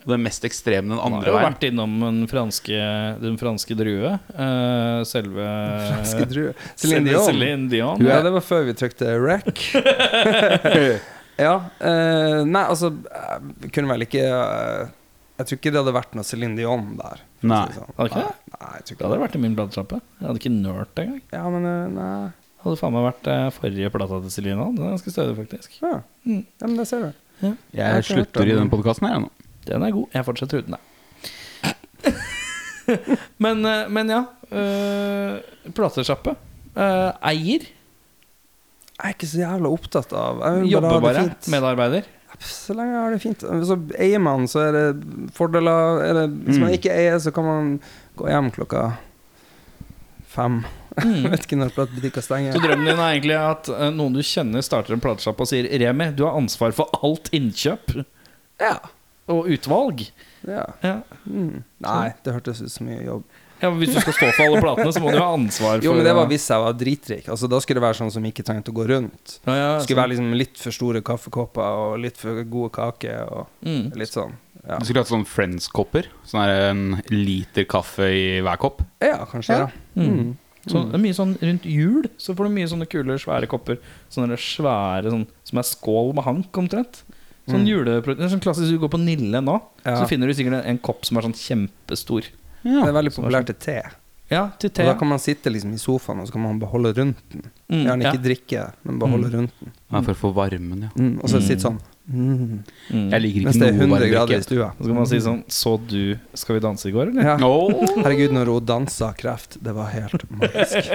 [SPEAKER 2] Og det mest ekstreme den
[SPEAKER 1] Han har
[SPEAKER 2] andre
[SPEAKER 1] jo
[SPEAKER 2] veien.
[SPEAKER 1] vært innom den franske, den franske drue. eh, selve
[SPEAKER 5] Franske druer.
[SPEAKER 1] Selve
[SPEAKER 5] Celine Dion.
[SPEAKER 1] Celine Dion.
[SPEAKER 5] Ja, det var før vi trykte rec. ja. eh, nei, altså jeg Kunne vel ikke eh, Jeg tror ikke det hadde vært noe Céline Dion der. for å si
[SPEAKER 2] Nei.
[SPEAKER 5] det sånn.
[SPEAKER 1] Hadde ikke det?
[SPEAKER 5] Nei, nei, jeg tror
[SPEAKER 1] Det
[SPEAKER 5] ikke
[SPEAKER 1] hadde vært i min platesjappe. Jeg hadde ikke nølt det engang.
[SPEAKER 5] Ja, men eh, nei
[SPEAKER 1] Det Hadde faen meg vært eh, forrige plata til Celine. Den er ganske stødig, faktisk.
[SPEAKER 5] ja. ja, men det ser du.
[SPEAKER 2] Jeg slutter i den podkasten her, jeg nå.
[SPEAKER 1] Den er god. Jeg fortsetter uten deg. men, eh, men ja. Uh, platesjappe. Eh, eier.
[SPEAKER 5] Jeg er ikke så jævla opptatt av Jeg vil
[SPEAKER 1] Jobber
[SPEAKER 5] bare ha
[SPEAKER 1] bare.
[SPEAKER 5] det fint.
[SPEAKER 1] Medarbeider.
[SPEAKER 5] Så lenge jeg har det fint. Så eier man, så er det fordeler. Er det, hvis man ikke eier, så kan man gå hjem klokka fem. Vet ikke når platebutikker
[SPEAKER 1] Så
[SPEAKER 5] stenger.
[SPEAKER 1] drømmen din er egentlig at eh, noen du kjenner, starter en platesjappe og sier Remi, du har ansvar for alt innkjøp
[SPEAKER 5] Ja.
[SPEAKER 1] og utvalg.
[SPEAKER 5] ja.
[SPEAKER 1] Ja.
[SPEAKER 5] Mm. Nei, det hørtes ut som mye jobb.
[SPEAKER 1] Ja, men Hvis du skal stå for alle platene, så må du ha ansvar for
[SPEAKER 5] Jo, men det var
[SPEAKER 1] å-
[SPEAKER 5] hvis jeg var dritrik. Altså, da skulle det være sånn som ikke trengte å gå rundt.
[SPEAKER 1] ja, ja,
[SPEAKER 5] Det skulle være liksom litt for store kaffekopper og litt for gode kaker og
[SPEAKER 1] Mm.
[SPEAKER 5] litt sånn. Ja,
[SPEAKER 2] Du skulle hatt sånn Friends-kopper. Sånn her en liter kaffe i hver kopp.
[SPEAKER 5] ja kanskje det. Mm.
[SPEAKER 1] Så det er mye sånn Rundt jul så får du mye sånne kule, svære kopper. Sånne svære sånn, som er skål med hank, omtrent. Sånn julepro- det er Sånn klassisk du går på Nille nå,
[SPEAKER 5] Mm. Ja.
[SPEAKER 1] så finner du sikkert en, en kopp som er sånn kjempestor.
[SPEAKER 5] Det er veldig populært til te.
[SPEAKER 1] Ja, til te.
[SPEAKER 5] Og da kan man sitte liksom i sofaen og så kan man beholde rundt den.
[SPEAKER 1] Mm,
[SPEAKER 5] Gjerne
[SPEAKER 1] ja.
[SPEAKER 5] ikke drikke, men beholde rundt den.
[SPEAKER 2] Ja, for å få varmen, ja.
[SPEAKER 5] Mm. Og så sitte sånn mm.
[SPEAKER 2] Jeg liker
[SPEAKER 5] Mens
[SPEAKER 2] ikke
[SPEAKER 5] det er
[SPEAKER 2] noe
[SPEAKER 5] 100
[SPEAKER 2] varm
[SPEAKER 5] grader i
[SPEAKER 2] drikke.
[SPEAKER 5] stua.
[SPEAKER 1] Så kan man si sånn Så du Skal vi danse i går, eller?
[SPEAKER 5] Ja.
[SPEAKER 2] Åh,
[SPEAKER 5] Herregud, når hun dansa kreft, det var helt magisk.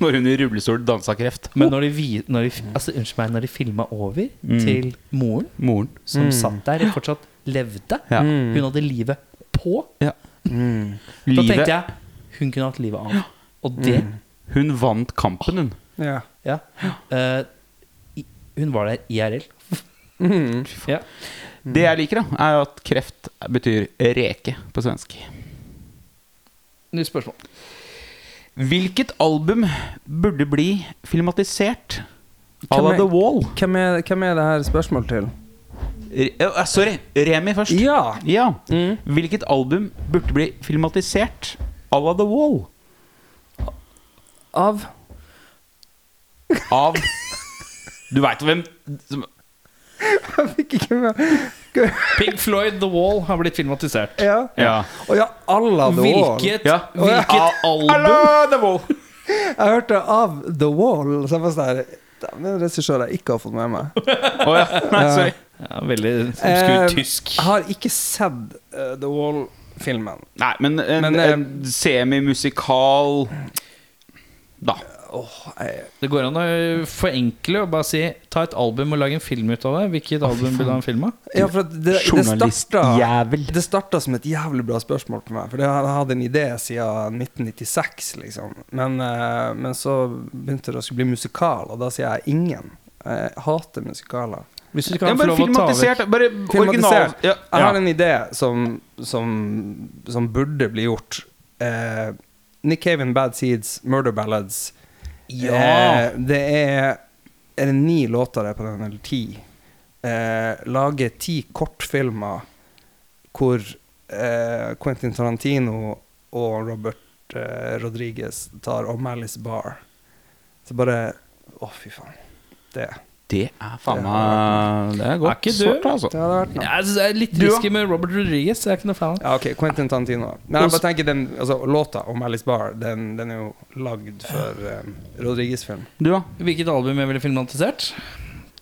[SPEAKER 2] når hun i rullestol dansa kreft.
[SPEAKER 1] Men når de, vi- når de, altså, unnskyld meg, når de filma over
[SPEAKER 2] Mm.
[SPEAKER 1] til moren,
[SPEAKER 2] Moren.
[SPEAKER 1] som satt der og fortsatt levde
[SPEAKER 2] Mm. Ja.
[SPEAKER 1] Hun hadde livet på. Mm. Da
[SPEAKER 2] Livet. Mm.
[SPEAKER 1] tenkte jeg hun kunne hatt livet av. Og det
[SPEAKER 2] Hun vant kampen, hun.
[SPEAKER 5] Ja.
[SPEAKER 1] Ja. Eh, i- Hun var der IRL.
[SPEAKER 5] Mm.
[SPEAKER 1] Ja.
[SPEAKER 2] Det jeg liker, da, er jo at kreft betyr reke på svensk.
[SPEAKER 1] Nytt spørsmål.
[SPEAKER 2] Hvilket album burde bli filmatisert à
[SPEAKER 5] Hvem
[SPEAKER 2] la
[SPEAKER 5] er-
[SPEAKER 2] The Wall?
[SPEAKER 5] Hvem er, hvem er det her spørsmål til?
[SPEAKER 2] Re eh, sorry, Remi først.
[SPEAKER 5] Ja!
[SPEAKER 2] Ja. Hvilket album burde bli filmatisert à la The Wall?
[SPEAKER 5] Av
[SPEAKER 2] Av Du veit hvem som
[SPEAKER 5] Jeg fikk ikke med
[SPEAKER 1] Pig Floyd The Wall har blitt filmatisert.
[SPEAKER 5] Ja.
[SPEAKER 2] Ja.
[SPEAKER 5] Å ja, Allah The Wall.
[SPEAKER 1] Hvilket,
[SPEAKER 2] Ja.
[SPEAKER 1] hvilket album
[SPEAKER 2] Alla The Wall.
[SPEAKER 5] Jeg hørte av The Wall, så jeg var sånn her "Damn, Det er en regissør jeg ikke har fått med meg.
[SPEAKER 2] Å ja. Nei, sorry.
[SPEAKER 1] ja, Veldig
[SPEAKER 5] Eh,
[SPEAKER 1] obskur tysk.
[SPEAKER 5] Jeg har ikke sett eh, The Wall-filmen.
[SPEAKER 2] Nei, men en,
[SPEAKER 5] Men, eh,
[SPEAKER 2] en semimusikal Da.
[SPEAKER 1] Det går an å forenkle og bare si ta et album og lage en film ut av det. Hvilket album vil du ha en film av?
[SPEAKER 5] Ja, for at det, det, starta,
[SPEAKER 2] Journalistjævel.
[SPEAKER 5] det starta som et jævlig bra spørsmål på meg. For det har- jeg hadde en idé siden 1996, liksom. Men, eh, men så begynte det å skulle bli musikal, og da sier jeg ingen. Jeg hater musikaler.
[SPEAKER 1] Hvis du
[SPEAKER 2] Ja,
[SPEAKER 1] kan få
[SPEAKER 2] bare
[SPEAKER 1] lov å ta vekk
[SPEAKER 2] filmatisert. Bare original.
[SPEAKER 5] Filmatisert.
[SPEAKER 2] Ja.
[SPEAKER 5] Jeg har
[SPEAKER 2] Ja.
[SPEAKER 5] en idé som, som, som burde bli gjort. Eh, Nick Haven, Bad Seeds, Murder Ballads.
[SPEAKER 2] Ja.
[SPEAKER 5] Eh, det er Er det ni låter der på den, eller ti? Eh, lage ti kortfilmer hvor eh, Quentin Tarantino og Robert eh, Rodriguez tar og Malice Bar. Så bare Å, fy faen. Det.
[SPEAKER 2] Det er faen meg Det er godt
[SPEAKER 1] Er ikke du-
[SPEAKER 2] svart, altså.
[SPEAKER 5] det hadde vært noe.
[SPEAKER 1] Jeg synes det er litt
[SPEAKER 2] Du, ja.
[SPEAKER 1] risky med Robert Rodriguez. Jeg er ikke noe fan av
[SPEAKER 5] Ja, ok, Quentin Tarantino. Men jeg bare tenker den altså, låta om Alice Barr, den, den er jo lagd for um, Rodriguez-film.
[SPEAKER 2] Du, da?
[SPEAKER 1] Hvilket album jeg ville filmatisert?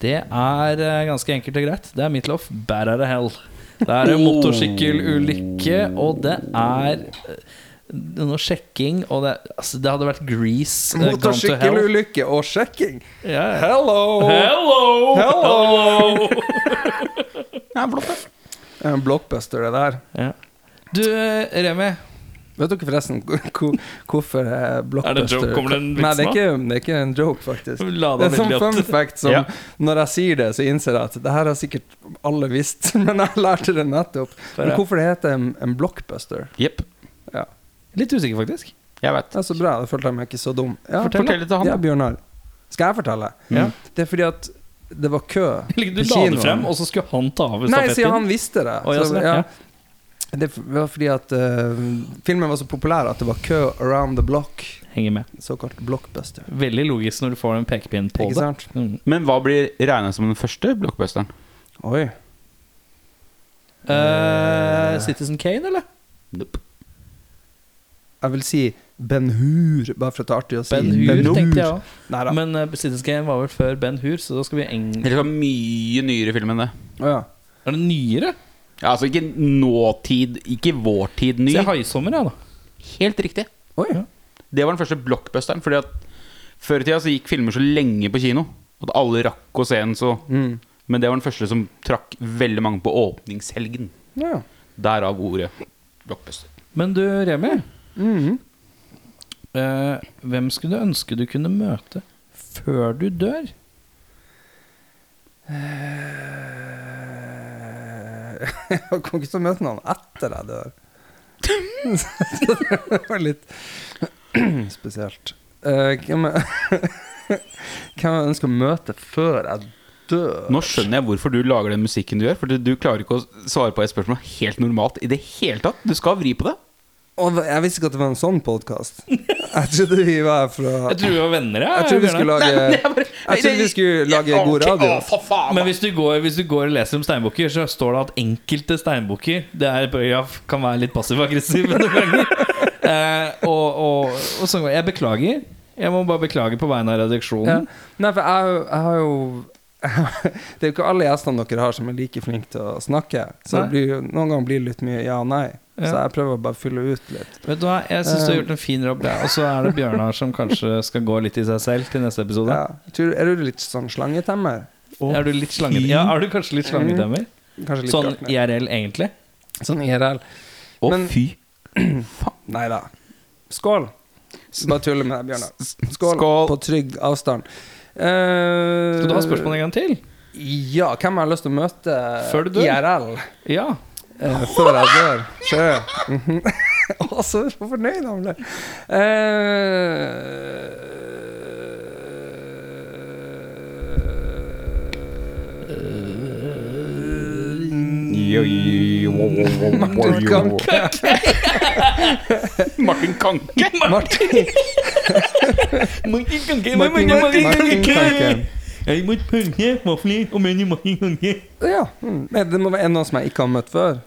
[SPEAKER 1] Det er eh, ganske enkelt og greit. Det er Meatloaf, Bad Out of Hell. Det er en motorsykkelulykke, og det er eh, noe sjekking, og det, altså, det hadde vært Grease. eh, Gone to Hell.
[SPEAKER 5] Motorsykkelulykke og sjekking!
[SPEAKER 1] Ja, ja.
[SPEAKER 5] Hello!
[SPEAKER 1] Hello!
[SPEAKER 2] Ja, flott,
[SPEAKER 5] Hello!
[SPEAKER 2] det.
[SPEAKER 5] Det er En blockbuster, det der.
[SPEAKER 1] Ja. Du, eh, Remi.
[SPEAKER 5] Vet dere forresten hvor, hvorfor eh, blockbuster
[SPEAKER 1] Er det en joke? Kommer det en vits
[SPEAKER 5] Nei, det
[SPEAKER 1] nå?
[SPEAKER 5] er, ikke, det er ikke en joke, faktisk.
[SPEAKER 1] La
[SPEAKER 5] Det er
[SPEAKER 1] deg
[SPEAKER 5] sånn
[SPEAKER 1] veldig
[SPEAKER 5] fun
[SPEAKER 1] at-
[SPEAKER 5] fact som
[SPEAKER 2] Ja.
[SPEAKER 5] Når jeg sier det, så innser jeg at det her har sikkert alle visst, men jeg lærte det nettopp. Men
[SPEAKER 1] ja.
[SPEAKER 5] hvorfor det heter en, en blockbuster?
[SPEAKER 2] Jepp.
[SPEAKER 5] Ja.
[SPEAKER 1] Litt usikker, faktisk.
[SPEAKER 2] Jeg vet.
[SPEAKER 5] Det er så bra, da følte jeg meg ikke så dum. Ja,
[SPEAKER 2] Fortell,
[SPEAKER 5] fortell.
[SPEAKER 2] litt til han.
[SPEAKER 5] Ja,
[SPEAKER 2] da.
[SPEAKER 5] Bjørnar. Skal jeg fortelle?
[SPEAKER 1] Ja.
[SPEAKER 5] Det er fordi at det var kø
[SPEAKER 1] Du la det frem, og så skulle han ta av
[SPEAKER 5] Nei, siden han
[SPEAKER 1] stafettpinnen.
[SPEAKER 5] visste det.
[SPEAKER 1] Å, ja,
[SPEAKER 5] Så,
[SPEAKER 1] sånn,
[SPEAKER 5] ja.
[SPEAKER 1] ja.
[SPEAKER 5] Det var fordi at eh, filmen var så populær at det var kø around the block.
[SPEAKER 1] Henger med.
[SPEAKER 5] Såkalt blockbuster.
[SPEAKER 1] Veldig logisk når du får den pekepinn på
[SPEAKER 5] Ikke
[SPEAKER 1] det.
[SPEAKER 5] sant?
[SPEAKER 1] Mm.
[SPEAKER 2] Men hva blir regna som den første blockbusteren?
[SPEAKER 5] Oi.
[SPEAKER 1] Eh, Citizen Kane, eller?
[SPEAKER 5] Jeg vil si Ben Hur, bare for at det er artig å si.
[SPEAKER 1] Ben Hur, tenkte jeg òg.
[SPEAKER 5] Neida.
[SPEAKER 1] Men eh, Citizen Kane var vel før Ben Hur, så da skal vi eng...
[SPEAKER 2] Det er mye nyere film enn det.
[SPEAKER 5] Å, ja.
[SPEAKER 1] Er det nyere?
[SPEAKER 2] Ja, altså ikke nåtid, ikke vår tid ny.
[SPEAKER 1] Se Haisommer, ja, da.
[SPEAKER 2] Helt riktig.
[SPEAKER 5] Oi.
[SPEAKER 2] Det var den første blockbusteren. Fordi at Før i tida så gikk filmer så lenge på kino at alle rakk å se den. Så. Men det var den første som trakk veldig mange på åpningshelgen.
[SPEAKER 5] Ja, ja.
[SPEAKER 2] Derav ordet blockbuster.
[SPEAKER 1] Men du, Remi.
[SPEAKER 5] Mm-hmm.
[SPEAKER 1] eh, hvem skulle du ønske du kunne møte før du dør?
[SPEAKER 5] Eh, Jeg kommer ikke til å møte noen etter jeg dør. Så det var litt spesielt. Eh, hvem er- hvem jeg ønsker å møte før jeg dør?
[SPEAKER 2] Nå skjønner jeg hvorfor du lager den musikken du gjør. For du klarer ikke å svare på et spørsmål helt normalt i det hele tatt. Du skal vri på det.
[SPEAKER 5] Å, hva- jeg visste ikke at det var en sånn podkast. Jeg trodde vi var fra
[SPEAKER 1] Jeg tror vi var venner, jeg.
[SPEAKER 5] Jeg trodde vi
[SPEAKER 1] Bjørnar.
[SPEAKER 5] skulle lage Jeg trodde vi skulle lage god radio.
[SPEAKER 1] Men hvis du, går, hvis du går og leser om steinbukker, så står det at enkelte steinbukker Det er paragraf kan være litt passiv-aggressiv noen ganger. Eh, og, og, og sånn går det. Jeg beklager. Jeg må bare beklage på vegne av
[SPEAKER 5] Ja.
[SPEAKER 1] redaksjonen.
[SPEAKER 5] Nei, for jeg, jeg har jo Det er jo ikke alle gjestene dere har som er like flinke til å snakke. Så det blir, jo- noen ganger blir det litt mye ja og nei. Så
[SPEAKER 1] Ja.
[SPEAKER 5] jeg prøver å bare fylle ut litt.
[SPEAKER 1] Vet du hva, Jeg syns du har gjort en fin jobb, ja. og så er det Bjørnar som kanskje skal gå litt i seg selv til neste episode.
[SPEAKER 5] Ja. Tror, er du litt sånn slangetemmer?
[SPEAKER 1] er du litt slange, ja, er du kanskje litt slangetemmer?
[SPEAKER 5] Kanskje Mm. litt
[SPEAKER 1] Sånn
[SPEAKER 5] Gartner.
[SPEAKER 1] IRL, egentlig?
[SPEAKER 5] Sånn IRL.
[SPEAKER 2] Å,
[SPEAKER 5] Men-
[SPEAKER 2] fy.
[SPEAKER 5] Nei da. Skål. Bare tuller med deg, Bjørnar. Skål,
[SPEAKER 2] Skål.
[SPEAKER 5] på trygg avstand. Skal
[SPEAKER 1] Skal du ha spørsmål en gang til?
[SPEAKER 5] Ja, hvem jeg har lyst til å møte
[SPEAKER 1] Før du dør?
[SPEAKER 5] IRL
[SPEAKER 1] Ja.
[SPEAKER 5] eh, før jeg dør. Sjø. Mhm. Å, så fornøyd han ble. Eh, Martin
[SPEAKER 2] Martin
[SPEAKER 5] Kanke.
[SPEAKER 2] Kanke!
[SPEAKER 5] Martin,
[SPEAKER 1] Martin Kanke,
[SPEAKER 5] Martin, Martin Kanke.
[SPEAKER 1] Jeg må punge vafler og menn i Martin Kanke.
[SPEAKER 5] Ja. mm. Men Det må være noen som jeg ikke har møtt før.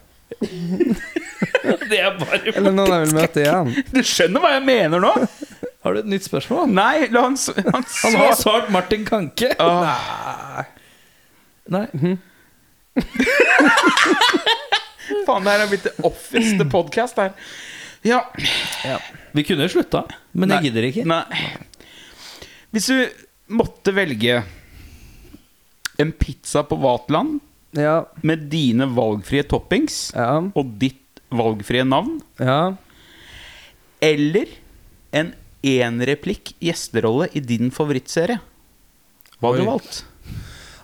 [SPEAKER 1] Det er bare
[SPEAKER 5] Eller noen jeg vil møte igjen.
[SPEAKER 2] Du skjønner hva jeg mener nå?
[SPEAKER 1] Har du et nytt spørsmål?
[SPEAKER 2] Nei, la han, s- han
[SPEAKER 1] Han har
[SPEAKER 2] svare.
[SPEAKER 1] svart Martin Kanke.
[SPEAKER 2] Åh,
[SPEAKER 5] Ah.
[SPEAKER 1] Nei.
[SPEAKER 5] Mhm.
[SPEAKER 2] faen, det her er blitt det offeste podcast her. Ja.
[SPEAKER 1] Vi kunne slutta, men jeg gidder ikke.
[SPEAKER 2] Nei. Hvis du måtte velge en pizza på Vatland
[SPEAKER 5] Ja.
[SPEAKER 2] med dine valgfrie toppings
[SPEAKER 5] Ja.
[SPEAKER 2] og ditt valgfrie navn,
[SPEAKER 5] ja.
[SPEAKER 2] eller en enreplikk gjesterolle i din favorittserie, hva hadde du
[SPEAKER 5] Oi.
[SPEAKER 2] valgt?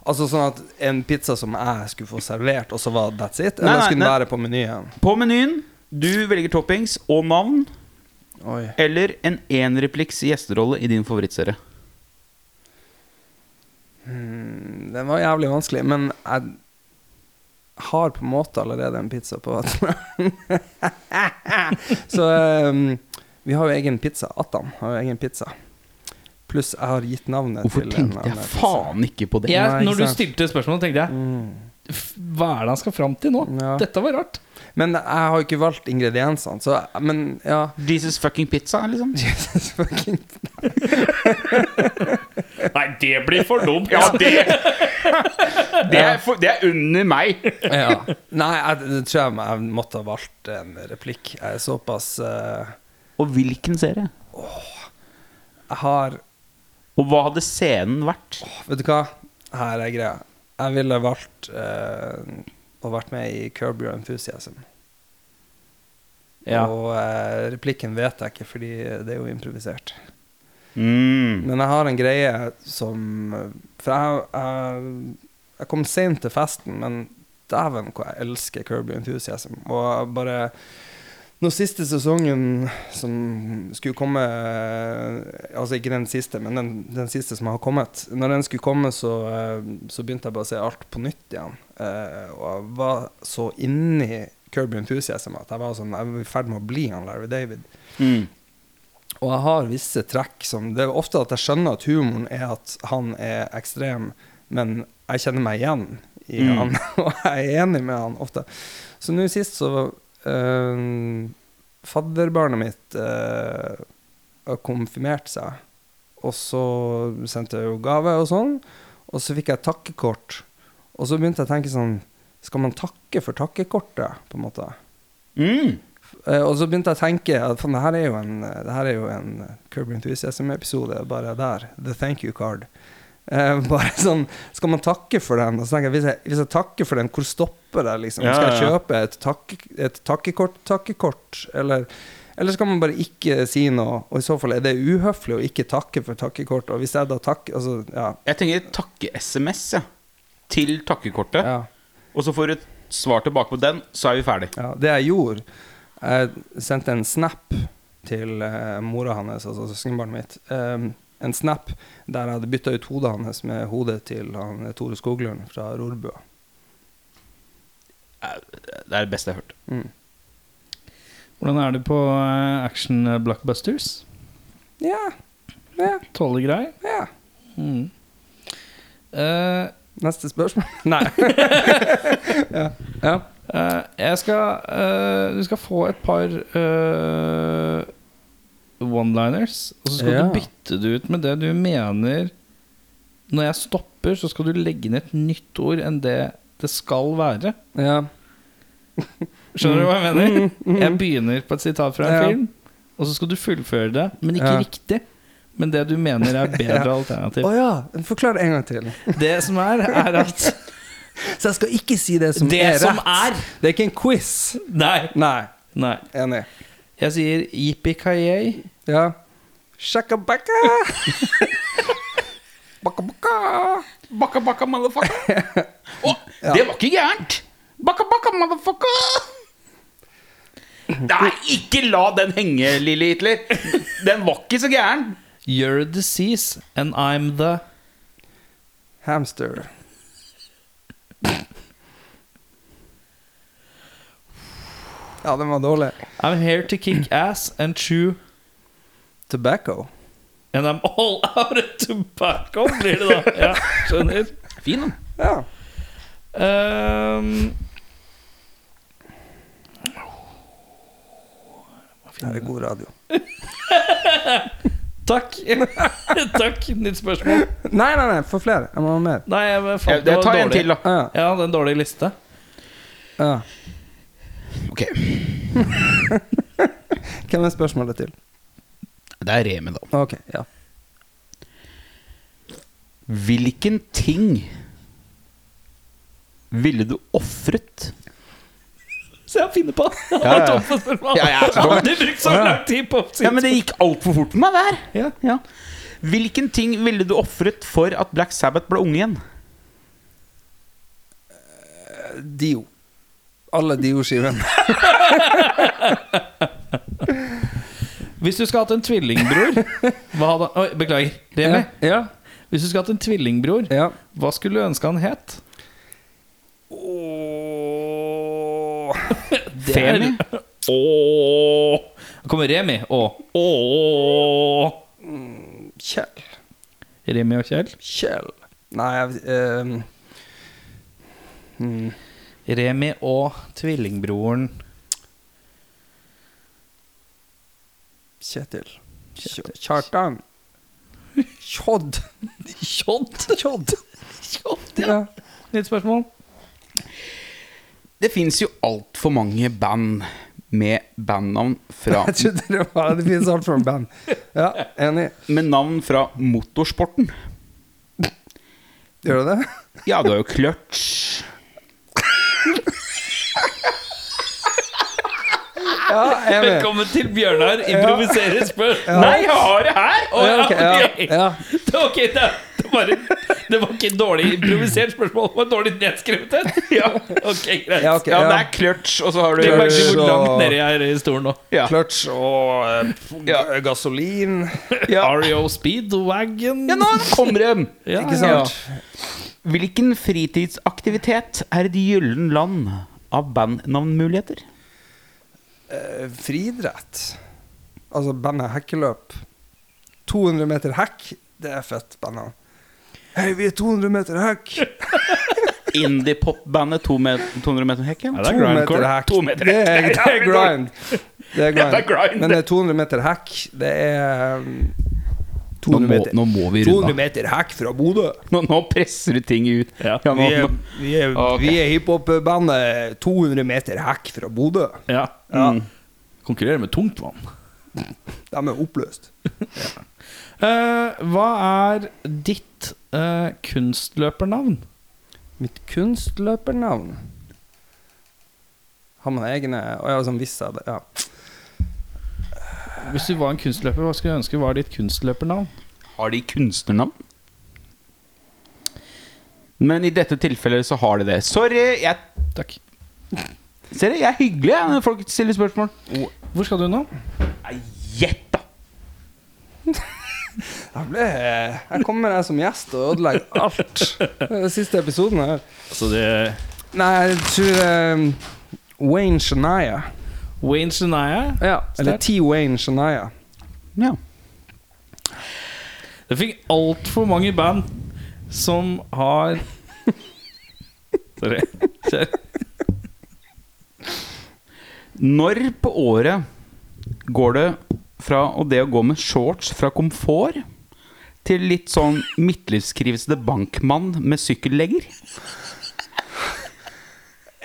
[SPEAKER 5] Altså sånn at en pizza som jeg skulle få servert, og så var that's it?
[SPEAKER 2] Nei,
[SPEAKER 5] Eller
[SPEAKER 2] nei,
[SPEAKER 5] skulle den
[SPEAKER 2] nei.
[SPEAKER 5] være på menyen?
[SPEAKER 2] På menyen, du velger toppings og navn,
[SPEAKER 5] Oi.
[SPEAKER 2] eller en enreplikks gjesterolle i din favorittserie.
[SPEAKER 5] Den var jævlig vanskelig, men jeg har på en måte allerede en pizza på Vatland. så um, vi har jo egen pizza. Attan har jo egen pizza. Pluss jeg har gitt navnet
[SPEAKER 2] Hvorfor
[SPEAKER 5] til en
[SPEAKER 2] tenkte
[SPEAKER 5] annen
[SPEAKER 2] jeg
[SPEAKER 5] pizza.
[SPEAKER 2] faen ikke på det?
[SPEAKER 5] Nei,
[SPEAKER 1] Jeg,
[SPEAKER 5] ikke
[SPEAKER 1] når du
[SPEAKER 5] sant. Mm.
[SPEAKER 1] stilte spørsmålet, tenkte jeg "F- Hva er det han skal fram til nå?
[SPEAKER 5] Ja.
[SPEAKER 1] Dette var rart.
[SPEAKER 5] Men jeg har jo ikke valgt ingrediensene, så Men ja.
[SPEAKER 2] Jesus fucking pizza, liksom.
[SPEAKER 5] Jesus fucking
[SPEAKER 1] Nei, det blir for dumt.
[SPEAKER 2] Ja, det det er, for, det er under meg.
[SPEAKER 5] ja. Nei, jeg, det tror jeg jeg måtte ha valgt en replikk. Jeg er såpass eh,
[SPEAKER 2] Og hvilken serie?
[SPEAKER 5] Jeg har
[SPEAKER 2] Og hva hadde scenen vært?
[SPEAKER 5] Vet du hva? Her er greia. Jeg ville valgt eh, å vært med i Curb Your Enthusiasm.
[SPEAKER 1] Ja.
[SPEAKER 5] Og eh, replikken vet jeg ikke, fordi det er jo improvisert.
[SPEAKER 2] Mm.
[SPEAKER 5] Men jeg har en greie som For jeg, jeg, jeg kom sent til festen, men dæven hvor jeg elsker Kirby Enthusiasm. Og jeg bare Nå siste sesongen som skulle komme Altså ikke den siste, men den, den siste som har kommet. Når den skulle komme, så, eh, så begynte jeg bare å se alt på nytt igjen. Eh, Og jeg var så inni Kirby Enthusiasm at jeg var sånn Jeg var i ferd med å bli han Larry David.
[SPEAKER 2] mm,
[SPEAKER 5] Og jeg har visse trekk som Det er ofte at jeg skjønner at humoren er at han er ekstrem, men jeg kjenner meg igjen i han, og jeg er enig med han ofte. Så nå sist så øh, Fadderbarnet mitt øh, har konfirmert seg, og så sendte jeg jo gave og sånn, og så fikk jeg et takkekort, og så begynte jeg å tenke sånn Skal man takke for takkekortet, på en måte?
[SPEAKER 2] Mm.
[SPEAKER 5] Eh, og så begynte jeg å tenke at faen, det her er jo en, det her er jo en eh, Curb Your Enthusiasm-episode bare der. The thank you card. Eh, bare sånn, Skal man takke for den? Og så tenker jeg, Hvis jeg, hvis jeg takker for den, hvor stopper det? liksom?
[SPEAKER 2] Ja,
[SPEAKER 5] Skal jeg
[SPEAKER 2] ja, ja.
[SPEAKER 5] kjøpe et, takke, et takkekort, takkekort? Eller, eller skal man bare ikke si noe? Og i så fall er det uhøflig å ikke takke for takkekort. Og hvis jeg da takker altså, ja,
[SPEAKER 2] Jeg tenker takke-SMS, ja. Til takkekortet.
[SPEAKER 5] ja.
[SPEAKER 2] Og så får du et svar tilbake på den, så er vi ferdig.
[SPEAKER 5] Ja, det jeg gjorde Jeg sendte en snap til eh, mora hans, altså søskenbarnet mitt. eh, en snap der jeg hadde bytta ut hodet hans med hodet til han, eh, Tore Skoglund fra Rorbua.
[SPEAKER 2] Det er det beste jeg har hørt.
[SPEAKER 1] Hvordan er det på eh, action blockbusters?
[SPEAKER 5] Ja. ja,
[SPEAKER 1] Tåler grei?
[SPEAKER 5] ja.
[SPEAKER 1] Mm. Eh,
[SPEAKER 5] Neste spørsmål? Nei. ja.
[SPEAKER 1] eh, jeg skal eh, Du skal få et par eh, one-liners, og så skal
[SPEAKER 5] Ja.
[SPEAKER 1] du bytte det ut med det du mener Når jeg stopper, så skal du legge inn et nytt ord enn det det skal være.
[SPEAKER 5] Ja. ja.
[SPEAKER 1] Skjønner du hva jeg mener? Jeg begynner på et sitat fra en
[SPEAKER 5] Ja.
[SPEAKER 1] film, og så skal du fullføre det, men ikke
[SPEAKER 5] Ja.
[SPEAKER 1] riktig. Men det du mener er bedre alternativ.
[SPEAKER 5] Å ja. Forklar det en gang til.
[SPEAKER 1] Det som er, er at
[SPEAKER 5] Så jeg skal ikke si det som
[SPEAKER 1] Det
[SPEAKER 5] er
[SPEAKER 1] som
[SPEAKER 5] rett. Det er ikke en quiz.
[SPEAKER 1] Nei.
[SPEAKER 5] Nei.
[SPEAKER 1] Nei.
[SPEAKER 5] Enig.
[SPEAKER 1] Jeg sier yippee-ki-yay.
[SPEAKER 5] Ja. Shakabaka! Bakka, bakka.
[SPEAKER 2] Bakka, bakka, motherfucker. Å, det var ikke gærent! Bakka, bakka, motherfucker. Nei, ikke la den henge, lille Hitler. Den var ikke så gæren.
[SPEAKER 1] You're the disease, and I'm the
[SPEAKER 5] Hamster. Ja, den var dårlig.
[SPEAKER 1] I'm here to kick ass and chew
[SPEAKER 5] Tobacco.
[SPEAKER 1] And I'm all out of tobacco, blir det da. Ja, skjønner.
[SPEAKER 2] Fin, den.
[SPEAKER 5] Ja.
[SPEAKER 1] Ehm,
[SPEAKER 5] Det er god radio.
[SPEAKER 1] takk. takk. Nytt spørsmål.
[SPEAKER 5] Nei, nei, nei, få flere. Jeg må ha mer.
[SPEAKER 1] Nei, jeg
[SPEAKER 2] Ja,
[SPEAKER 1] fant det
[SPEAKER 2] det-
[SPEAKER 1] var
[SPEAKER 2] Ta en
[SPEAKER 1] dårlig.
[SPEAKER 2] til, da.
[SPEAKER 5] Ja,
[SPEAKER 1] Jeg hadde en dårlig liste.
[SPEAKER 5] ja.
[SPEAKER 2] Ok,
[SPEAKER 5] Hvem er spørsmålet til?
[SPEAKER 2] Det er Remi, da.
[SPEAKER 5] Ok, ja.
[SPEAKER 2] Hvilken ting ville du ofret?
[SPEAKER 1] Så jeg finner på. Ja,
[SPEAKER 2] ja, ja.
[SPEAKER 1] ja,
[SPEAKER 2] Ja, jeg er så dårlig.
[SPEAKER 1] Aldri brukt så lang tid på
[SPEAKER 2] Ja, men det gikk altfor fort med meg der.
[SPEAKER 1] Ja.
[SPEAKER 2] Hvilken ting ville du ofret for at Black Sabbath ble unge igjen?
[SPEAKER 5] Dio. Alle Dio-skivene.
[SPEAKER 1] Hvis du skulle hatt en tvillingbror hva hadde, Oi, Beklager. Remi.
[SPEAKER 5] Ja.
[SPEAKER 1] Hvis du skulle hatt en tvillingbror,
[SPEAKER 5] ja.
[SPEAKER 1] hva skulle du ønske han het?
[SPEAKER 2] Femi?
[SPEAKER 1] Ååå. Nå kommer Remi og Ååå.
[SPEAKER 5] Kjell.
[SPEAKER 1] Remi og Kjell.
[SPEAKER 5] Kjell. Nei, jeg ehm, mm,
[SPEAKER 1] Remi og tvillingbroren
[SPEAKER 5] Kjetil. Kj- Kjartan. Kjodd.
[SPEAKER 1] Kjodd.
[SPEAKER 5] Kjodd.
[SPEAKER 1] Kjodd, ja.
[SPEAKER 5] Ja.
[SPEAKER 1] Nytt spørsmål.
[SPEAKER 2] Det fins jo altfor mange band med bandnavn fra
[SPEAKER 5] Jeg trodde det var Det finnes alt for en band. Ja, enig.
[SPEAKER 2] Med navn fra motorsporten.
[SPEAKER 5] Gjør du det?
[SPEAKER 2] Ja, du har jo Clutch.
[SPEAKER 5] Ja, enig.
[SPEAKER 1] Velkommen til Bjørnar improviserer spørsmål.
[SPEAKER 2] Nei, jeg har det her!
[SPEAKER 1] Å,
[SPEAKER 5] Ja, ok, ja, ja.
[SPEAKER 1] Det var ikke, det, det var en, det var ikke et dårlig improvisert spørsmål, det var dårlig nedskrevet et. Ja, ok, greit.
[SPEAKER 5] Ja, ok,
[SPEAKER 2] ja, det
[SPEAKER 5] ja.
[SPEAKER 2] er Clutch, og så har du
[SPEAKER 1] Jeg merker
[SPEAKER 5] Clutch
[SPEAKER 1] hvor langt
[SPEAKER 5] og-
[SPEAKER 1] nede jeg er i stolen nå.
[SPEAKER 2] ja.
[SPEAKER 5] Clutch og eh,
[SPEAKER 2] Ja.
[SPEAKER 5] gasolin.
[SPEAKER 1] REO Speedwagon.
[SPEAKER 2] ja, nå kommer de!
[SPEAKER 1] Ja,
[SPEAKER 5] Ikke sant?
[SPEAKER 2] Hvilken fritidsaktivitet er et gyllen land av bandnavnmuligheter?
[SPEAKER 5] Eh, friidrett. Altså bandet Hekkeløp. 200 meter hekk, det er fett bandet. Hei, vi er 200 meter hekk!
[SPEAKER 2] Indiepop-bandet 200 meter hekk?
[SPEAKER 1] Ja, det
[SPEAKER 2] Ja.
[SPEAKER 1] er
[SPEAKER 5] 200 meter
[SPEAKER 1] grindcore.
[SPEAKER 5] hekk.
[SPEAKER 2] To meter
[SPEAKER 5] Det er,
[SPEAKER 2] hekk.
[SPEAKER 5] det er grind. Det er
[SPEAKER 2] Ja, det er grind.
[SPEAKER 5] grind. Men det er 200 meter hekk. Det er mm, 200 meter,
[SPEAKER 2] vi
[SPEAKER 5] 200 meter hekk fra Bodø.
[SPEAKER 2] Nå, nå presser du ting ut.
[SPEAKER 1] Ja.
[SPEAKER 2] Ja,
[SPEAKER 5] Vi
[SPEAKER 2] nå,
[SPEAKER 5] er,
[SPEAKER 2] nå.
[SPEAKER 5] vi er,
[SPEAKER 2] Ok.
[SPEAKER 5] vi er hiphop-bandet 200 meter hekk fra Bodø.
[SPEAKER 1] Ja.
[SPEAKER 5] Ja,
[SPEAKER 2] Mm.
[SPEAKER 1] Konkurrerer med tungtvann.
[SPEAKER 5] De er oppløst.
[SPEAKER 1] Eh, hva er ditt eh, kunstløpernavn?
[SPEAKER 5] Mitt kunstløpernavn Har man egne Å ja, sånn visst jeg det. Ja.
[SPEAKER 1] Hvis du var en kunstløper, hva skulle du ønske var ditt kunstløpernavn?
[SPEAKER 2] Har de kunstnernavn? Men i dette tilfellet så har de det. Sorry, jeg
[SPEAKER 1] Takk.
[SPEAKER 2] Ser du, jeg er hyggelig jeg, når folk stiller spørsmål.
[SPEAKER 1] Hvor skal du nå?
[SPEAKER 2] Nei, Gjett, da!
[SPEAKER 5] Jeg, ble, jeg kommer her som gjest og ødelegger alt. Det er den siste episoden her.
[SPEAKER 1] Altså det
[SPEAKER 5] Nei, jeg tror eh, Wayne Shania.
[SPEAKER 1] Wayne Shania.
[SPEAKER 5] Ja, eller T. Wayne Shania.
[SPEAKER 2] Ja.
[SPEAKER 1] Det fikk altfor mange band som har Sorry. Kjør.
[SPEAKER 2] Når på året går det fra å det å gå med shorts fra komfort til litt sånn midtlivskrisete bankmann med sykkellegger?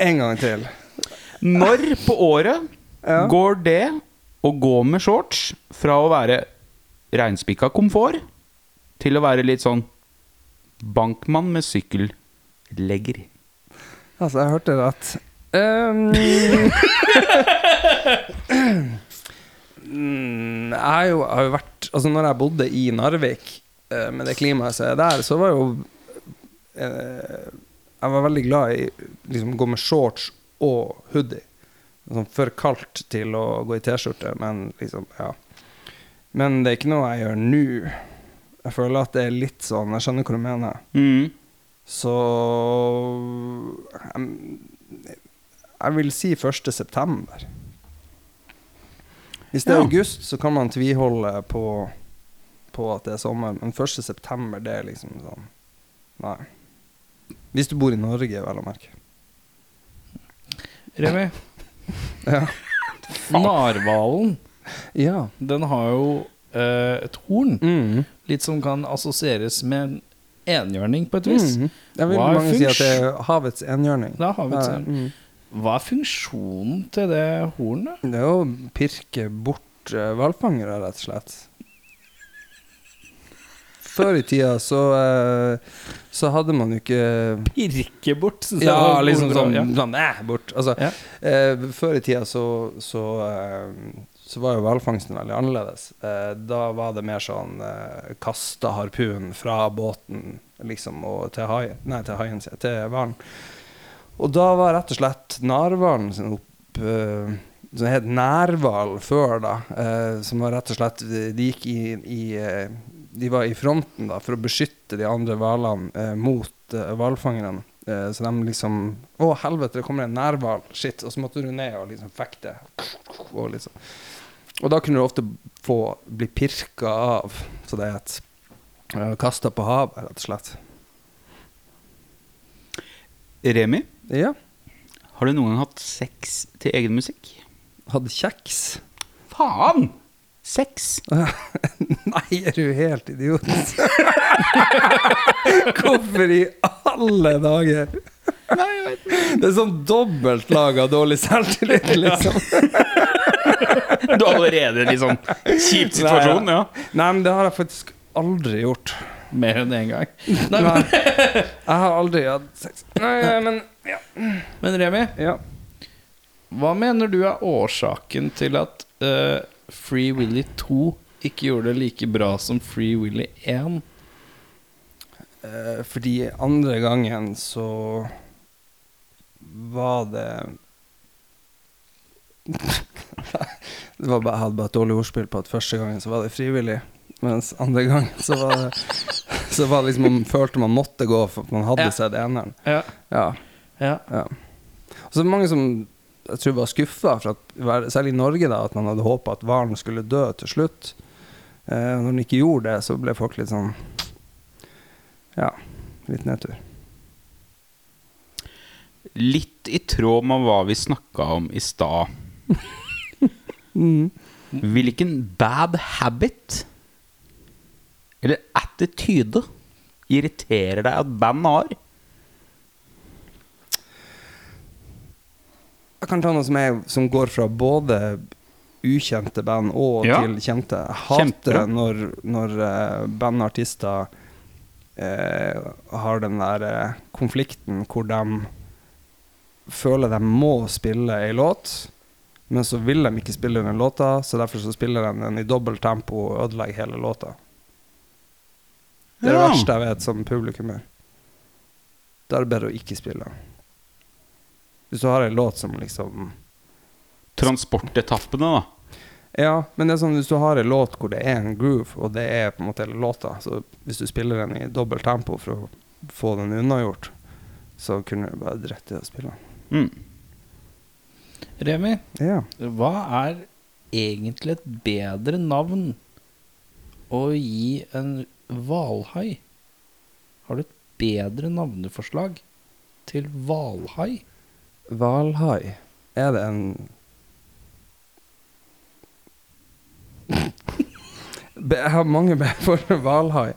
[SPEAKER 5] En gang til.
[SPEAKER 2] Når på året
[SPEAKER 5] Ja.
[SPEAKER 2] går det å gå med shorts fra å være reinspikka komfort til å være litt sånn bankmann med sykkellegger?
[SPEAKER 5] Altså, jeg hørte rett. Um, Mm, jeg, har jo, jeg har jo vært Altså, når jeg bodde i Narvik, eh, med det klimaet som er der, så var jo eh, Jeg var veldig glad i liksom gå med shorts og hoodie. Sånn for kaldt til å gå i T-skjorte, men liksom, ja. Men det er ikke noe jeg gjør nå. Jeg føler at det er litt sånn Jeg skjønner hva du mener.
[SPEAKER 2] Mm.
[SPEAKER 5] Så jeg, jeg vil si 1. september. Hvis det er
[SPEAKER 2] Ja.
[SPEAKER 5] august, så kan man tviholde på, på at det er sommer, men 1. september, det er liksom sånn Nei. Hvis du bor i Norge, vel å merke.
[SPEAKER 1] Remi,
[SPEAKER 5] Ja.
[SPEAKER 1] narhvalen,
[SPEAKER 5] ja.
[SPEAKER 1] den har jo eh, et horn.
[SPEAKER 5] Mm.
[SPEAKER 1] Litt som kan assosieres med en enhjørning, på et vis.
[SPEAKER 5] Mm. Jeg vil
[SPEAKER 1] Hva er
[SPEAKER 5] mange si at det
[SPEAKER 1] funksj-
[SPEAKER 5] er havets enhjørning.
[SPEAKER 1] Det er havets
[SPEAKER 5] Ja,
[SPEAKER 1] enhjørning. Hva er funksjonen til det hornet?
[SPEAKER 5] Mm. Det er jo å pirke bort eh, hvalfangere, rett og slett. Før i tida så, eh, så hadde man jo ikke
[SPEAKER 1] Pirke bort, synes jeg
[SPEAKER 5] Ja,
[SPEAKER 1] var
[SPEAKER 5] liksom
[SPEAKER 1] bra.
[SPEAKER 5] sånn,
[SPEAKER 1] Ja.
[SPEAKER 5] sånn eh, bort. Altså,
[SPEAKER 1] Ja.
[SPEAKER 5] eh, før i tida så, så, eh, så var jo hvalfangsten veldig annerledes. Eh, da var det mer sånn eh, kaste harpunen fra båten liksom, og til haien, nei, til haien, sier jeg, til hvalen. Og da var rett og slett narhvalen sin opp eh, Som het nærhval før, da. Eh, som var rett og slett De gikk i, i eh, De var i fronten da for å beskytte de andre hvalene eh, mot eh, hvalfangerne. Eh, så de liksom Å, helvete, det kommer en nærhval! Shit! Og så måtte du ned og liksom fekte. Og, liksom. og da kunne du ofte få bli pirka av, så det het. Kasta på havet, rett og slett.
[SPEAKER 2] Remi,
[SPEAKER 5] Ja.
[SPEAKER 2] har du noen gang hatt sex til egen musikk?
[SPEAKER 5] Hadde kjeks.
[SPEAKER 2] Faen! Sex?
[SPEAKER 5] Nei, er du helt idiot? Hvorfor i alle dager? Det er sånn dobbelt lag av dårlig selvtillit, liksom.
[SPEAKER 2] Du er allerede i en litt sånn kjip situasjon, ja.
[SPEAKER 5] Nei, men det har jeg faktisk aldri gjort.
[SPEAKER 1] Mer enn én gang. Nei,
[SPEAKER 5] Nei,
[SPEAKER 1] men,
[SPEAKER 5] jeg har aldri hatt sex. Nei, men ja.
[SPEAKER 1] men Remi,
[SPEAKER 5] ja.
[SPEAKER 1] hva mener du er årsaken til at eh, Free Willy 2 ikke gjorde det like bra som Free Willy 1?
[SPEAKER 5] Eh, Fordi andre gangen så var det det var bare, Jeg hadde bare et dårlig ordspill på at første gangen så var det frivillig, mens andre gangen så var det Så var det liksom man følte man måtte gå for at man hadde
[SPEAKER 1] Ja.
[SPEAKER 5] sett eneren.
[SPEAKER 1] Ja,
[SPEAKER 5] Ja,
[SPEAKER 1] ja.
[SPEAKER 5] ja. Og så er det mange som jeg tror var skuffa, særlig i Norge, da, at man hadde håpa at hvalen skulle dø til slutt. Eh, når den ikke gjorde det, så ble folk litt sånn Ja, litt nedtur.
[SPEAKER 2] Litt i tråd med hva vi snakka om i stad. Hvilken bad habit eller attityde irriterer deg at band har?
[SPEAKER 5] Jeg kan ta noe som, er, som går fra både ukjente band og
[SPEAKER 2] Ja.
[SPEAKER 5] til kjente. Jeg hater
[SPEAKER 2] Kjempebra.
[SPEAKER 5] det når, når eh, band og artister eh, har den der eh, konflikten hvor de føler de må spille ei låt, men så vil de ikke spille den låta, så derfor så spiller de den i dobbelt tempo og ødelegger hele låta. Det er det
[SPEAKER 2] Ja.
[SPEAKER 5] verste jeg vet som publikummer. Da er det bedre å ikke spille. Hvis du har ei låt som liksom
[SPEAKER 2] Transportetappene, da.
[SPEAKER 5] Ja, men det er sånn hvis du har en låt hvor det er en groove, og det er på en måte hele låta, så hvis du spiller den i dobbelt tempo for å få den unnagjort, så kunne du bare dritt i å spille den.
[SPEAKER 2] Mm.
[SPEAKER 1] Remi,
[SPEAKER 5] Ja.
[SPEAKER 1] hva er egentlig et bedre navn å gi en hvalhai? Har du et bedre navneforslag til hvalhai?
[SPEAKER 5] Valhai. Er det en Be- Jeg har mange be- for hvalhai.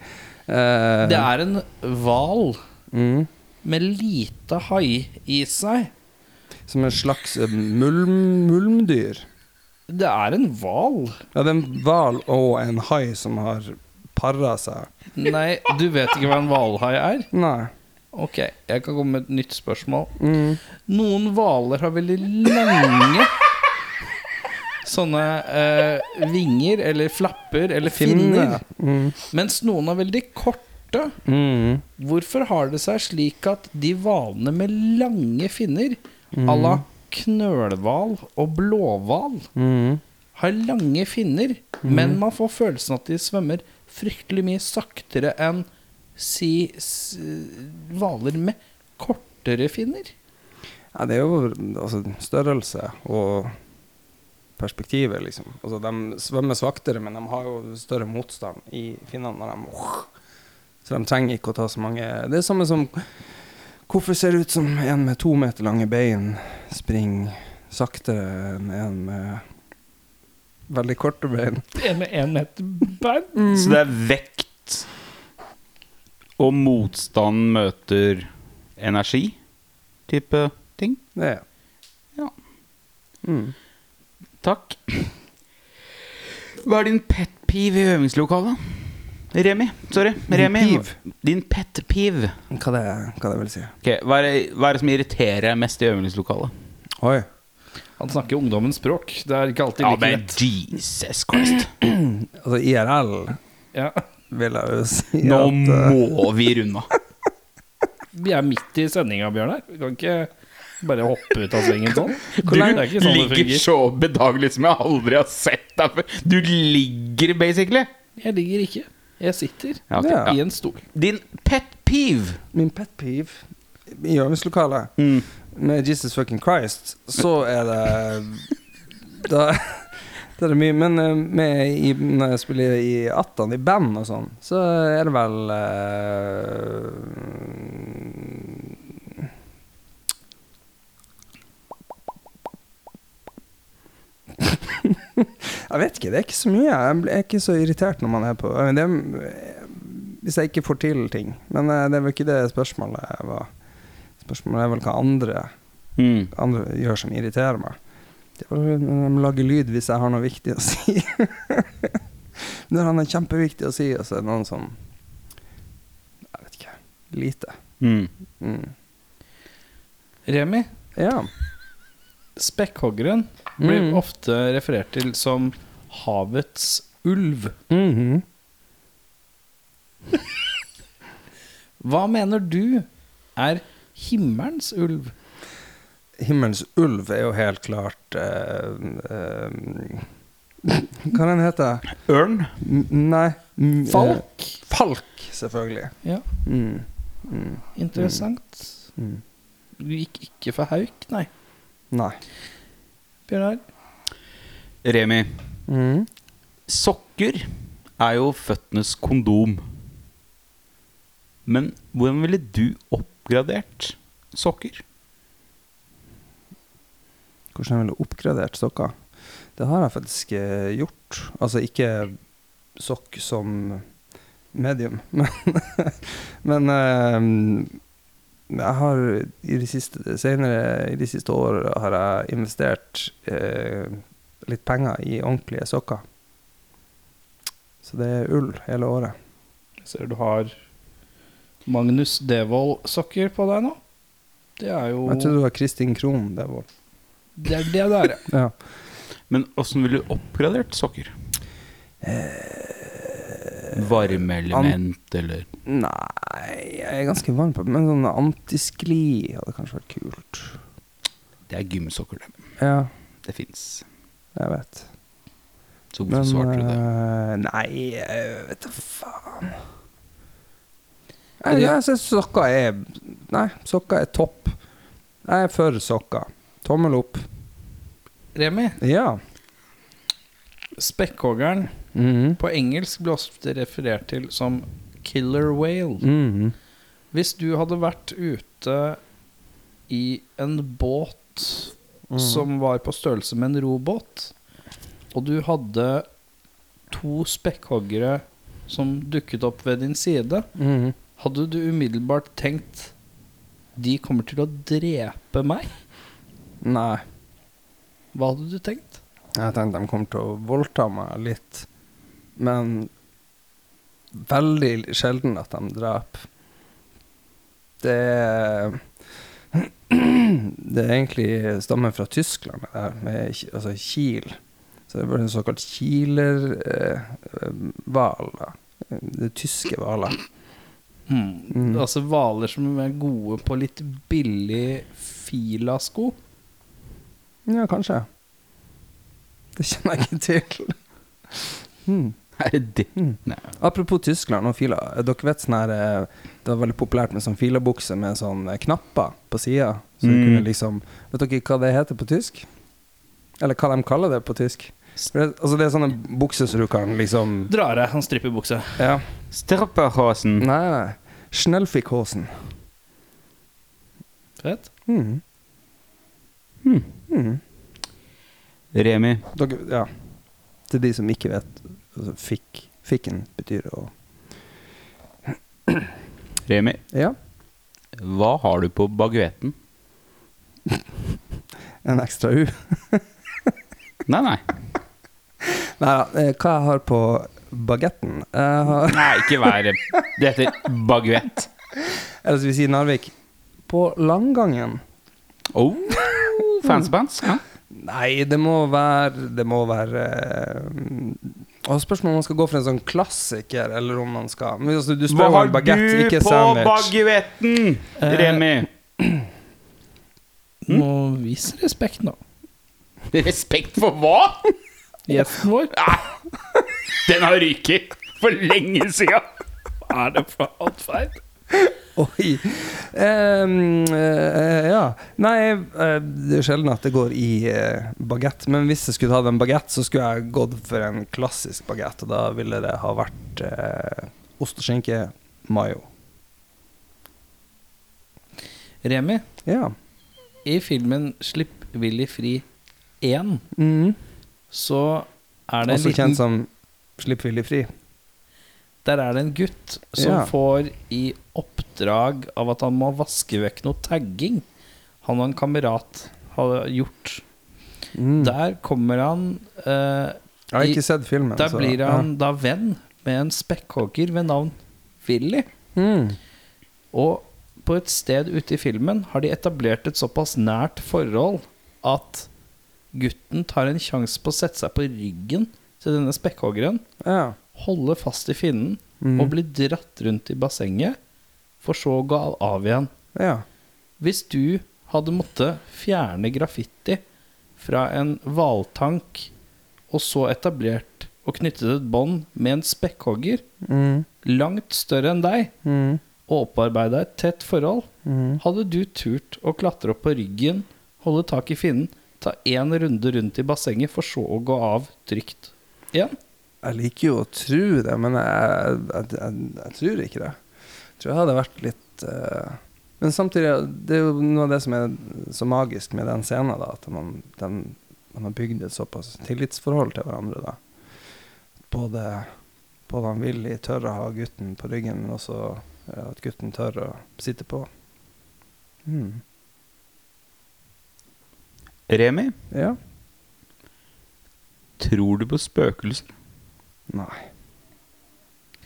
[SPEAKER 5] Eh,
[SPEAKER 1] Det er en hval
[SPEAKER 5] mm,
[SPEAKER 1] med lite hai i seg.
[SPEAKER 5] Som en slags eh, mulm, mulmdyr.
[SPEAKER 1] Det er en hval.
[SPEAKER 5] Ja, det er en hval og en hai som har para seg.
[SPEAKER 1] Nei, du vet ikke hva en hvalhai er?
[SPEAKER 5] Nei.
[SPEAKER 1] Ok, jeg kan komme med et nytt spørsmål.
[SPEAKER 5] Mm.
[SPEAKER 1] Noen hvaler har veldig lange sånne eh, vinger eller flapper eller finner.
[SPEAKER 5] Finner. Mm.
[SPEAKER 1] Mens noen er veldig korte.
[SPEAKER 5] Mm.
[SPEAKER 1] Hvorfor har det seg slik at de hvalene med lange finner,
[SPEAKER 2] Mm.
[SPEAKER 1] à la knølhval og blåhval,
[SPEAKER 5] Mm.
[SPEAKER 1] har lange finner,
[SPEAKER 2] Mm.
[SPEAKER 1] men man får følelsen at de svømmer fryktelig mye saktere enn si s- hvaler med kortere finner?
[SPEAKER 5] Ja, det er jo altså, størrelse og perspektivet, liksom. Altså, de svømmer svaktere, men de har jo større motstand i finnene når de uh, Så de trenger ikke å ta så mange Det er samme som Hvorfor ser det ut som en med to meter lange bein springer saktere enn en med veldig korte bein?
[SPEAKER 1] En med én meter bein?
[SPEAKER 2] Så det er vekt og motstand møter energi-type ting.
[SPEAKER 5] Det er
[SPEAKER 2] Ja.
[SPEAKER 5] Mm.
[SPEAKER 2] Takk. Hva er din pet peeve i øvingslokalet? Remi. Sorry. Remi.
[SPEAKER 5] peeve?
[SPEAKER 2] Din pet peeve.
[SPEAKER 5] Hva det, hva det vil si?
[SPEAKER 2] Ok, hva, er det, hva er det som irriterer deg mest i øvingslokalet?
[SPEAKER 5] Oi.
[SPEAKER 1] Han snakker ungdommens språk. Det er ikke alltid
[SPEAKER 2] Ja,
[SPEAKER 1] like
[SPEAKER 2] men
[SPEAKER 1] lett.
[SPEAKER 2] Jesus Christ.
[SPEAKER 5] Altså IRL
[SPEAKER 1] Ja.
[SPEAKER 5] vil jeg jo si
[SPEAKER 2] Nå
[SPEAKER 5] at eh,
[SPEAKER 2] må vi runde av.
[SPEAKER 1] Vi er midt i sendinga, Bjørnar. Vi kan ikke bare hoppe ut av svingen sånn.
[SPEAKER 2] Du
[SPEAKER 1] Det er ikke sånn det
[SPEAKER 2] ligger
[SPEAKER 1] fungerer.
[SPEAKER 2] så bedagelig som jeg aldri har sett deg før. Du ligger basically.
[SPEAKER 1] Jeg ligger ikke. Jeg sitter
[SPEAKER 2] Ja, ok,
[SPEAKER 5] Ja.
[SPEAKER 1] i en stol.
[SPEAKER 2] Din pet peeve.
[SPEAKER 5] Min pet peeve i øvingslokalet med Jesus fucking Christ, så er det Da det er det mye. Men eh, med i, når jeg spiller i Attan, i band og sånn, så er det vel eh, Jeg vet ikke. Det er ikke så mye. Jeg blir- jeg er ikke så irritert når man er på det er, Hvis jeg ikke får til ting. Men eh, det var ikke det spørsmålet var. Spørsmålet er vel hva andre andre gjør som irriterer meg. Det var når de lager lyd hvis jeg har noe viktig å si. når han er kjempeviktig å si, og så er det noen som Jeg vet ikke. Lite. Mm.
[SPEAKER 1] Remi,
[SPEAKER 5] Ja.
[SPEAKER 1] spekkhoggeren, blir
[SPEAKER 5] Mm.
[SPEAKER 1] ofte referert til som havets ulv. Hva mener du er himmelens ulv?
[SPEAKER 5] Himmelens ulv er jo helt klart eh, eh, Hva den heter den?
[SPEAKER 2] Ørn.
[SPEAKER 5] Nei m- eh,
[SPEAKER 1] Falk?
[SPEAKER 5] Falk, selvfølgelig.
[SPEAKER 1] Ja,
[SPEAKER 5] Mm. Mm.
[SPEAKER 1] interessant.
[SPEAKER 5] Mm.
[SPEAKER 1] Du gikk ikke for hauk, nei,
[SPEAKER 5] Nei.
[SPEAKER 1] Bjørnar?
[SPEAKER 2] Remi.
[SPEAKER 5] Mm.
[SPEAKER 2] Sokker er jo føttenes kondom. Men hvordan ville du oppgradert sokker?
[SPEAKER 5] Hvordan jeg ville oppgradert sokker? Det har jeg faktisk eh, gjort. Altså ikke sokk som medium, men, men eh, jeg har i de siste, senere, i de siste årene har jeg investert eh, litt penger i ordentlige sokker. Så det er ull hele året.
[SPEAKER 1] Jeg ser du har Magnus Devold-sokker på deg nå. Det er jo
[SPEAKER 5] Jeg tror det var Kristin Krohn det var.
[SPEAKER 1] Det er det det er.
[SPEAKER 5] Ja.
[SPEAKER 2] Men åssen ville du oppgradert sokker? Varmeelement eller
[SPEAKER 5] Nei, jeg er ganske varm på det, men sånn antiskli hadde kanskje vært kult.
[SPEAKER 2] Det er gymsokker, det.
[SPEAKER 5] Ja,
[SPEAKER 2] Det fins.
[SPEAKER 5] jeg vet.
[SPEAKER 2] Så hvorfor
[SPEAKER 5] Men
[SPEAKER 2] svarte du det?
[SPEAKER 5] eh, Nei, jeg vet da faen. Jeg, jeg syns sokker er Nei, sokker er topp. Jeg er for sokker. Tommel opp.
[SPEAKER 1] Remi,
[SPEAKER 5] Ja.
[SPEAKER 1] spekkhoggeren
[SPEAKER 2] Mhm.
[SPEAKER 1] på engelsk blir ofte referert til som killer whale.
[SPEAKER 5] Mhm.
[SPEAKER 1] Hvis du hadde vært ute i en båt som var på størrelse med en robåt, og du hadde to spekkhoggere som dukket opp ved din side,
[SPEAKER 5] Mhm.
[SPEAKER 1] hadde du umiddelbart tenkt de kommer til å drepe meg?
[SPEAKER 5] Nei.
[SPEAKER 1] Hva hadde du tenkt?
[SPEAKER 5] Jeg tenkte de kom til å voldta meg litt, men veldig sjelden at de dreper. Det er Det er egentlig stammer fra Tyskland, det her, med Ki- altså Kiel. Det var en såkalt kilerhval. Eh, det tyske hvaler.
[SPEAKER 1] Mm. Altså hvaler som er gode på litt billig filasko.
[SPEAKER 5] Ja, kanskje. Det kjenner jeg ikke til.
[SPEAKER 2] Er det det? Nei.
[SPEAKER 5] Apropos Tyskland og fila. eh, Dere vet sånn her eh, Det var veldig populært med sånn filabukse med sånn eh, knapper på sida. Så du
[SPEAKER 1] Mm.
[SPEAKER 5] kunne liksom Vet dere hva det heter på tysk? Eller hva de kaller det på tysk? For Det, altså det er sånne bukser som du kan liksom
[SPEAKER 1] Drar av sånn stripperbukse.
[SPEAKER 5] Ja.
[SPEAKER 2] Strapperhasen.
[SPEAKER 5] Nei, nei. Schnellfickhosen.
[SPEAKER 1] Fett.
[SPEAKER 5] Mm.
[SPEAKER 2] Remi.
[SPEAKER 5] Dere, ja. Til de som ikke vet altså, fikk, Fikken betyr å
[SPEAKER 2] Remi,
[SPEAKER 5] Ja,
[SPEAKER 2] hva har du på baguetten?
[SPEAKER 5] en ekstra U.
[SPEAKER 2] Nei, nei.
[SPEAKER 5] Nei da, eh, hva jeg har på bagetten? Jeg har
[SPEAKER 2] Nei, ikke vær Det heter baguett.
[SPEAKER 5] Eller skal vi si Narvik? På Langangen?
[SPEAKER 2] Oh, fanspans. Ja.
[SPEAKER 5] Nei, det må være Det må være eh, og Spørsmål om man skal gå for en sånn klassiker, eller om man skal Men altså, Du
[SPEAKER 2] Hva
[SPEAKER 5] spør
[SPEAKER 2] har
[SPEAKER 5] om baguette,
[SPEAKER 2] du
[SPEAKER 5] ikke
[SPEAKER 2] på
[SPEAKER 5] sandwich.
[SPEAKER 2] baguetten, Remi?
[SPEAKER 1] Må vise respekt nå.
[SPEAKER 2] Respekt for hva?
[SPEAKER 1] Gjesten vår.
[SPEAKER 2] Den har ryket for lenge sida.
[SPEAKER 1] Er det for alt feil?
[SPEAKER 5] Oi. Em, eh, ja. Nei, eh, det er sjelden at det går i uh, bagett. Men hvis jeg skulle tatt en bagett, så skulle jeg gått for en klassisk bagett. Og da ville det ha vært eh, ost og skinke, mayo.
[SPEAKER 1] Remi,
[SPEAKER 5] Ja.
[SPEAKER 1] i filmen 'Slipp Willy fri 1'
[SPEAKER 5] Mhm.
[SPEAKER 1] så er det en
[SPEAKER 5] Også kjent
[SPEAKER 1] liten
[SPEAKER 5] som Slipp villig fri.
[SPEAKER 1] Der er det en gutt som
[SPEAKER 5] Ja.
[SPEAKER 1] får i oppdrag av at han må vaske vekk noe tagging han og en kamerat har gjort.
[SPEAKER 5] Mm.
[SPEAKER 1] Der kommer han eh,
[SPEAKER 5] Jeg har
[SPEAKER 1] i-
[SPEAKER 5] ikke sett filmen. altså.
[SPEAKER 1] Der
[SPEAKER 5] så-
[SPEAKER 1] blir han da venn med en spekkhogger ved navn Willy.
[SPEAKER 5] ja. mm.
[SPEAKER 1] Og på et sted ute i filmen har de etablert et såpass nært forhold at gutten tar en sjanse på å sette seg på ryggen til denne spekkhoggeren,
[SPEAKER 5] ja.
[SPEAKER 1] holde fast i finnen
[SPEAKER 5] Mhm.
[SPEAKER 1] og bli dratt rundt i bassenget, for så å gå av igjen.
[SPEAKER 5] ja.
[SPEAKER 1] Hvis du hadde måttet fjerne graffiti fra en hvaltank, og så etablert og knyttet et bånd med en spekkhogger,
[SPEAKER 5] Mm.
[SPEAKER 1] langt større enn deg,
[SPEAKER 5] Mm.
[SPEAKER 1] og opparbeida et tett forhold,
[SPEAKER 5] Mhm.
[SPEAKER 1] hadde du turt å klatre opp på ryggen, holde tak i finnen, ta én runde rundt i bassenget, for så å gå av trygt igjen?
[SPEAKER 5] Jeg liker jo å tro det, men jeg, jeg, jeg, jeg tror ikke det. Jeg tror jeg hadde vært litt eh, Men samtidig, det er jo noe av det som er så magisk med den scenen, da, at man, den, man har bygd et såpass tillitsforhold til hverandre. da. Både, både han Willy tør å ha gutten på ryggen, men også eh, at gutten tør å sitte på. Mm.
[SPEAKER 2] Remi,
[SPEAKER 5] Ja.
[SPEAKER 2] tror du på spøkelser?
[SPEAKER 5] Nei.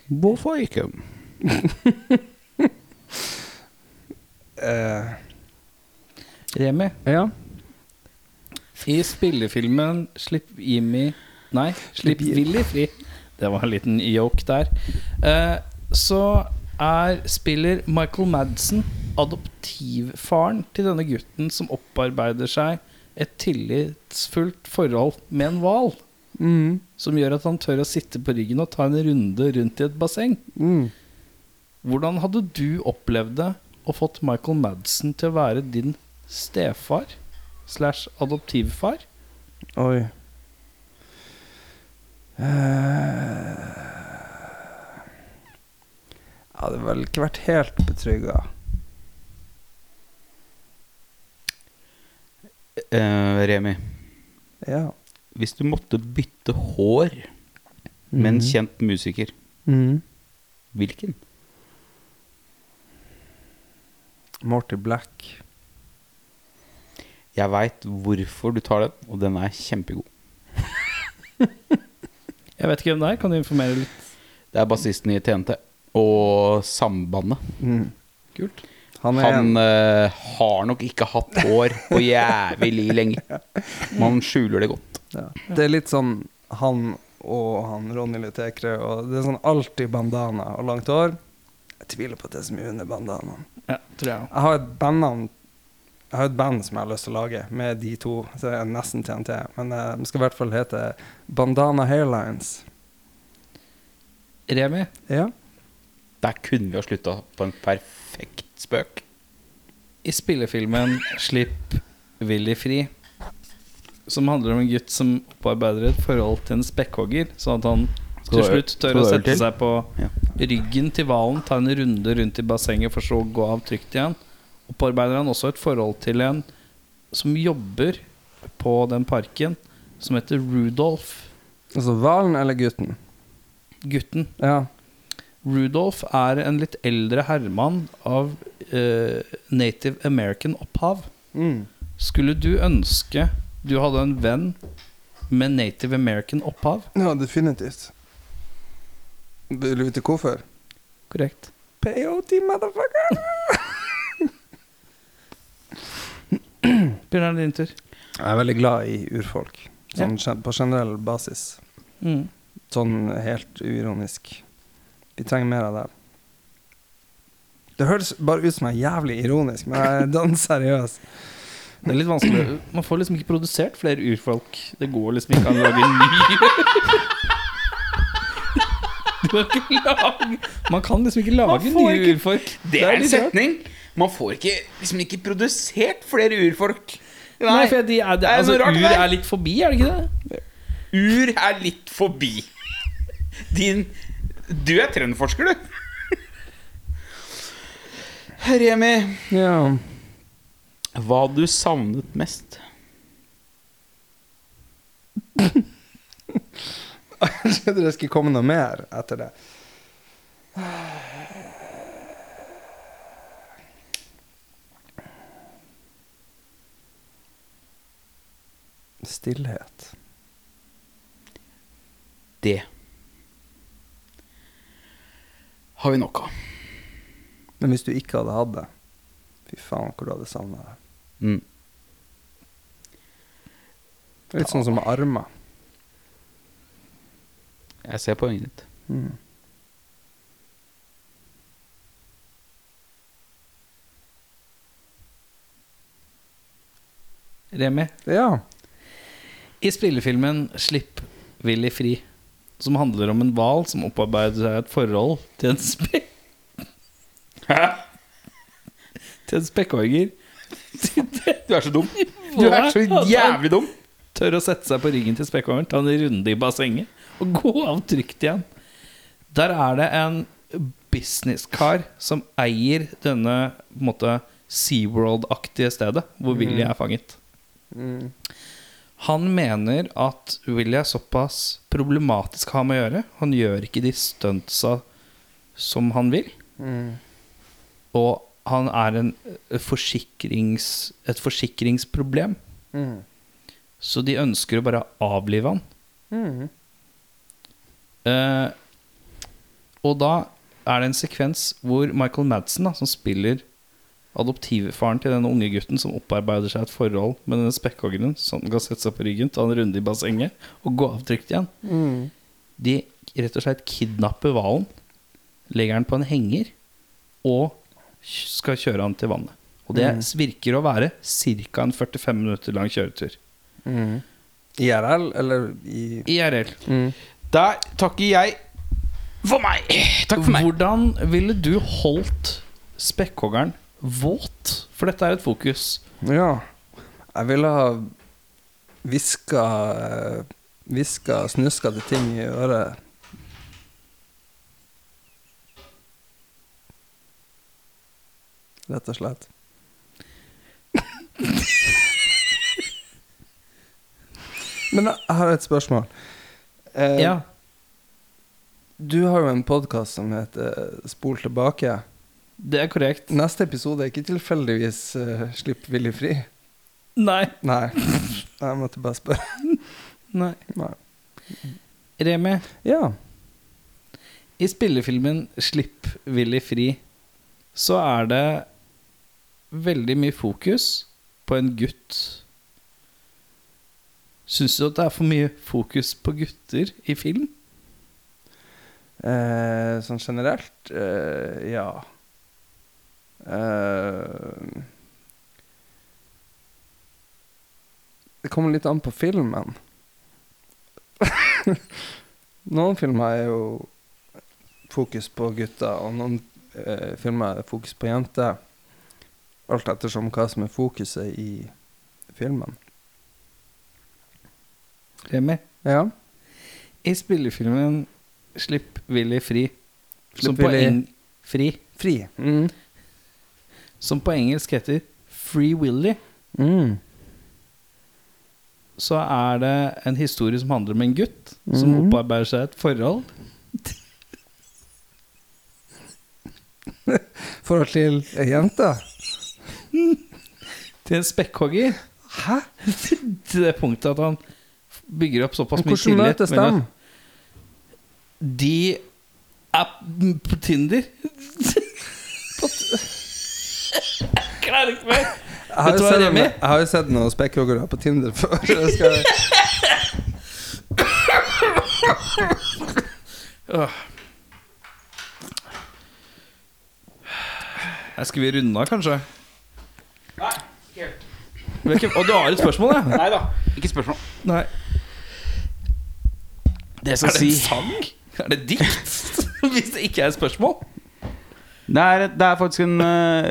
[SPEAKER 2] Hvorfor ikke?
[SPEAKER 5] Eh,
[SPEAKER 1] Remi,
[SPEAKER 5] ja.
[SPEAKER 1] i spillefilmen 'Slipp Jimmy Nei, 'Slipp
[SPEAKER 5] Jim-
[SPEAKER 1] Willy fri'. Det var en liten joke der. Eh, så er spiller Michael Madsen adoptivfaren til denne gutten som opparbeider seg et tillitsfullt forhold med en hval.
[SPEAKER 5] Mm.
[SPEAKER 1] som gjør at han tør å sitte på ryggen og ta en runde rundt i et basseng.
[SPEAKER 5] Mm.
[SPEAKER 1] Hvordan hadde du opplevd det og fått Michael Madsen til å være din stefar slash adoptivfar?
[SPEAKER 5] Oi. Eh, jeg hadde vel ikke vært helt betrygga.
[SPEAKER 2] Eh, Remi,
[SPEAKER 5] Ja.
[SPEAKER 2] hvis du måtte bytte hår med en kjent musiker,
[SPEAKER 5] Mm.
[SPEAKER 2] hvilken?
[SPEAKER 5] Morty Black.
[SPEAKER 2] Jeg veit hvorfor du tar den, og den er kjempegod.
[SPEAKER 1] Jeg vet ikke hvem det er, kan du informere litt?
[SPEAKER 2] Det er bassisten i TNT og Sambandet.
[SPEAKER 5] Mm.
[SPEAKER 1] Kult.
[SPEAKER 5] Han er
[SPEAKER 2] Han
[SPEAKER 5] en-
[SPEAKER 2] eh, har nok ikke hatt hår på jævlig lenge. Man skjuler det godt.
[SPEAKER 5] Ja. Det er litt sånn han og han Ronny Lutekre og Det er sånn alltid bandana og langt hår. Jeg tviler på at det er så mye under bandanaen.
[SPEAKER 1] Ja, tror jeg også.
[SPEAKER 5] Jeg har et bandnavn Jeg har et band som jeg har lyst til å lage med de to. Så det er nesten TNT. Men eh, det skal i hvert fall hete Bandana Hairlines.
[SPEAKER 1] Remi?
[SPEAKER 5] Ja.
[SPEAKER 2] Der kunne vi ha slutta på en perfekt spøk.
[SPEAKER 1] I spillefilmen 'Slipp Willy fri', som handler om en gutt som opparbeider et forhold til en spekkhogger, sånn at han til
[SPEAKER 2] du ha øl-
[SPEAKER 1] slutt tør
[SPEAKER 2] skal
[SPEAKER 1] å
[SPEAKER 2] du ha øl
[SPEAKER 1] sette
[SPEAKER 2] til?
[SPEAKER 1] seg på
[SPEAKER 2] Ja.
[SPEAKER 1] ryggen til hvalen, ta en runde rundt i bassenget for så å gå av trygt igjen. Opparbeider han også et forhold til en som jobber på den parken, som heter Rudolf.
[SPEAKER 5] Altså hvalen eller gutten.
[SPEAKER 1] Gutten.
[SPEAKER 5] Ja.
[SPEAKER 1] Rudolf er en litt eldre herremann av eh, native american opphav.
[SPEAKER 5] Mm.
[SPEAKER 1] Skulle du ønske du hadde en venn med native american opphav?
[SPEAKER 5] Ja, definitivt. Vil du vite hvorfor?
[SPEAKER 1] Korrekt.
[SPEAKER 5] Peyote, motherfucker!
[SPEAKER 1] Bjørnar, din tur.
[SPEAKER 5] Jeg er veldig glad i urfolk. Sånn gen- på generell basis.
[SPEAKER 1] Mm.
[SPEAKER 5] Sånn helt uironisk. Vi trenger mer av det. Det høres bare ut som jeg er jævlig ironisk, men jeg er dan seriøs.
[SPEAKER 1] Det er litt vanskelig. Man får liksom ikke produsert flere urfolk. Det går liksom ikke an å lage ny Du kan ikke lage Man kan liksom ikke lage
[SPEAKER 2] får
[SPEAKER 1] nye
[SPEAKER 2] ikke-
[SPEAKER 1] urfolk.
[SPEAKER 2] Det er en
[SPEAKER 1] litt rart.
[SPEAKER 2] setning! Man får ikke, liksom ikke produsert flere urfolk.
[SPEAKER 1] Nei, for de er, det,
[SPEAKER 2] er
[SPEAKER 1] altså,
[SPEAKER 2] noe rart
[SPEAKER 1] ur
[SPEAKER 2] der.
[SPEAKER 1] er litt forbi, er det ikke det?
[SPEAKER 2] Ur er litt forbi. Din Du er trendforsker, du. Remi,
[SPEAKER 5] Ja.
[SPEAKER 2] hva du savnet mest?
[SPEAKER 5] Jeg trodde det skulle komme noe mer etter det. Stillhet.
[SPEAKER 2] Det har vi nok av.
[SPEAKER 5] Men hvis du ikke hadde hatt det Fy faen, hvor du hadde savna det.
[SPEAKER 2] Mm.
[SPEAKER 5] Det er Litt sånn som med armer.
[SPEAKER 2] Jeg ser poenget ditt.
[SPEAKER 5] Mm.
[SPEAKER 1] Remi?
[SPEAKER 5] Ja.
[SPEAKER 1] I spillefilmen 'Slipp Willy fri', som handler om en hval som opparbeider seg et forhold til en spek... Til en spekkhogger.
[SPEAKER 2] Du er så dum.
[SPEAKER 1] Du er så jævlig
[SPEAKER 2] dum.
[SPEAKER 1] Tør å sette seg på ryggen til spekkhoggeren, ta en runde i bassenget og gå av trygt igjen. Der er det en businesskar som eier denne på en måte, SeaWorld-aktige stedet hvor Willy er fanget. Han mener at Willy er såpass problematisk å ha med å gjøre. Han gjør ikke de stuntsa som han vil. Og han er en eh, forsikrings, et forsikringsproblem. Så de ønsker å bare avlive han. Eh, og da er det en sekvens hvor Michael Madsen, da, som spiller adoptivfaren til denne unge gutten som opparbeider seg et forhold med denne spekkhoggeren, som kan sette seg på ryggen, ta en runde i bassenget og gå av trygt igjen. De rett og slett kidnapper hvalen, legger den på en henger og skal kjøre han til vannet. Og det virker å være ca. en 45 minutter lang kjøretur.
[SPEAKER 5] IRL eller i
[SPEAKER 1] IRL.
[SPEAKER 2] Der takker jeg for meg. Takk for meg.
[SPEAKER 1] Hvordan ville du holdt spekkhoggeren våt? For dette er et fokus.
[SPEAKER 5] Ja. Jeg ville ha hviska Hviska snuskete ting i øret. Rett og slett. Men jeg har et spørsmål. Eh,
[SPEAKER 1] Ja.
[SPEAKER 5] Du har jo en podkast som heter Spol tilbake.
[SPEAKER 1] Det er korrekt.
[SPEAKER 5] Neste episode er ikke tilfeldigvis eh, Slipp Willy fri.
[SPEAKER 1] Nei.
[SPEAKER 5] Nei. Jeg måtte bare spørre.
[SPEAKER 1] Nei.
[SPEAKER 5] Nei.
[SPEAKER 1] Remi,
[SPEAKER 5] Ja.
[SPEAKER 1] i spillefilmen 'Slipp Willy fri' så er det veldig mye fokus på en gutt Syns du at det er for mye fokus på gutter i film?
[SPEAKER 5] Eh, sånn generelt? Eh, ja. Eh, det kommer litt an på filmen. noen filmer er jo fokus på gutter, og noen eh, filmer er fokus på jenter. Alt ettersom hva som er fokuset i filmen.
[SPEAKER 1] Remi?
[SPEAKER 5] Ja.
[SPEAKER 1] I spillefilmen 'Slipp Willy fri', som,
[SPEAKER 5] Slipp
[SPEAKER 1] på
[SPEAKER 5] Willy.
[SPEAKER 1] eng fri
[SPEAKER 5] Fri. Mm.
[SPEAKER 1] som på engelsk heter 'Free Willy',
[SPEAKER 5] Mm.
[SPEAKER 1] så er det en historie som handler om en gutt som opparbeider seg et forhold.
[SPEAKER 5] Forhold til ei jente?
[SPEAKER 1] til en spekkhogger.
[SPEAKER 5] Hæ?
[SPEAKER 1] til det punktet at han bygger opp såpass mye
[SPEAKER 5] Hvordan
[SPEAKER 1] tillit.
[SPEAKER 5] møtes
[SPEAKER 1] mellom-
[SPEAKER 5] dem?
[SPEAKER 1] De er p- på Tinder. Jeg klarer ikke mer.
[SPEAKER 5] Jeg
[SPEAKER 1] Vet
[SPEAKER 5] har, jo
[SPEAKER 1] du hva,
[SPEAKER 5] sett,
[SPEAKER 1] Remi?
[SPEAKER 5] jeg har jo sett noen spekkhoggere på Tinder før. Jeg skal,
[SPEAKER 1] Her skal vi runde av, kanskje? Nei, ikke helt. Og du har et spørsmål, ja?
[SPEAKER 2] Nei da. Ikke spørsmål.
[SPEAKER 1] Nei.
[SPEAKER 2] Det skal
[SPEAKER 1] En
[SPEAKER 2] si
[SPEAKER 1] sang? Er det dikt? Hvis det ikke er et spørsmål?
[SPEAKER 2] det er, det er faktisk en, eh,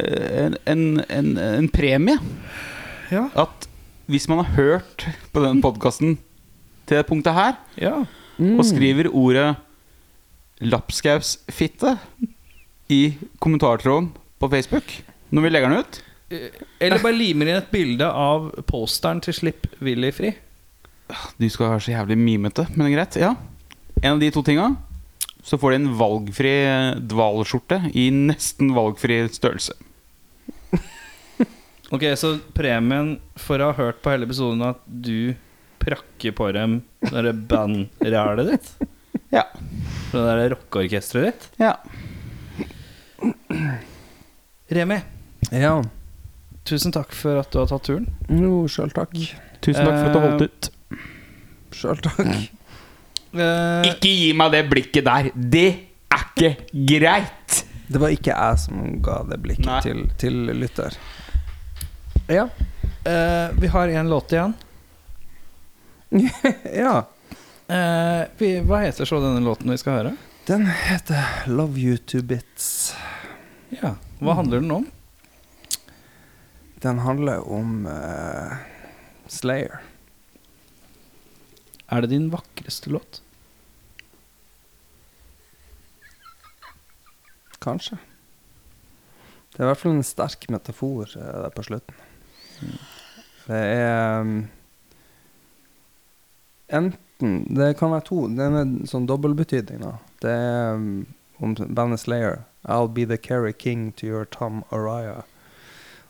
[SPEAKER 2] en, en, en, en premie.
[SPEAKER 1] Ja.
[SPEAKER 2] At hvis man har hørt på den podkasten til det punktet her,
[SPEAKER 1] Ja.
[SPEAKER 2] og skriver ordet 'lapskausfitte' i kommentartråden på Facebook når vi legger den ut
[SPEAKER 1] Eh, Eller bare limer inn et bilde av posteren til 'Slipp Willy fri'.
[SPEAKER 2] Du skal være så jævlig mimete, men det er greit. Ja. En av de to tinga. Så får de en valgfri eh, dvalskjorte i nesten valgfri størrelse.
[SPEAKER 1] Ok, så premien for å ha hørt på hele episoden at du prakker på dem når det bandrælet ditt?
[SPEAKER 2] Ja.
[SPEAKER 1] Det der rockeorkesteret ditt?
[SPEAKER 2] ja.
[SPEAKER 1] Remi,
[SPEAKER 5] ja.
[SPEAKER 1] tusen takk for at du har tatt turen.
[SPEAKER 5] Jo, sjøl takk.
[SPEAKER 2] Tusen takk for at du holdt ut.
[SPEAKER 5] Sjøl takk.
[SPEAKER 1] Eh,
[SPEAKER 2] Ikke gi meg det blikket der! Det er ikke greit!
[SPEAKER 5] Det var ikke jeg som ga det
[SPEAKER 2] Nei.
[SPEAKER 5] blikket til, til lytter. Ja.
[SPEAKER 1] eh, vi har én låt igjen.
[SPEAKER 5] ja.
[SPEAKER 1] Eh, vi, hva heter så denne låten vi skal høre?
[SPEAKER 5] Den heter 'Love You To Bits'.
[SPEAKER 1] Ja, Hva handler den om?
[SPEAKER 5] Den handler om eh, Slayer.
[SPEAKER 1] Er det din vakreste låt?
[SPEAKER 5] Kanskje. Det er i hvert fall en sterk metafor eh, der på slutten. Mm. Det er um, Enten Det kan være to. Det er en sånn dobbeltbetydning, da. Det er um, om bandet Slayer. I'll be the carry king to your Tom Araya.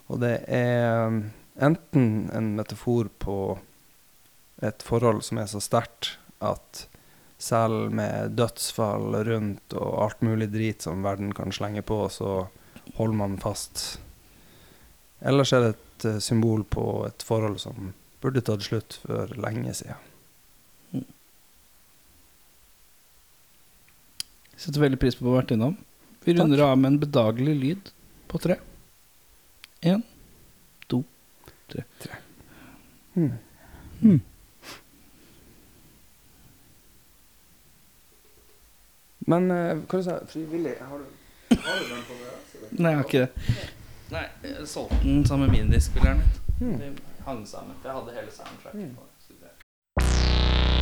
[SPEAKER 5] Og det er um, enten en metafor på et forhold som er så sterkt at selv med dødsfall rundt og alt mulig drit som verden kan slenge på, så holder man fast. Ellers er det et eh, symbol på et forhold som burde tatt slutt for lenge siden.
[SPEAKER 1] Setter veldig pris på å ha vært innom. Vi runder av med en bedagelig lyd på tre. Én, to, tre.
[SPEAKER 5] Men eh, hva sa du? Frivillig? Har du
[SPEAKER 1] Nei, jeg har ikke det. Nei, jeg solgte den sammen med minidiskspilleren min. Det hang sammen. for Jeg hadde hele soundtracken på. det, skulle jeg si.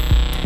[SPEAKER 6] Thank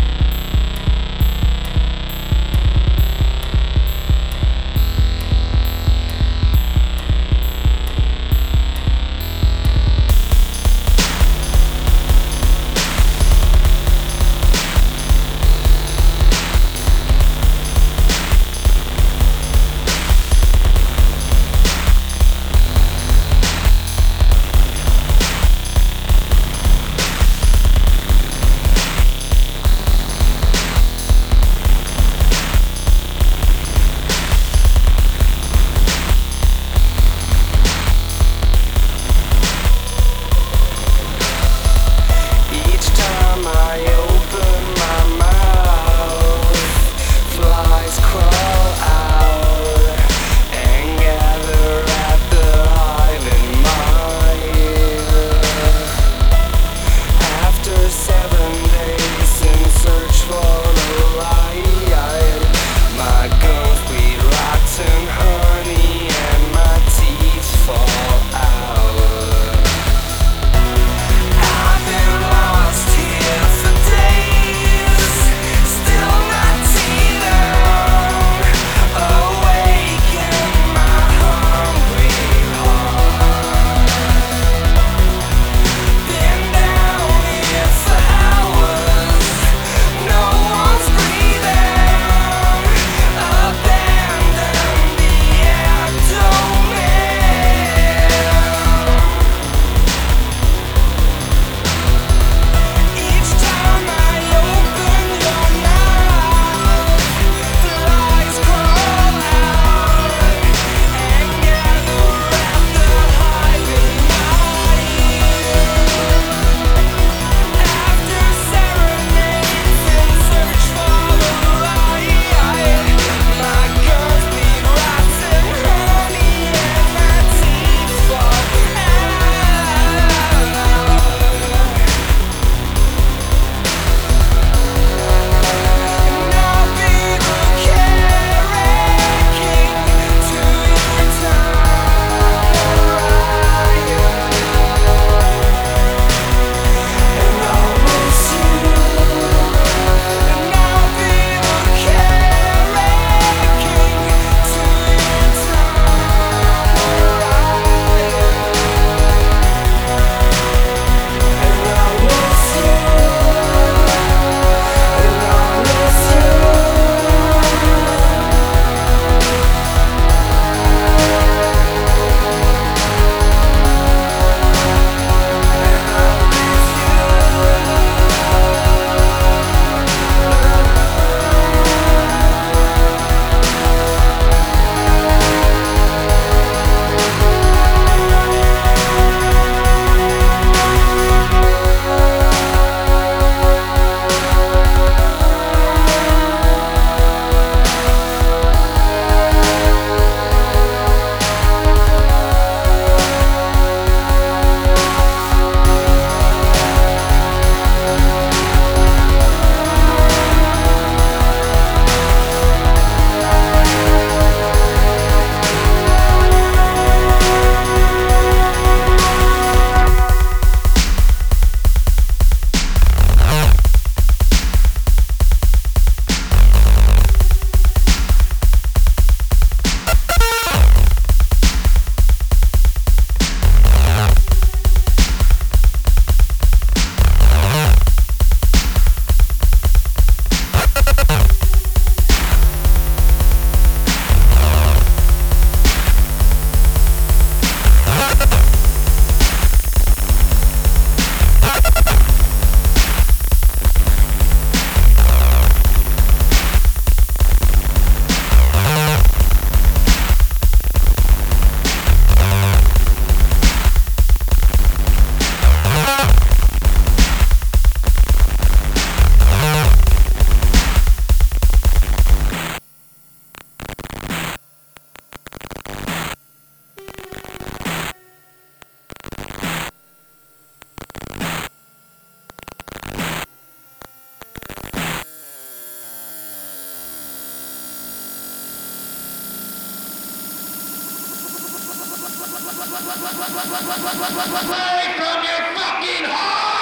[SPEAKER 7] Play from your fucking heart!